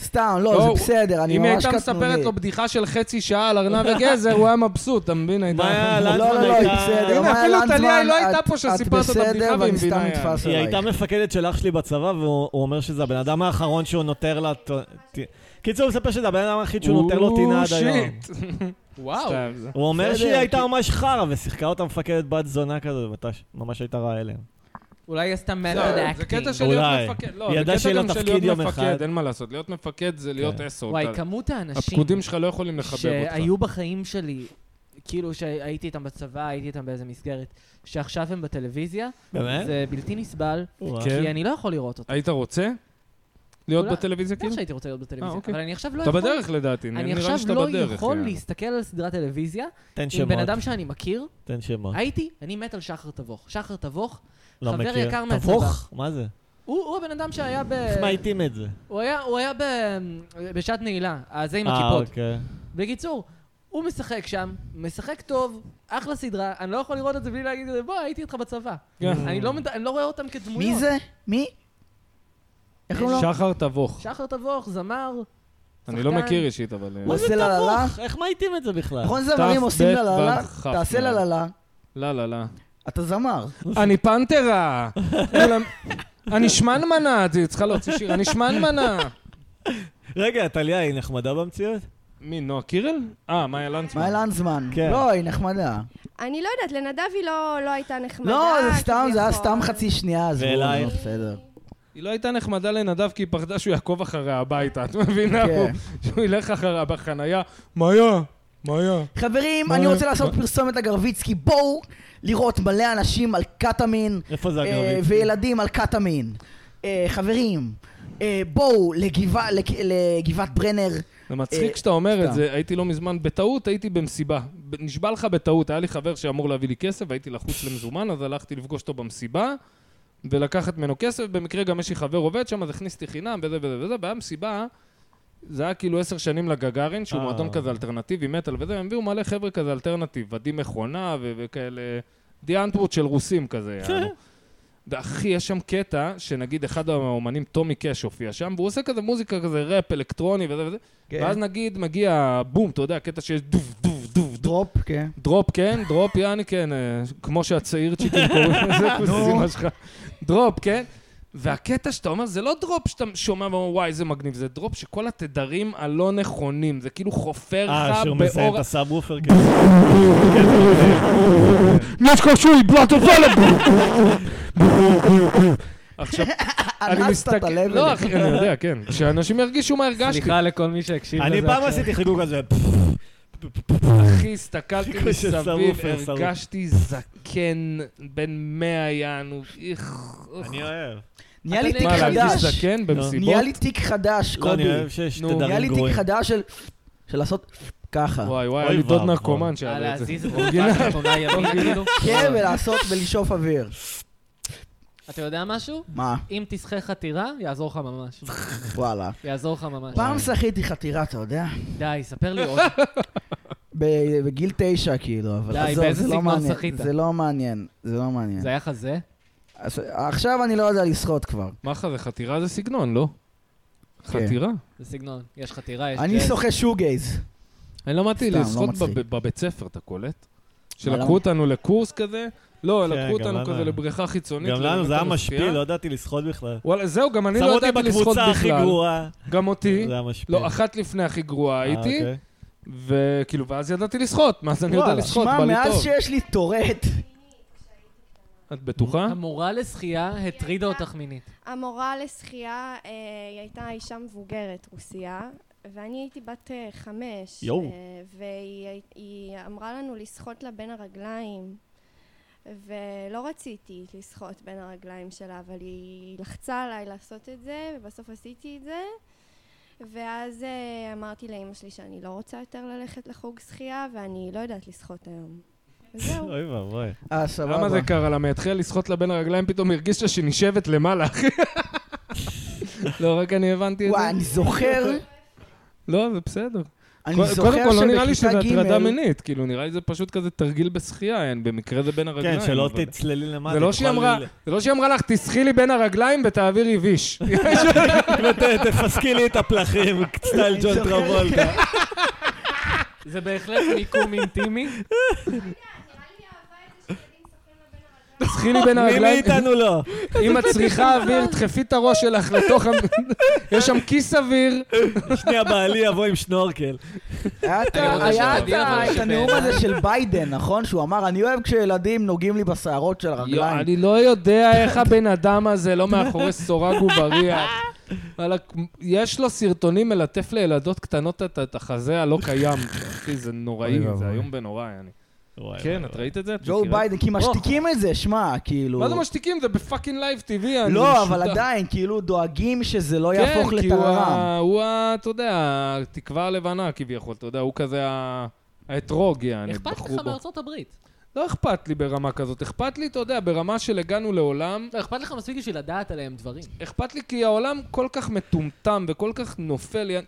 סתם, לא,
בואו,
זה בסדר, אני
אם היא
ממש
הייתה
קטנוני.
מספרת לו בדיחה של חצי שעה על ארנב וגזר, הוא היה מבסוט, אתה מבין? הייתה-
מאיה לנדסמן
לא, לא, לא, היא
הייתה-
בסדר.
הנה,
מאיה
אפילו
לנדסמן,
טליה לא הייתה
את-
פה שסיפרת אותה בדיחה
את בסדר,
והיא
ואני סתם
מבינה,
נתפס
היא הייתה
עלייך.
מפקדת של אח שלי בצבא, והוא הוא אומר שזה הבן אדם האחרון שהוא נותר לה... ט- ט- קיצור, הוא מספר שזה הבן אדם היחיד שהוא נותר לו טינה עד היום.
שיט.
וואו.
סתם, זה-
הוא אומר
בסדר,
שהיא הייתה
כי-
ממש חרא, ושיחקה אותה מפקדת בת זונה כזו, ומתי- ממש הייתה רעה אליהם.
אולי היא עשתה מטוד
לא, זה
אקטינג.
קטע של להיות
אולי.
מפקד. לא,
היא
זה
ידעה
קטע
שיהיה לה
גם של
תפקיד
להיות
יום
מפקד,
אחד.
אין מה לעשות. להיות מפקד זה להיות אסו.
כן. וואי,
אתה-
כמות האנשים
הפקודים שלך לא יכולים לחבב אותך.
שהיו בחיים שלי, כאילו שהייתי איתם בצבא, הייתי איתם באיזה מסגרת, שעכשיו הם בטלוויזיה,
באמת?
זה בלתי נסבל,
וואו.
כן.
כי אני לא יכול לראות אותם.
היית רוצה להיות
אולי-
בטלוויזיה
בטח
כאילו?
שהייתי רוצה להיות
אה,
בטלוויזיה,
אוקיי.
אבל אני עכשיו לא
אתה
יכול...
בדרך לדעתי,
אני
נראה לי
עכשיו
שאתה
לא
בדרך. כן.
יכול
יעני.
להסתכל על סדרת טלוויזיה
תן
עם בן
שמות,
אדם שאני מכיר.
תן שמות.
הייתי, אני מת על שחר תבוך. שחר תבוך,
לא
חבר
מכיר.
יקר מהצבא. אה,
תבוך? מה זה?
הוא הוא הבן אדם שהיה ב...
איך מאייתים את זה?
הוא היה- הוא היה ב- בשעת נעילה, הזה עם
אה,
הכיפות.
אוקיי.
בקיצור, הוא משחק שם, משחק טוב, אחלה סדרה, אני לא יכול לראות את זה בלי להגיד, בוא, הייתי איתך בצבא.
כן.
אני לא מד- אני לא רואה אותם כדמויות.
מי זה? מי? איך
לא-
קוראים לו?
שחר תבוך.
שחר תבוך, זמר.
אני לא
שחקן.
מכיר אישית, אבל... אה,
הוא עושה לה לה לה?
תבוך, איך מאייתים את זה בכלל?
נכון זמרים עושים לה לה לה?
ת"ב,
תעשה לה לה לה.
לא, לא, לא.
אתה זמר.
אני פנתרה! כולם- אני שמנמנה! את צריכה להוציא שיר. אני שמנמנה!
רגע, טליה, היא נחמדה במציאות?
מי, נועה קירל? אה, מאיה לנצמן.
מאיה לנדסמן.
כן.
לא, היא נחמדה.
אני לא יודעת, לנדב היא לא, לא הייתה נחמדה.
אה, לא, זה סתם, זה היה
כביכול.
סתם חצי שנייה, אז
ואלייך?
בסדר.
היא לא הייתה נחמדה לנדב כי היא פחדה שהוא יעקוב אחריה הביתה, את מבינה?
כן.
הוא- שהוא ילך אחריה בחנייה. מאיה, מאיה.
חברים,
מה-
אני רוצה לעשות
מה-
פרסומת לגרביצקי, בואו לראות מלא אנשים על קטמין,
איפה זה
אה,
הגרביץ?
וילדים על קטמין. אה, חברים, אה, בואו לגבע- לק- לגבעת ברנר.
זה
אה,
מצחיק שאתה אומר
סתם.
את זה, הייתי לא מזמן, בטעות הייתי במסיבה. ב- נשבע לך בטעות, היה לי חבר שאמור להביא לי כסף, והייתי לחוץ למזומן, אז הלכתי לפגוש אותו במסיבה, ולקחת ממנו כסף, במקרה גם יש לי חבר עובד שם, אז הכניסתי חינם, וזה וזה וזה, והיה מסיבה, זה היה כאילו עשר שנים לגגארין, שהוא
אה.
מועדון כזה אלטרנטיבי, מטאל וזה, הם הביאו מלא חבר'ה כזה אלטרנטיב, ודים מכונה ו- וכאלה, די אנטוורט של רוסים כזה, יענו. ואחי, יש שם קטע, שנגיד אחד האומנים, טומי קאש, הופיע שם, והוא עושה כזה מוזיקה כזה ראפ אלקטרוני וזה וזה,
כן.
ואז נגיד מגיע בום, אתה יודע, קטע שיש דוף, דוף, דוף, דוף.
דרופ, כן.
דרופ, כן, דרופ, יעני, כן, אה, כמו שהצעיר צ'יקים קוראים לזה, כוסימה שלך. דרופ, כן. והקטע שאתה אומר, זה לא דרופ שאתה שומע ואומר, וואי, איזה מגניב, זה דרופ שכל התדרים הלא נכונים, זה כאילו חופר
אה,
לך
שהוא מזהה
באור...
את הסאבוופר כן. כזה.
נשקו שוי, בלוטו פלאבו! עכשיו, אני
אה, אנסת את
מסתכל...
הלב
לא,
אליך.
אחי, אני יודע, כן. שאנשים ירגישו מה הרגשתי.
סליחה לכל מי שהקשיב לזה.
אני פעם
עכשיו.
עשיתי חיגוג כזה.
אחי, הסתכלתי
כמו
מסביב,
ששרוף, אה. שרוף.
הרגשתי זקן בן 100 יענו. איך... איך.
אני אוהב.
נהיה לי
אתה
תיק
מה, להרגיש
חדש.
זקן במסיבות?
נהיה לי תיק חדש,
לא, אני
קובי.
אוהב שיש
נו.
תדרים
נהיה לי תיק
גרועים.
חדש של... של לעשות ככה.
וואי וואי,
אוי
היה לי דוד
ואבוי.
נרקומן שהיה את זה. אוקיי.
להזיז
אורגינל.
תמונה ימין, כאילו.
כן, ולעשות ולשאוף אוויר.
אתה יודע משהו?
מה?
אם תסחה חתירה, יעזור לך ממש.
וואלה.
יעזור לך ממש.
פעם שחיתי חתירה, אתה יודע?
די, ספר לי עוד.
ב- בגיל תשע, כאילו, אבל
די,
עזוב,
באיזה
זה לא
סגנון
מעניין.
שחית?
זה לא מעניין. זה לא מעניין.
זה היה חזה?
אז עכשיו אני לא יודע לשחות כבר.
מה זה חתירה זה סגנון, לא?
כן.
חתירה?
זה סגנון. יש חתירה, יש...
אני
ג'אז.
שוחה שוגייז.
אני למדתי
סתם, לא
לשחות
מצחיק.
בב- בבית ספר, אתה קולט?
למה?
שלקחו אותנו לקורס כזה? לא,
כן,
לקחו
גם
אותנו
לנו
כזה
היה.
לבריכה חיצונית.
גם לנו זה היה
ללמד אותנו
משפיל,
שחייה.
לא ידעתי לשחות בכלל.
וואלה, זהו, גם אני
שם
לא
אותי
ידעתי לשחות
בקבוצה הכי
בכלל.
גרועה.
גם אותי.
זה היה משפיל.
לא, אחת לפני הכי גרועה
אה,
הייתי,
אוקיי.
וכאילו, ואז ידעתי לשחות, מאז אני יודע
וואלה.
לשחות,
שמע,
בא לי
מאז
טוב.
שיש לי טורט,
את בטוחה?
המורה לשחייה הטרידה אותך מינית.
המורה לשחייה, אה, היא הייתה אישה מבוגרת, רוסייה, ואני הייתי בת אה, חמש.
יואו.
אה, והיא הי- היא אמרה לנו לשחות לה בין הרגליים, ולא רציתי לשחות בין הרגליים שלה, אבל היא לחצה עליי לעשות את זה, ובסוף עשיתי את זה. ואז אה, אמרתי לאימא שלי שאני לא רוצה יותר ללכת לחוג שחייה, ואני לא יודעת לשחות היום. וזהו.
אוי ואבוי.
אה, סבבה.
למה זה קרה לה? מהתחילה לשחות לה בין הרגליים, פתאום היא הרגישה שהיא נשבת למעלה, אחי. לא, רק אני הבנתי את
וואי,
זה.
אני זוכר,
לא, זה בסדר.
אני
קוד-
זוכר
קודם כל, לא נראה לי שזה
שבכיתה
הטרדה
ג'
מינית, כאילו, נראה לי זה פשוט כזה תרגיל בשחייה, אין, במקרה זה בין הרגליים.
כן, שלא
אבל-
תצללי למטה.
זה לא
תוכל
שהיא אמרה-
ל-
זה לא שהיא אמרה לך, תסחי לי בין הרגליים ותעבירי ויש.
ות- תפסקי לי את הפלחים, סטייל ג'ון
זוכר.
טרבולטה.
זה בהחלט מיקום אינטימי.
תסחי לי בין
מי
הרגליים.
מאיתנו לא?
אם את צריכה אוויר, דחפי את הראש שלך לתוך ה... יש שם כיס אוויר.
שנייה, בעלי יבוא עם שנורקל.
היה את
אני
ה-
רוצה
היה את
שתדעי אבל
ה- את הנאום
שבעיניי-
הזה של ביידן, נכון? שהוא אמר, אני אוהב כשילדים נוגעים לי בשערות של
יו,
הרגליים.
אני לא יודע איך הבן אדם הזה לא מאחורי סורג ובריח. וואלכ, יש לו סרטונים מלטף לילדות קטנות את- את החזה הלא קיים. אחי, זה נוראי,
אוי
זה
ואבוי.
איום ונורא, יעני.
וואי,
כן,
וואי,
את
וואי.
ראית את זה? את
ג'ו
מכירה?
ביידן, כי משתיקים את זה, שמע, כאילו...
מה זה משתיקים? זה בפאקינג לייב טבעי, אני
לא, אבל
משותק.
עדיין, כאילו, דואגים שזה לא
כן,
יהפוך
כי הוא
לטררם.
ה- הוא ה... אתה יודע, התקווה הלבנה כביכול, אתה יודע, הוא כזה ה... האתרוג, יעני,
אכפת
בחרו
לך
בו.
מארצות הברית.
לא אכפת לי ברמה כזאת, אכפת לי, אתה יודע, ברמה של הגענו לעולם,
לא, אכפת לך מספיק בשביל לדעת עליהם דברים.
אכפת לי כי העולם כל כך מטומטם וכל כך נופל, יעני,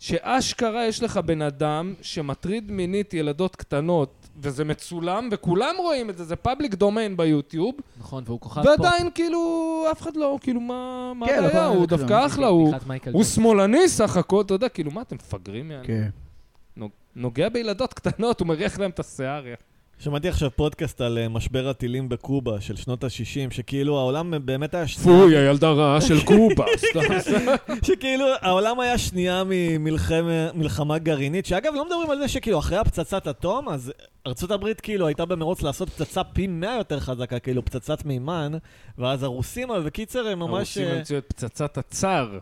שאשכרה יש לך בן אדם שמטריד מינית ילדות קטנות, וזה מצולם, וכולם רואים את זה, זה פאבליק דומיין ביוטיוב,
נכון, והוא כוכב פופ.
ועדיין כאילו אף אחד לא, כאילו מה מה
כן, לא
הבעיה,
קרה לזה
הוא
כלום.
דווקא אחלה, הוא...
בדיחת מייקל
הוא
ג'ורדן.
שמאלני סך הכל, אתה יודע, כאילו, מה אתם מפגרים? יעני?
כן.
נוג- נוגע בילדות קטנות, הוא מריח להם את השיער. יא.
שמעתי עכשיו פודקאסט על אה, משבר הטילים בקובה של שנות ה-60, שכאילו העולם באמת היה שנייה,
פוי, הילדה רעה של קובה. סתם, סתם.
שכאילו העולם היה שנייה ממלחמה גרעינית, שאגב לא מדברים על זה שכאילו אחרי הפצצת אטום, אז ארצות הברית כאילו הייתה במרוץ לעשות פצצה פי 100 יותר חזקה, כאילו פצצת מימן, ואז הרוסים, אבל בקיצר הם ממש...
הרוסים
אה,
המציאו את פצצת הצאר.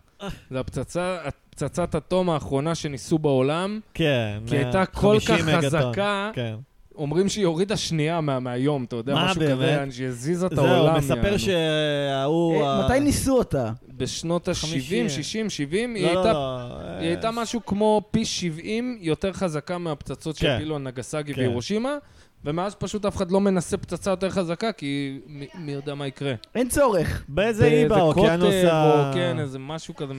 זה הפצצה, פצצת אטום האחרונה שניסו בעולם.
כן.
כי הייתה
150
כל כך
מגטון,
חזקה,
כן.
אומרים שהיא הורידה שנייה מה- מהיום, אתה יודע,
מה,
משהו
באמת?
כזה, שהיא הזיזה את
זהו,
העולם.
מספר
יענו.
שההוא...
אה,
ה-
מתי ניסו אותה?
בשנות ה-70,
חמישים.
60, 70, היא
לא, לא,
הייתה
לא, אה,
היא הייתה משהו כמו פי 70 יותר חזקה מהפצצות
כן.
שהפילו על נגסגי
כן.
והירושימה, ומאז פשוט אף אחד לא מנסה פצצה יותר חזקה, כי מי- מי יודע מה יקרה.
אין צורך.
אה, באיזה אי באוקיינוס
קוטב,
ה...
או כן, איזה משהו כזה...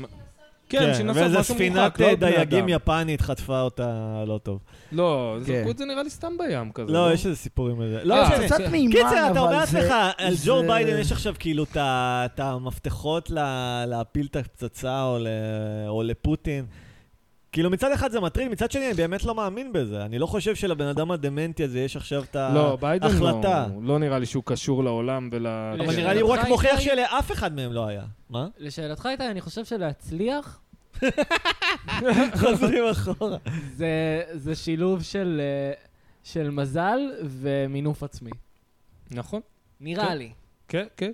כן,
כן,
שנסות
ואיזה
משהו
ספינת
מורחק, לא בני
דייגים
אדם.
יפנית חטפה אותה לא טוב.
לא,
כן.
זרקו את זה נראה לי סתם בים כזה.
לא, יש איזה סיפורים על זה. לא
אה,
משנה.
קצת
זה-
מימן, אבל זה...
קיצר, אתה אומר לעצמך, על ג'ו
זה-
ביידן יש עכשיו כאילו את ה- את המפתחות ל- להפיל את הפצצה או ל- או לפוטין. כאילו מצד אחד זה מטריד, מצד שני אני באמת לא מאמין בזה. אני לא חושב שלבן אדם הדמנטי הזה יש עכשיו את
לא, ביידן לא,
ההחלטה.
לא נראה לי שהוא קשור לעולם ול... כן,
אבל נראה לי הוא רק
לשאלתך,
מוכיח
איתי-
שלאף אחד מהם לא היה. מה?
לשאלתך איתי, אני חושב שלהצליח
חוזרים אחורה.
זה, זה שילוב של, אה, של מזל ומינוף עצמי.
נכון,
נראה
כן.
לי.
כן, כן.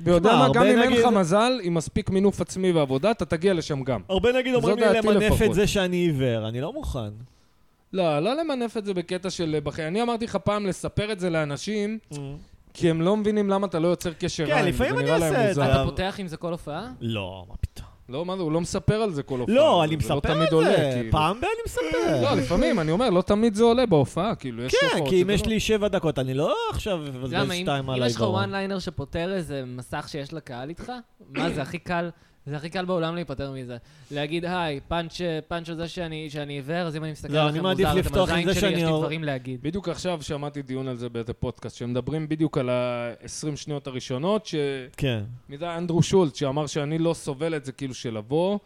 ויודע
שמע,
מה,
הרבה
גם אם אין
נגיד-
לך מזל, עם מספיק מינוף עצמי ועבודה, אתה תגיע לשם גם.
הרבה נגיד
זו
אומרים לי
דעתי
למנף את
לפחות.
זה שאני עיוור, אני לא מוכן.
לא, לא למנף את זה בקטע של... אה, בחיים. אני אמרתי לך פעם לספר את זה לאנשים, כי הם לא מבינים למה אתה לא יוצר קשר
כן,
עין,
לפעמים
וזה
אני
נראה להם
עושה את
מוזר.
זה.
אתה פותח עם זה כל הופעה?
לא, מה פתאום.
לא, מה זה, הוא לא מספר על זה כל הופעה.
לא, אני
זה
מספר
לא
את
תמיד עולה,
זה.
כאילו.
פעם ב... אני מספר.
לא, לפעמים, אני אומר, לא תמיד זה עולה בהופעה, כאילו, יש
אה. כן,
הופעות
כי אם
שזה
יש
לא-
לי שבע דקות, אני לא עכשיו מבזבז
למה, אם,
שתיים
אם
על
יש לך
העיוורון.
וואן ליינר שפותר איזה מסך שיש לקהל איתך, מה זה הכי קל? זה הכי קל בעולם להיפטר מזה. להגיד, היי, פאנץ' פאנץ' על זה שאני שאני עיוור, אז אם אני מסתכל
לא,
עליכם
אני מעדיף
מוזר, אתם
לפתוח עם
הזין
זה
שלי, יש
שאני
לי
אור-
דברים להגיד.
בדיוק עכשיו שמעתי דיון על זה באיזה פודקאסט, שמדברים בדיוק על ה-20 שניות הראשונות, ש...
כן.
מי זה היה? אנדרו שולט, שאמר שאני לא סובל את זה, כאילו, של לבוא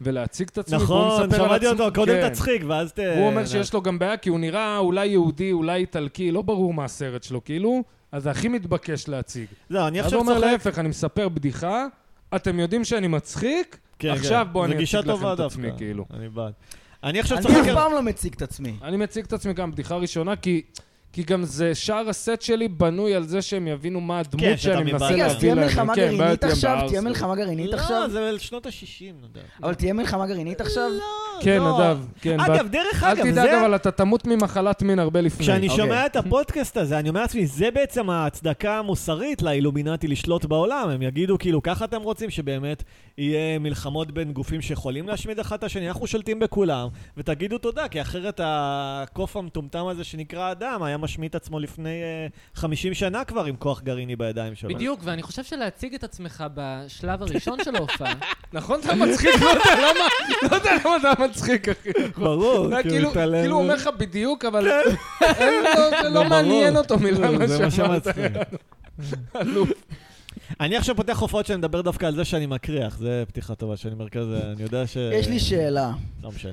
ולהציג את עצמי. והוא
נכון,
מספר על
שמעתי
עצמו-
אותו, קודם
כן.
תצחיק, ואז ת...
הוא אומר שיש לו גם בעיה, כי הוא נראה אולי יהודי, אולי איטלקי, לא ברור מה הסרט שלו, כאילו, אז זה הכי מתבקש להציג.
לא, אני
אז
עכשיו
הוא אומר,
צוחק.
להפך, אני מספר בדיחה, אתם יודעים שאני מצחיק,
כן,
עכשיו
כן.
בוא
זו
אני
גישה
אציג לכם
טובה
את עצמי,
דווקא.
כאילו.
אני בעד. אני עכשיו
אני אף
צוחק... על-
פעם לא מציג את עצמי.
אני מציג את עצמי גם בדיחה ראשונה, כי... כי גם זה, שאר הסט שלי בנוי על זה שהם יבינו מה הדמות
כן, שאתה
שאני מנסה
מבלבל.
להביא
רגע,
להם.
אז תהיה
כן,
מלחמה
בעיה
גרעינית
תהיה
עכשיו?
בארץ.
תהיה מלחמה גרעינית
לא,
עכשיו?
זה שנות ה-60, נדב.
אבל תהיה מלחמה גרעינית עכשיו?
כן,
לא.
נדב, כן.
אגב,
ואת-
דרך
אל
אגב,
תדאג,
זה...
אבל אתה תמות ממחלת מין הרבה לפני.
כשאני
אוקיי.
שומע את הפודקאסט הזה, אני אומר לעצמי, זה בעצם ההצדקה המוסרית לאילומינטי לשלוט בעולם. הם יגידו, כאילו, ככה אתם רוצים שבאמת יהיה מלחמות בין גופים שיכולים להשמיד אחד את השני, אנחנו שולטים בכולם, ותגידו תודה, כי אחרת הקוף המטומטם הזה שנקרא אדם היה משמיט עצמו לפני אה, 50 שנה כבר עם כוח גרעיני בידיים שלו.
בדיוק, ואני חושב שלהציג את עצמך בשלב הראשון של ההופעה,
נכון, אתה מצחיק, לא יודע למה, לא יודע למה אתה מצחיק, אחי.
ברור,
זה היה כאילו,
אוקיי, מתעלם- כן.
כאילו הוא אומר לך בדיוק, אבל אין לו- זה
ברור.
לא מעניין אותו מילה
לא,
מה
זה מה
שאמרת.
שמצחיק.
אלוף.
אני עכשיו פותח הופעות שאני מדבר דווקא על זה שאני מקריח, זה פתיחה טובה שאני אומר כזה, אני יודע ש...
יש לי שאלה.
לא משנה.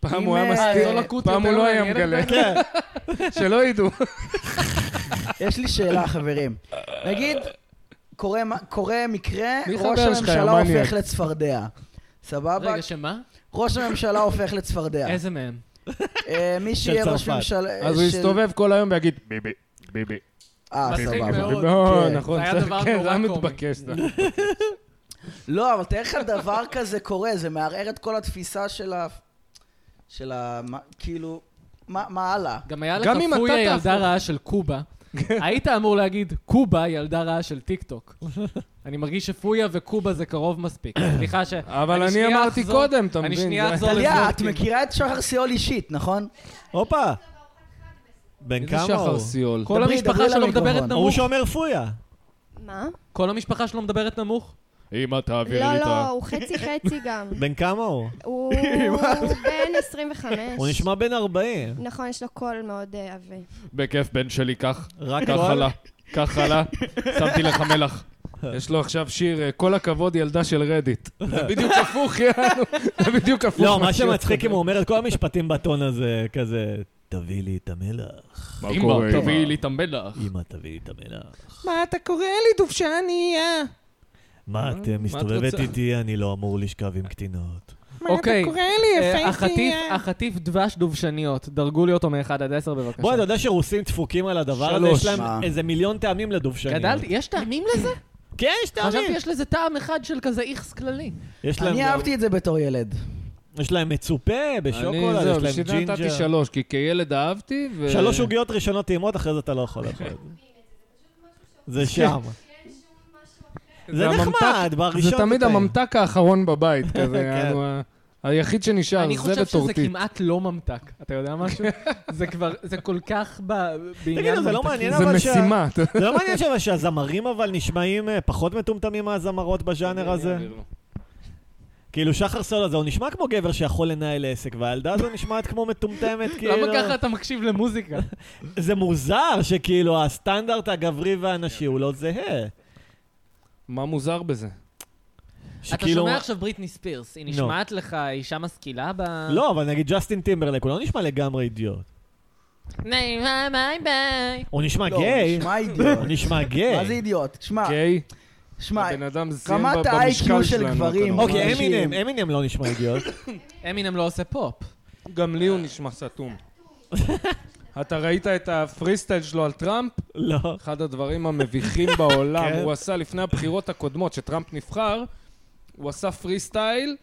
פעם
אם,
הוא היה
אה,
מסתיר,
זו
לקות
פעם הוא
יותר
לא היה
מעניינת
מגלה,
כן,
שלא ידעו.
יש לי שאלה, חברים. נגיד, קורה מה- קורה מקרה,
מי
ראש
חבר שלך,
הממשלה
המניאק?
הופך לצפרדע. סבבה?
רגע, שמה?
ראש הממשלה הופך לצפרדע.
איזה מהם?
אה, מי שיהיה
של
ראש
צרפת.
ממשלה...
אז הוא
של-
יסתובב כל היום ויגיד, ביבי, ביבי.
אה,
מצחיק
סבבה.
מאוד.
לא,
כן.
נכון,
זה היה
צריך-
דבר
כן,
נורא
זה היה
קומי.
מתבקש. זה.
לא, אבל תאר לך דבר כזה קורה, זה מערער את כל התפיסה של ה... של ה... מה- כאילו, מה מה הלאה?
גם היה לך
גם אם
פויה
אתה
ילדה
תהפוך-
רעה של קובה. היית אמור להגיד, קובה ילדה רעה של טיק טוק. אני מרגיש שפויה וקובה זה קרוב מספיק. סליחה ש...
אבל אני
שנייה
אמרתי
אחזור-
קודם, אתה
אני
מבין,
שנייה
זה-
אחזור
טליה, את
לזלוטין.
מכירה את שחר סיול אישית, נכון?
הופה. בן
איזה
כן, כמה
שחר
הוא?
סיול.
כל
דברי,
המשפחה
דברי
שלו
למיקרופון.
מדברת
הוא
נמוך.
שאומר פויה.
מה?
כל המשפחה שלו מדברת נמוך.
אם אתה אווירי
לא, לא, הוא חצי חצי גם.
בן כמה הוא?
הוא בן 25.
הוא נשמע בן 40.
נכון, יש לו קול מאוד אה, עבה.
בכיף, בן שלי, קח.
רק
קח
קול?
חלה, קח חלה, שמתי לך מלח. יש לו עכשיו שיר, אה, כל הכבוד ילדה של רדיט. זה בדיוק הפוך, יענו. זה בדיוק הפוך.
לא, מה
שהוא
שמצחיק
אומר.
אם הוא אומר את כל המשפטים בטון הזה, כזה, תביא לי את המלח.
קורה?
אמא, תביאי לי את המלח.
אמא, תביא לי את המלח.
מה אתה קורא לי דובשניה?
מה, את אה, מסתובבת
רוצה?
איתי, אני לא אמור לשכב עם קטינות.
אוקיי. אה, החטיף- החטיף דבש דובשניות, דרגו לי אותו מ-1 עד 10 בבקשה.
בוא, אתה יודע שרוסים דפוקים על הדבר הזה?
שלוש.
יש להם
מה?
איזה מיליון טעמים לדובשנים.
גדלתי, יש טעמים לזה?
כן, יש
חשבתי
טעמים.
יש לזה טעם אחד של כזה איכס כללי.
יש להם
אני
גם-
אהבתי את זה בתור ילד.
יש להם מצופה בשוקולד,
זהו,
יש
בשביל
להם
זה נתתי
ג'ינג'ר.
שלוש, כי כילד אהבתי, ו...
שלוש עוגיות ראשונות טעימות, אחרי זה אתה לא יכול לאכול את זה. זה שם. זה נחמד, בראשון
זה תמיד
טעים.
הממתק האחרון בבית, כזה,
כן.
יענו, ה- היחיד שנשאר,
אני
זה
חושב שזה
וטורטית.
כמעט לא ממתק. אתה יודע משהו? זה כבר, זה כל כך ב- בעניין
תגידו, זה לא
ממתקים.
מעניין
זה
אבל שה-
משימה. אתה-
זה לא מעניין אבל שהזמרים אבל נשמעים אה, פחות מטומטמים מהזמרות בז'אנר הזה? כאילו שחר סול הזה, הוא נשמע כמו גבר שיכול לנהל עסק, והילדה הזו נשמעת כמו מטומטמת, כאילו...
למה ככה אתה מקשיב למוזיקה?
זה מוזר שכאילו הסטנדרט הגברי והנשי הוא לא זהה.
מה מוזר בזה?
אתה
שכאילו...
שומע עכשיו בריטני ספירס, היא נשמעת לך אישה משכילה ב...
לא, אבל נגיד ג'סטין טימברלק, הוא לא נשמע לגמרי אידיוט.
ביי ביי ביי.
הוא נשמע
לא,
גיי.
הוא נשמע אידיוט.
הוא נשמע
מה זה
גיי.
אידיוט? שמע,
קיי?
שמע,
אוקיי? הבן אדם זיין
רמת
ב-
ה-IQ
במשקל
של
שלנו. לא
גברים.
כנראה.
אוקיי,
אנשים.
אמינם, אמינם לא נשמע אידיוט.
אמינם לא עושה פופ.
גם לי הוא נשמע סתום. אתה ראית את הפרי סטייל שלו על טראמפ?
לא.
אחד הדברים המביכים בעולם.
כן.
הוא עשה לפני הבחירות הקודמות, שטראמפ נבחר, הוא עשה פרי סטייל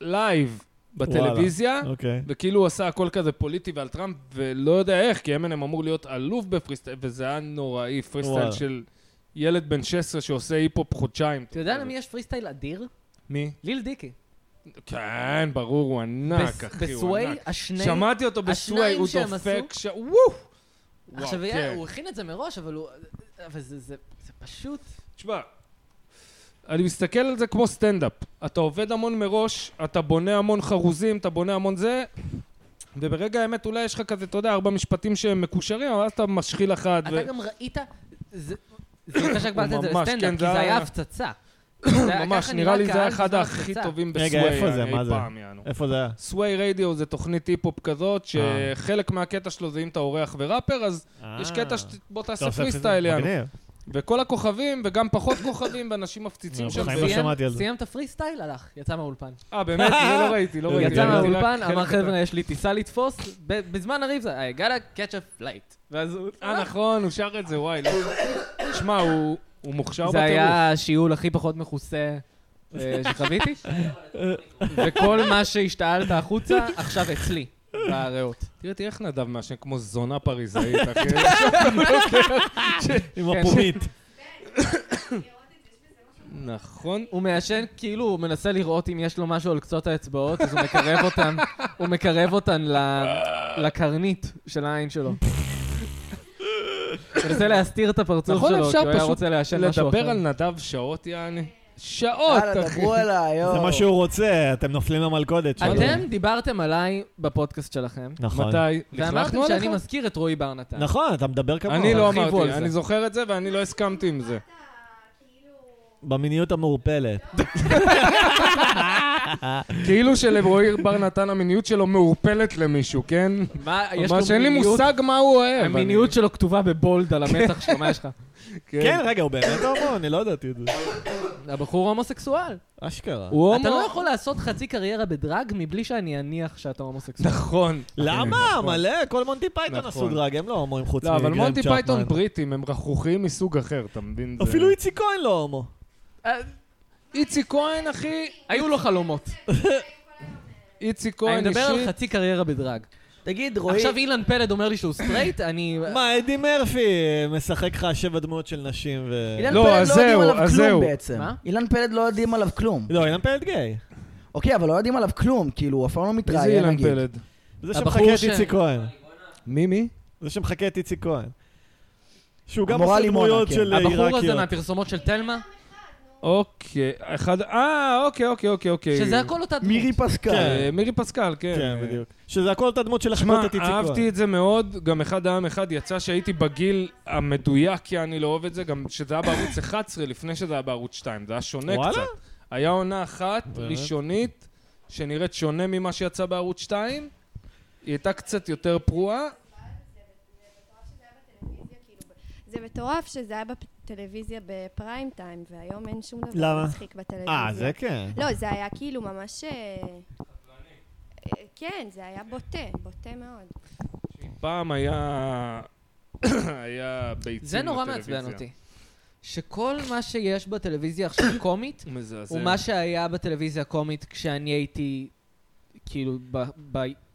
לייב בטלוויזיה,
אוקיי.
וכאילו הוא עשה הכל כזה פוליטי ועל טראמפ, ולא יודע איך, כי אמנם אמור להיות עלוב בפרי סטייל, וזה היה נוראי, פרי סטייל
וואלה.
של ילד בן 16 שעושה היפ-הופ חודשיים.
אתה יודע למי יש פרי סטייל אדיר?
מי?
ליל דיקי.
כן, ברור, הוא ענק,
בס-
אחי, הוא
בסווי,
ענק.
השני...
שמעתי אותו בסווי,
השניים
הוא
שהם
דופק
עשו?
ש... וואו!
עכשיו,
וואו,
היה-
כן.
הוא הכין את זה מראש, אבל הוא... אבל זה- זה זה פשוט...
תשמע, אני מסתכל על זה כמו סטנדאפ. אתה עובד המון מראש, אתה בונה המון חרוזים, אתה בונה המון זה, וברגע האמת אולי יש לך כזה, אתה יודע, ארבע משפטים שהם מקושרים, אבל אז אתה משחיל אחת.
אתה גם ראית... זה זה לא יפה שהגבלת את זה
ממש, כן,
לסטנדאפ, כי
זה
זה היה
היה-
הפצצה. זה היה-
כן, ממש,
ככה
נראה לי זה היה
קהל
אחד
בזמן
הכי
הפצצה.
טובים בסווי.
רגע, איפה זה?
אי
מה זה?
פעם, יענו.
איפה זה היה?
סווי רדיו זה תוכנית היפ-הופ כזאת,
אה.
שחלק מהקטע שלו זה אם אתה אורח וראפר, אז יש קטע שבוא
אתה
תעשה
עושה
פרי סטייל, יענו.
מגניב.
וכל הכוכבים, וגם פחות כוכבים, ואנשים מפציצים
אה,
שם.
בחיים
זה-
לא
סיים-
שמעתי על זה.
סיים את הפרי סטייל, הלך, יצא מהאולפן.
אה, באמת? זה לא ראיתי, לא ראיתי.
יצא
ראיתי רק
מהאולפן,
חלק
אמר
קטן.
חבר'ה, יש לי טיסה לתפוס, ב- בזמן הריב זה, I gotta catch a flight. ואז הוא...
אה, נכון, הוא שר את זה, וואי. לא. שמע, הוא הוא מוכשר לא בטירוף.
זה היה השיעול הכי פחות מכוסה אה, שחוויתי, וכל מה שהשתעלת החוצה, עכשיו אצלי, בריאות.
תראה, תראה איך נדב מעשן כמו זונה פריזאית, אחי. כן.
עם הפומית.
נכון.
הוא מעשן כאילו, הוא מנסה לראות אם יש לו משהו על קצות האצבעות, אז הוא מקרב אותן, הוא מקרב אותן ל- לקרנית של העין שלו. הוא מנסה להסתיר את הפרצוף
נכון,
שלו, כי
אפשר
הוא היה
פשוט
רוצה לעשן משהו אחר.
לדבר על נדב שעות, יעני. שעות,
יאללה,
אחי.
דברו אליי, יואו.
זה
לא.
מה שהוא רוצה, אתם נופלים למלכודת שלו.
אתם דיברתם עליי בפודקאסט שלכם,
נכון.
מתי?
ואמרתם
לכלכנו
שאני
עליך?
מזכיר את רועי בר נתן.
נכון, אתה מדבר כמוהו.
אני לא
הרחיבו על
אמרתי,
זה.
אני זוכר את זה ואני לא הסכמתי עם זה.
במיניות המעורפלת.
כן. כאילו שלרועי בר נתן המיניות שלו מעורפלת למישהו, כן?
מה, יש לו
ממש אין לי
מיניות-
מושג מה הוא
כן,
אוהב.
המיניות שלו כתובה בבולד על המצח שלו, מה יש לך?
אני-
כן, רגע, הוא באמת הומו, אני לא ידעתי את זה.
הבחור הומוסקסואל.
אשכרה.
הוא
אתה
הומו.
לא יכול לעשות חצי קריירה בדרג מבלי שאני אניח שאתה הומוסקסואל.
נכון.
למה? מלא, כל מונטי פייתון
נכון.
עשו דרג, הם לא הומואים חוץ
לא,
מגרם
אבל
צ'פמן.
מונטי פייתון בריטים, הם רכרוכיים מסוג אחר, אתה מבין? זה-
אפילו איציק כהן לא הומו.
אה,
איציק כהן, אחי,
היו לו חלומות.
איציק
אני
כהן
מדבר על
אישית.
חצי קריירה בדרג.
תגיד, רועי,
עכשיו אילן פלד אומר לי שהוא סטרייט, אני...
אה.
מה, אדי מרפי משחק לך שבע דמויות של נשים ו...
אילן
לא,
פלד
אז
לא יודעים
זהו,
עליו
אז
כלום
זהו.
בעצם.
מה?
אילן פלד לא יודעים עליו כלום.
לא, אילן פלד גיי.
אוקיי, אבל לא יודעים עליו כלום, כאילו, הוא אף פעם לא
מי זה
מתראיין,
אילן
נגיד.
פלד?
זה
הבחור
שמחכה את
ש-
איציק כהן.
מי, מי?
זה שמחכה את איציק כהן. שהוא גם
המורה
עושה
לימונה,
דמויות
כן.
של אה,
הבחור הזה
עיראקיות.
מהפרסומות של תלמה,
אוקיי, אחד... אה, אוקיי, אוקיי, אוקיי, אוקיי.
שזה הכל אותה דמות.
מירי פסקל.
אה, מירי פסקל, כן.
כן, בדיוק. שזה הכל אותה דמות של
שמע,
לחפות את איציק כהן.
אהבתי את זה מאוד, גם אחד העם אחד יצא שהייתי בגיל המדויק, כי אני לא אוהב את זה, גם שזה היה בערוץ 11 לפני שזה היה בערוץ 2, זה היה שונה
וואלה?
קצת. היה עונה אחת
באמת?
ראשונית, שנראית שונה ממה שיצא בערוץ 2, היא הייתה קצת יותר פרועה,
זה מטורף שזה היה בטלוויזיה בפריים טיים, והיום אין שום דבר
למה?
מצחיק בטלוויזיה.
אה, זה כן.
לא, זה היה כאילו ממש... אה, אה, כן, זה היה בוטה, בוטה מאוד.
פעם היה... היה ביצים
זה נורא
בטלוויזיה.
מעצבן אותי. שכל מה שיש בטלוויזיה עכשיו קומית,
מזעזע.
הוא מה שהיה בטלוויזיה הקומית כשאני הייתי, כאילו, ב-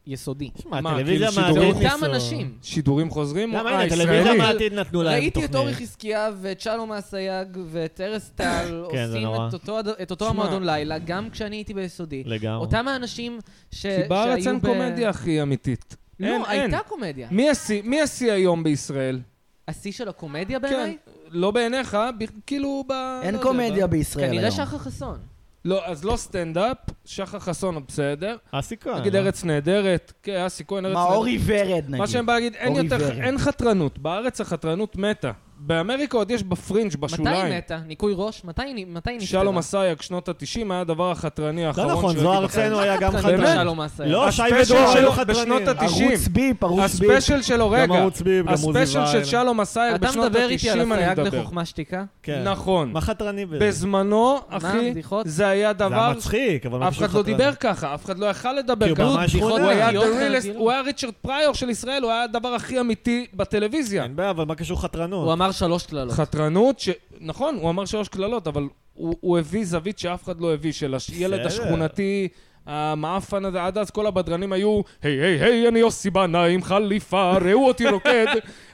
ביסודי.
שמע,
מה, כאילו
הטלוויזיה
זה
מהעתיד
שידורים
ניסו...
אותם אנשים.
שידורים חוזרים?
למה
אה,
הנה, הטלוויזיה
ישראלי.
מהעתיד נתנו להם
ראיתי את אורי
תוכנית.
חזקיה ואת שלום אסייג ואת ארז טל
כן, זה
עושים
נורא. לא.
את אותו הד- את אותו
שמע.
המועדון לילה, גם כשאני הייתי ביסודי.
לגמרי.
אותם האנשים ש...
כי בארץ
שהיו
אין
ב-
קומדיה הכי אמיתית. אין,
לא,
אין.
הייתה קומדיה.
מי השיא- מי השיא היום בישראל?
השיא של הקומדיה
כן,
בעיניי?
לא בעיניך, ב- כאילו ב...
אין
לא יודע,
קומדיה
ב-
בישראל היום.
כנראה שחר חסון.
לא, אז לא סטנדאפ, שחר חסון הוא בסדר.
אה,
אסי כהן.
נגיד
לא?
ארץ נהדרת, כן,
לא
אסי כהן, ארץ
מה,
נהדרת.
אורי ורד, נגיד.
מה שאני בא להגיד, אין
אורי
יותר,
ורד.
אין חתרנות. בארץ החתרנות מתה. באמריקה עוד יש בפרינג',
מתי
בשוליים.
היא מתה? ניקוי ראש? מתי היא מתי היא נפטרה?
שלום אסייג, שנות ה-90, היה הדבר החתרני האחרון
לא נכון, זו ארצנו היה גם
חתרני
חתרן.
שלום אסייג.
לא, שי
הספיישל
ודרור
שלו
היו חתרנים.
בשנות ה-90.
ערוץ ביפ, ערוץ ביפ.
הספיישל שלו, רגע.
ערוץ ביב, גם עוזי
הספיישל של
ויין.
שלום אסייג
אתה
בשנות
מדבר איתי
ה-90
על
אני
הסייג
מדבר.
לחוכמה שתיקה?
כן.
נכון.
מה חתרני בזה? זה
בזמנו, אחי,
הבדיחות?
זה היה
היה
דבר...
מצחיק, אבל מה
אף
קשור
אחד לא
חתרני?
דיבר ככה, אף אחד לא יכל לדבר
כי הוא
ככה.
כאילו, ממש
בדיחות
הוא
חונה.
היה the
אמיתיות,
realest,
כאילו.
הוא היה ריצ'רד פריור של ישראל, הוא היה הדבר הכי אמיתי בטלוויזיה.
אין בעיה, כן, אבל מה קשור
הוא
חתרנות?
אמר שלוש קללות.
חתרנות, ש... נכון, הוא אמר שלוש קללות, אבל הוא, הוא הביא זווית שאף אחד לא הביא, של הילד
בסדר.
השכונתי, המאפן הזה, עד אז כל הבדרנים היו, היי, היי, היי, אני יוסי בנה עם חליפה, ראו אותי רוקד,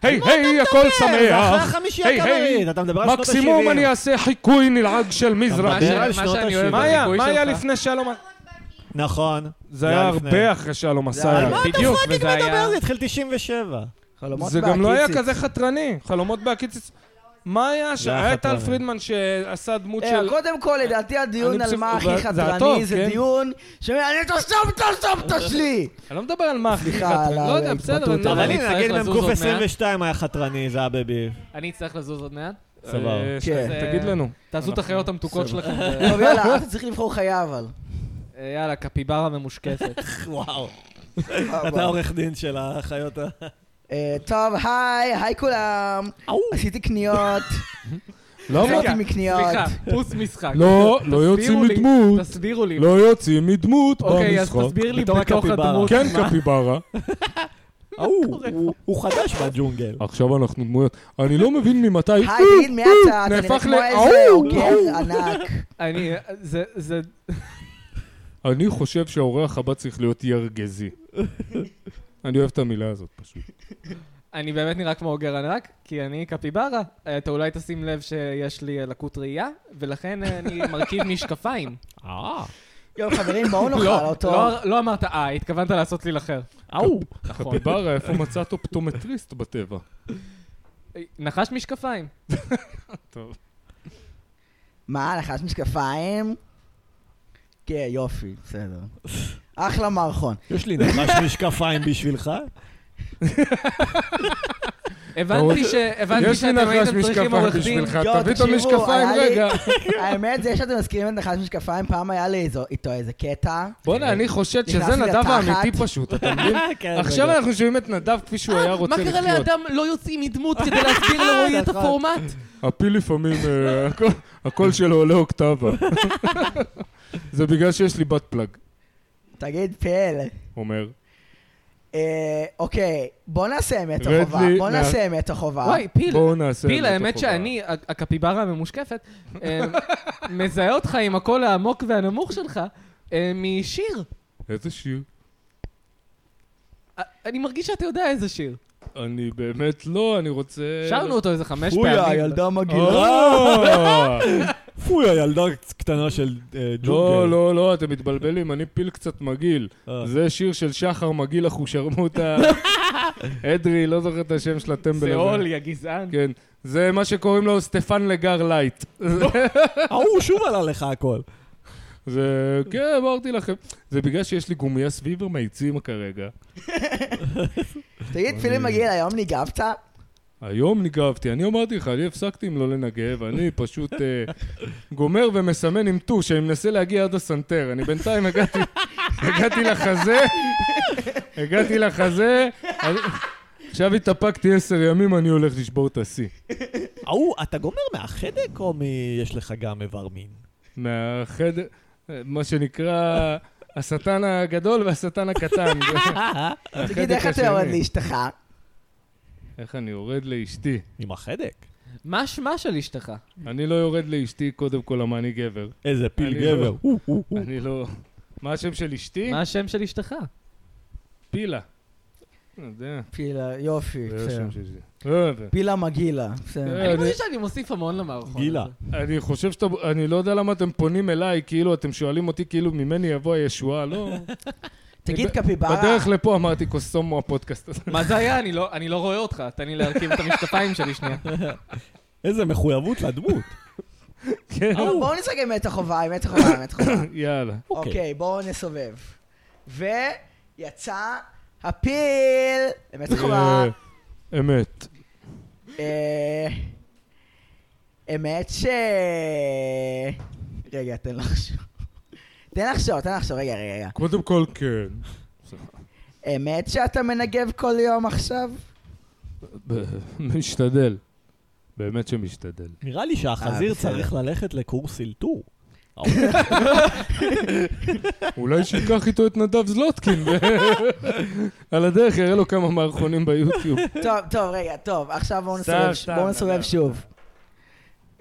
היי, היי, הכל
זה אחרי
שמח,
החמישייה
היי, "אה, היי,
הקאמרית, אתה מדבר על שנות ה-70.
מקסימום אני אעשה חיקוי נלעג של
אתה
מזרח.
מדבר
מה
על
ש- מה
שנות
שאני אוהב
ה-שבעים.
מה היה-
בדימוי
מה היה
שלך.
לפני שלום?
נכון.
זה היה
לפני.
הרבה אחרי שלום
היה-
אסייג.
מה
בדיוק.
מה אתה
וזה היה-
מדבר? זה התחיל 97.
חלומות
זה גם לא היה
בהקיציץ.
כזה חתרני, חלומות בהקיציס. מה היה שם?
זה היה
היה טל
חתרני.
פרידמן שעשה דמות
אה,
של...
קודם כל, לדעתי הדיון
אני
על
פשוט-
מה הכי
זה הטוב,
חתרני זה
כן?
דיון לא שמעניין את הסבתא סבתא שלי!
אני לא מדבר על מה הכי
סליחה
חתרני.
על
לא יודע,
ההתבטאות,
בסדר. אני-
אבל
אבל
אני
הנה,
צריך
נגיד
לזוז
מ"ק
עוד מעט.
22 היה חתרני, זה היה בבי.
אני אצטרך לזוז עוד מעט.
אה,
סבבה.
שנייה,
כן.
תגיד לנו.
תעשו את החיות המתוקות שלכם.
טוב, יאללה, אתה צריך לבחור חיה אבל.
אה, יאללה, קפיברה ממושקפת.
וואו. אתה עורך דין של החיות ה...
אה, טוב, היי, היי כולם. עשיתי קניות,
למה?
חזרתי מקניות.
סליחה, פוס משחק.
לא,
תסבירו
לא יוצאים
לי,
מדמות.
תסבירו לי.
לא יוצאים מדמות
אוקיי, אז
במשחק.
תסביר לי
בתור
בתוך
הקפיברה.
הדמות.
כן, קפיברה.
ההוא, הוא- הוא חדש בג'ונגל.
עכשיו אנחנו דמויות. אני לא מבין ממתי...
היי, תגיד מי אתה? אתה נראה
נהפך
כמו
ל-
איזה
אוו,
אוגר ענק.
אני, אה, זה, זה,
אני חושב שהאורח הבא צריך להיות ירגזי. אני אוהב את המילה הזאת פשוט.
אני באמת נראה כמו אוגר ענק, כי אני קפיברה. אה, אתה אולי תשים לב שיש לי אה, לקות ראייה, ולכן אה, אני מרכיב משקפיים.
אה.
יום, חברים, בואו נאכל
לא,
אותו.
לא- לא אמרת אה, התכוונת לעשות לי לחר. נכון.
ההוא.
קפיברה, איפה מצאת אופטומטריסט בטבע?
אה, נחש משקפיים.
טוב.
מה, נחש משקפיים? כן, יופי, בסדר. אחלה מערכון.
יש לי נחש אוקיי. משקפיים בשבילך?
הבנתי ש- הבנתי
יש לי
שאתם
נחש
הייתם צריכים
משקפיים
עורך דין.
בשבילך,
יואו,
תביא את
תקשיבו,
המשקפיים
היה לי-
רגע.
האמת זה שאתם מזכירים את נחש משקפיים, פעם היה לי איזו- איתו איזה קטע.
בואנה, אני חושד שזה
נכנסתי
נדב
לתחת.
האמיתי פשוט, אתה מבין?
כן,
עכשיו
רגע.
אנחנו שומעים את נדב כפי שהוא
אה,
היה רוצה
אה, מה
לחיות.
קרה לאדם לא יוצאים מדמות כדי להסביר לרועי את הפורמט?
הפיל לפעמים, אה, הכל- הקול שלו עולה אוקטבה. זה בגלל שיש לי בת פלאג,
תגיד, פל.
אומר.
אה, אוקיי, בוא נעשה אמת
רד
החובה.
לי
בוא
מה-
נעשה אמת החובה.
וואי, פיל.
בואו נעשה...
פיל,
את
האמת
החובה.
שאני, ה- הקפיברה הממושקפת, אה, מזהה אותך עם הקול העמוק והנמוך שלך אה, משיר.
איזה שיר.
אה, אני מרגיש שאתה יודע איזה שיר.
אני באמת לא, אני
אה,
רוצה...
שרנו אותו איזה חמש פעמים.
פויה, ילדה מגעילה.
אה,
פוי, הילדה קטנה של אה,
לא,
ג'ונגל.
לא, לא, אתם מתבלבלים, אני פיל קצת מגעיל.
אה.
זה שיר של שחר מגעיל אחושרמוטה. אדרי, לא זוכר את השם של הטמבל הזה.
זה אולי, הגזען.
כן. זה מה שקוראים לו סטפן לגר לייט.
ההוא, שוב עלה לך הכל.
זה, כן, אמרתי לכם. זה בגלל שיש לי גומייה סביב המאיצים כרגע.
תגיד, פילי מגעיל, היום ניגבת?
היום ניגבתי, אני אמרתי לך, אני הפסקתי עם לא לנגב, אני פשוט אה, גומר ומסמן עם טוש, אני מנסה להגיע עד הסנטר, אני בינתיים הגעתי, הגעתי לחזה, הגעתי לחזה, אני- עכשיו התאפקתי עשר ימים, אני הולך לשבור את השיא.
ההוא, אתה גומר מהחדק או מ... יש לך גם איבר מין?
מהחדר, מה שנקרא, השטן הגדול והשטן הקטן.
תגיד, איך אתה
השני.
יורד לאשתך?
איך אני יורד לאשתי?
עם החדק.
מה שמה של אשתך?
אני לא יורד לאשתי, קודם כל, למה אני גבר.
איזה פיל
אני
גבר.
לא.
הוא, הוא, הוא.
אני לא... מה השם של אשתי?
מה השם של אשתך?
אה,
פילה. אני יודע.
פילה, יופי,
זה
בסדר.
השם של זה. לא אה, יודע.
פילה מגעילה, בסדר.
אני
אני-
מרגיש שאני מוסיף המון למערכון.
גילה.
הזה.
אני חושב שאתה... אני לא יודע למה אתם פונים אליי, כאילו אתם שואלים אותי, כאילו ממני יבוא הישועה, לא?
תגיד,
אני ב-
קפיברה.
בדרך לפה אמרתי, קוסומו הפודקאסט הזה.
מה זה היה? אני לא- אני לא רואה אותך. תן לי להרכיב את המשקפיים שלי שנייה.
אוקיי. איזה מחויבות לדמות.
כן.
אבל בואו נשחק אמת החובה, אמת החובה, אמת החובה.
יאללה.
אוקיי, בואו נסובב. ויצא הפיל! אמת החובה.
אה, אמת.
אה, אמת ש... רגע, תן לחשוב. תן לחשוב, תן לחשוב, רגע, רגע, רגע.
קודם כל, כן.
אמת שאתה מנגב כל יום עכשיו?
משתדל. באמת שמשתדל.
נראה לי שהחזיר
אה, בסדר.
צריך ללכת לקורס אלתור.
אולי שייקח איתו את נדב זלוטקין, ו- על הדרך יראה לו כמה מערכונים ביוטיוב.
טוב, טוב, רגע, טוב, עכשיו בואו
סתם,
נסובב,
סתם,
בואו
נדב.
נסובב שוב.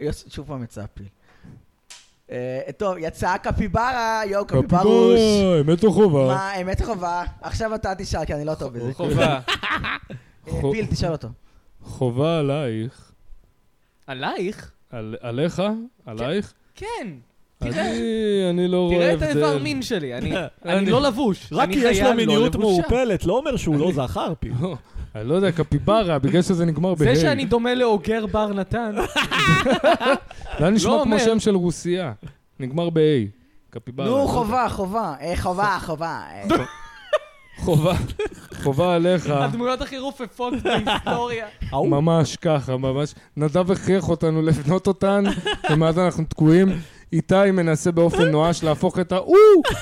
יוס- שוב פעם יצא הפיל. אה, טוב, יצאה קפיברה, יואו, קפיברוש.
קפיברה, אמת או חובה?
מה, אמת חובה? עכשיו אתה תשאל, כי אני לא טוב בזה.
חובה.
אה,
חו-
פיל, תשאל אותו.
חובה עלייך.
עלייך?
על- עליך? עלייך?
כן. תראה.
אני, אני לא רואה
תראה את
הבדל.
האיבר מין שלי, אני-
אני-
אני לא לבוש.
רק
אני
כי יש
חייל
לו
לא
מיניות
לבושה.
מעורפלת, לא אומר שהוא לא זכר פי.
לא, אני לא יודע, קפיברה, בגלל שזה נגמר ב-ה'.
זה שאני דומה לאוגר בר נתן,
זה היה נשמע
לא
כמו
אומר.
שם של רוסייה. נגמר ב-A. קפיברה.
נו, חובה, חובה. אה, חובה, חובה. אה,
חובה. חובה עליך.
הדמויות הכי רופפות בהיסטוריה.
אוקיי.
ההוא.
ממש ככה, ממש. נדב הכריח אותנו לבנות אותן, ומאז אנחנו תקועים. איתי מנסה באופן נואש להפוך את ההוא,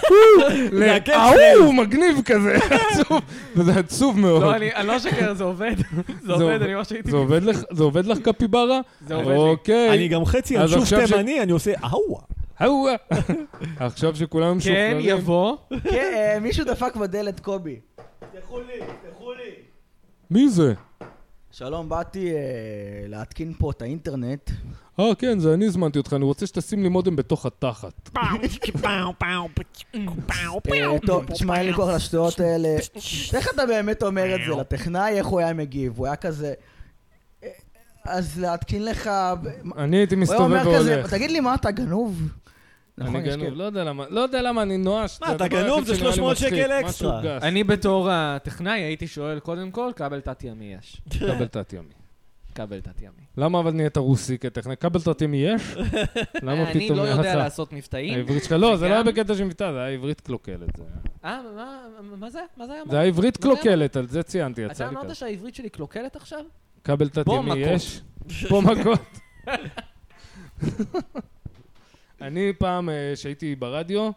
הוא,
להקל
להאו, מגניב כזה, עצוב, וזה עצוב מאוד.
לא, אני אני לא אשקר, זה עובד. זה עובד, אני ממש הייתי...
זה עובד לך- זה עובד לך קפיברה?
זה עובד לי.
אוקיי.
אני גם חצי
אז
אנשוף
עכשיו ש- אוקיי.
תימני, אני עושה אהואה.
האווה. עכשיו שכולם
כן,
משוחררים.
יבוא.
כן, אה, מישהו דפק בדלת, קובי.
מי זה?
שלום, באתי אה, להתקין פה את האינטרנט.
אה, כן, זה אני הזמנתי אותך, אני רוצה שתשים לי מודם בתוך התחת.
אה, טוב, תשמע, אין לי כוח לשטויות האלה. איך אתה באמת אומר את זה לטכנאי, איך הוא היה מגיב? הוא היה כזה... אה, אז להתקין לך... הוא
אני הייתי
היה
מסתובב
אומר כזה,
והולך.
תגיד לי, מה, אתה גנוב?
אני
נכון, יש
גנוב,
כאלה.
לא יודע למה, לא יודע למה אני נואש.
מה,
זה
אתה
הדבר
גנוב?
היחיד
זה
שנראה לי
300
מצחיק,
שקל
משהו
אקסטרה.
גס.
אני בתור הטכנאי הייתי שואל, קודם כל, כבל תת-ימי יש.
כבל תת-ימי.
כבל תת-ימי.
למה אבל נהיית רוסי כטכנאי? כבל תת-ימי יש? למה פתאום
אני לא
היה
יודע
לך-
לעשות מבטאים.
העברית שלך, לא, זה
וגם-
לא היה בקטע של מבטא, זה היה עברית קלוקלת. זה היה-
אה, מה- מה- מה זה? מה זה היה? אמור?
זה היה עברית
מה זה היה?
קלוקלת, על זה ציינתי, יצא
אתה
לי
אמרת
ככה.
שהעברית שלי קלוקלת עכשיו?
כבל
פה
תת-ימי
מכות.
יש? פה מכות. אני פעם, אה, שהייתי ברדיו,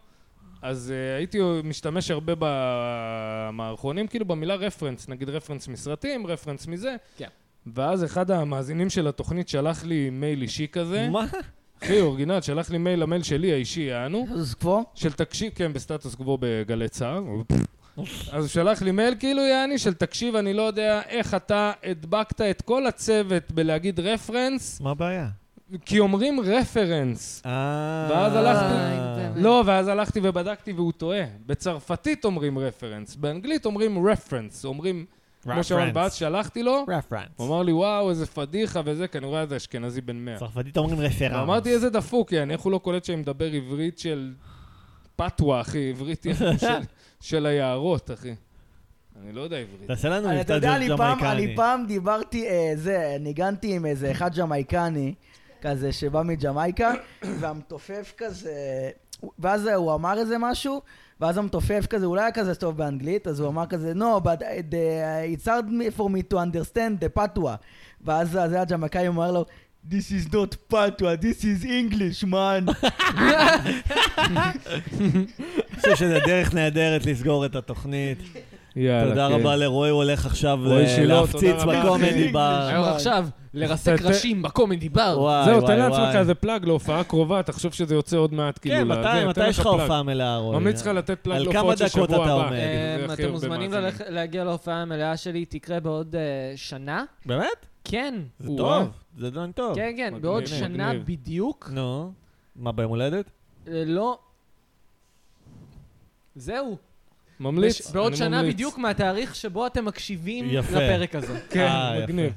אז אה, הייתי משתמש הרבה במערכונים, כאילו במילה רפרנס, נגיד רפרנס מסרטים, רפרנס מזה.
כן.
ואז אחד המאזינים של התוכנית שלח לי מייל אישי כזה.
מה?
אחי, אורגינל, שלח לי מייל למייל שלי, האישי, אנו.
סטטוס קוו?
של תקשיב, כן, בסטטוס קוו בגלי צהר. אז הוא שלח לי מייל כאילו, יעני, של תקשיב, אני לא יודע איך אתה הדבקת את כל הצוות בלהגיד רפרנס,
מה הבעיה?
כי אומרים רפרנס.
אה...
ואז הלכתי-
אה,
לא, ואז הלכתי ובדקתי והוא טועה. בצרפתית אומרים רפרנס, באנגלית אומרים רפרנס, אומרים, כמו שאמרנו, ואז שלחתי לו,
רפרנס.
הוא אמר לי, וואו, איזה פדיחה וזה, כנראה זה אשכנזי בן 100.
צרפתית אומרים רפרנס.
אמרתי, איזה דפוק, יעני, איך הוא לא קולט שאני מדבר עברית של פתווה, אחי, עברית יענו, של- של היערות, אחי. אני לא יודע עברית.
תעשה לנו
אני-
מבטא
אתה יודע, אני פעם-
ג'מייקני.
אני פעם דיברתי, אה, זה, ניגנתי עם איזה אחד ג'מייקני, כזה שבא מג'מייקה, והמתופף כזה, ואז הוא אמר איזה משהו, ואז המתופף כזה, אולי היה כזה טוב באנגלית, אז הוא אמר כזה, no, but אה, the, uh, it's hard me- for me to understand the פתווה. ואז הזה הג'מייקאי אומר לו, This is not פתווה, this is English, man.
אני חושב שזה דרך נהדרת לסגור את התוכנית.
יאללה,
תודה
כן.
רבה לרועי, הוא הולך עכשיו ל-
רועי שילה,
להפציץ
תודה רבה.
בקומדי בר.
היום עכשיו, לרסק
אתה-
ראשים בקומדי בר.
וואי,
זהו,
וואי,
תן לעצמך
וואי.
איזה פלאג להופעה קרובה, תחשוב שזה יוצא עוד מעט, כאילו.
כן,
לזה,
מתי,
תן
מתי יש לך
פלאג.
הופעה מלאה, רועי?
ממליץ לך לתת פלאג
על
להופעות של
כמה דקות
שבוע
אתה
הבא.
אומר?
אה, זה
אמ,
הכי
אתם
הרבה
מוזמנים
מאזינים.
ללכת- להגיע להופעה המלאה שלי, תקרה בעוד אה, שנה.
באמת?
כן,
זה
וואו.
טוב, זה דן טוב.
כן, כן,
מגניב,
בעוד
מגניב.
שנה בדיוק.
נו, מה, ביום הולדת?
אה, לא... זהו.
ממליץ,
בש- בעוד
אני
שנה
ממליץ.
בדיוק מהתאריך שבו אתם מקשיבים
יפה.
לפרק הזה.
כן,
אה, יפה.
מגניב.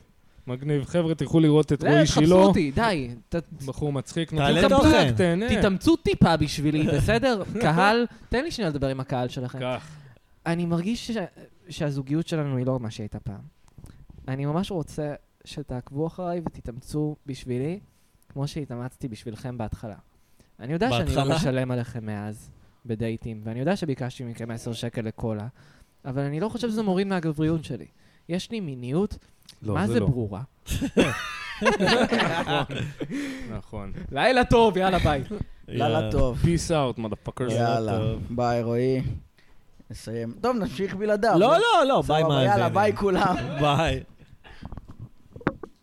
מגניב. חבר'ה, תלכו לראות את
זה,
רועי
תחפשו
שילה.
אותי, די. ת-
בחור מצחיק.
תעלה
נותן לך
תוכן.
פלאג, תהנה.
תתאמצו טיפה בשבילי, בסדר? קהל, תן לי שנייה לדבר עם הקהל שלכם.
כך.
אני מרגיש ש- שהזוגיות שלנו היא לא מה שהייתה פעם. אני ממש רוצה שתעקבו אחריי ותתאמצו בשבילי, כמו שהתאמצתי בשבילכם בהתחלה. אני יודע שאני לא
בהתחלה?
משלם עליכם מאז בדייטים, ואני יודע שביקשתי מכם 10 שקל לקולה, אבל אני לא חושב שזה מוריד מהגבריות שלי. יש לי מיניות,
לא,
מה
זה
זה
לא.
ברורה?
נכון.
לילה טוב, יאללה ביי.
לילה טוב.
Peace out, motherfuckers.
יאללה.
לא טוב.
ביי, רועי. נסיים. טוב, נמשיך בלעדיו.
לא, לא, לא, ביי
סבבה,
מאזינים.
יאללה, ביי כולם.
ביי.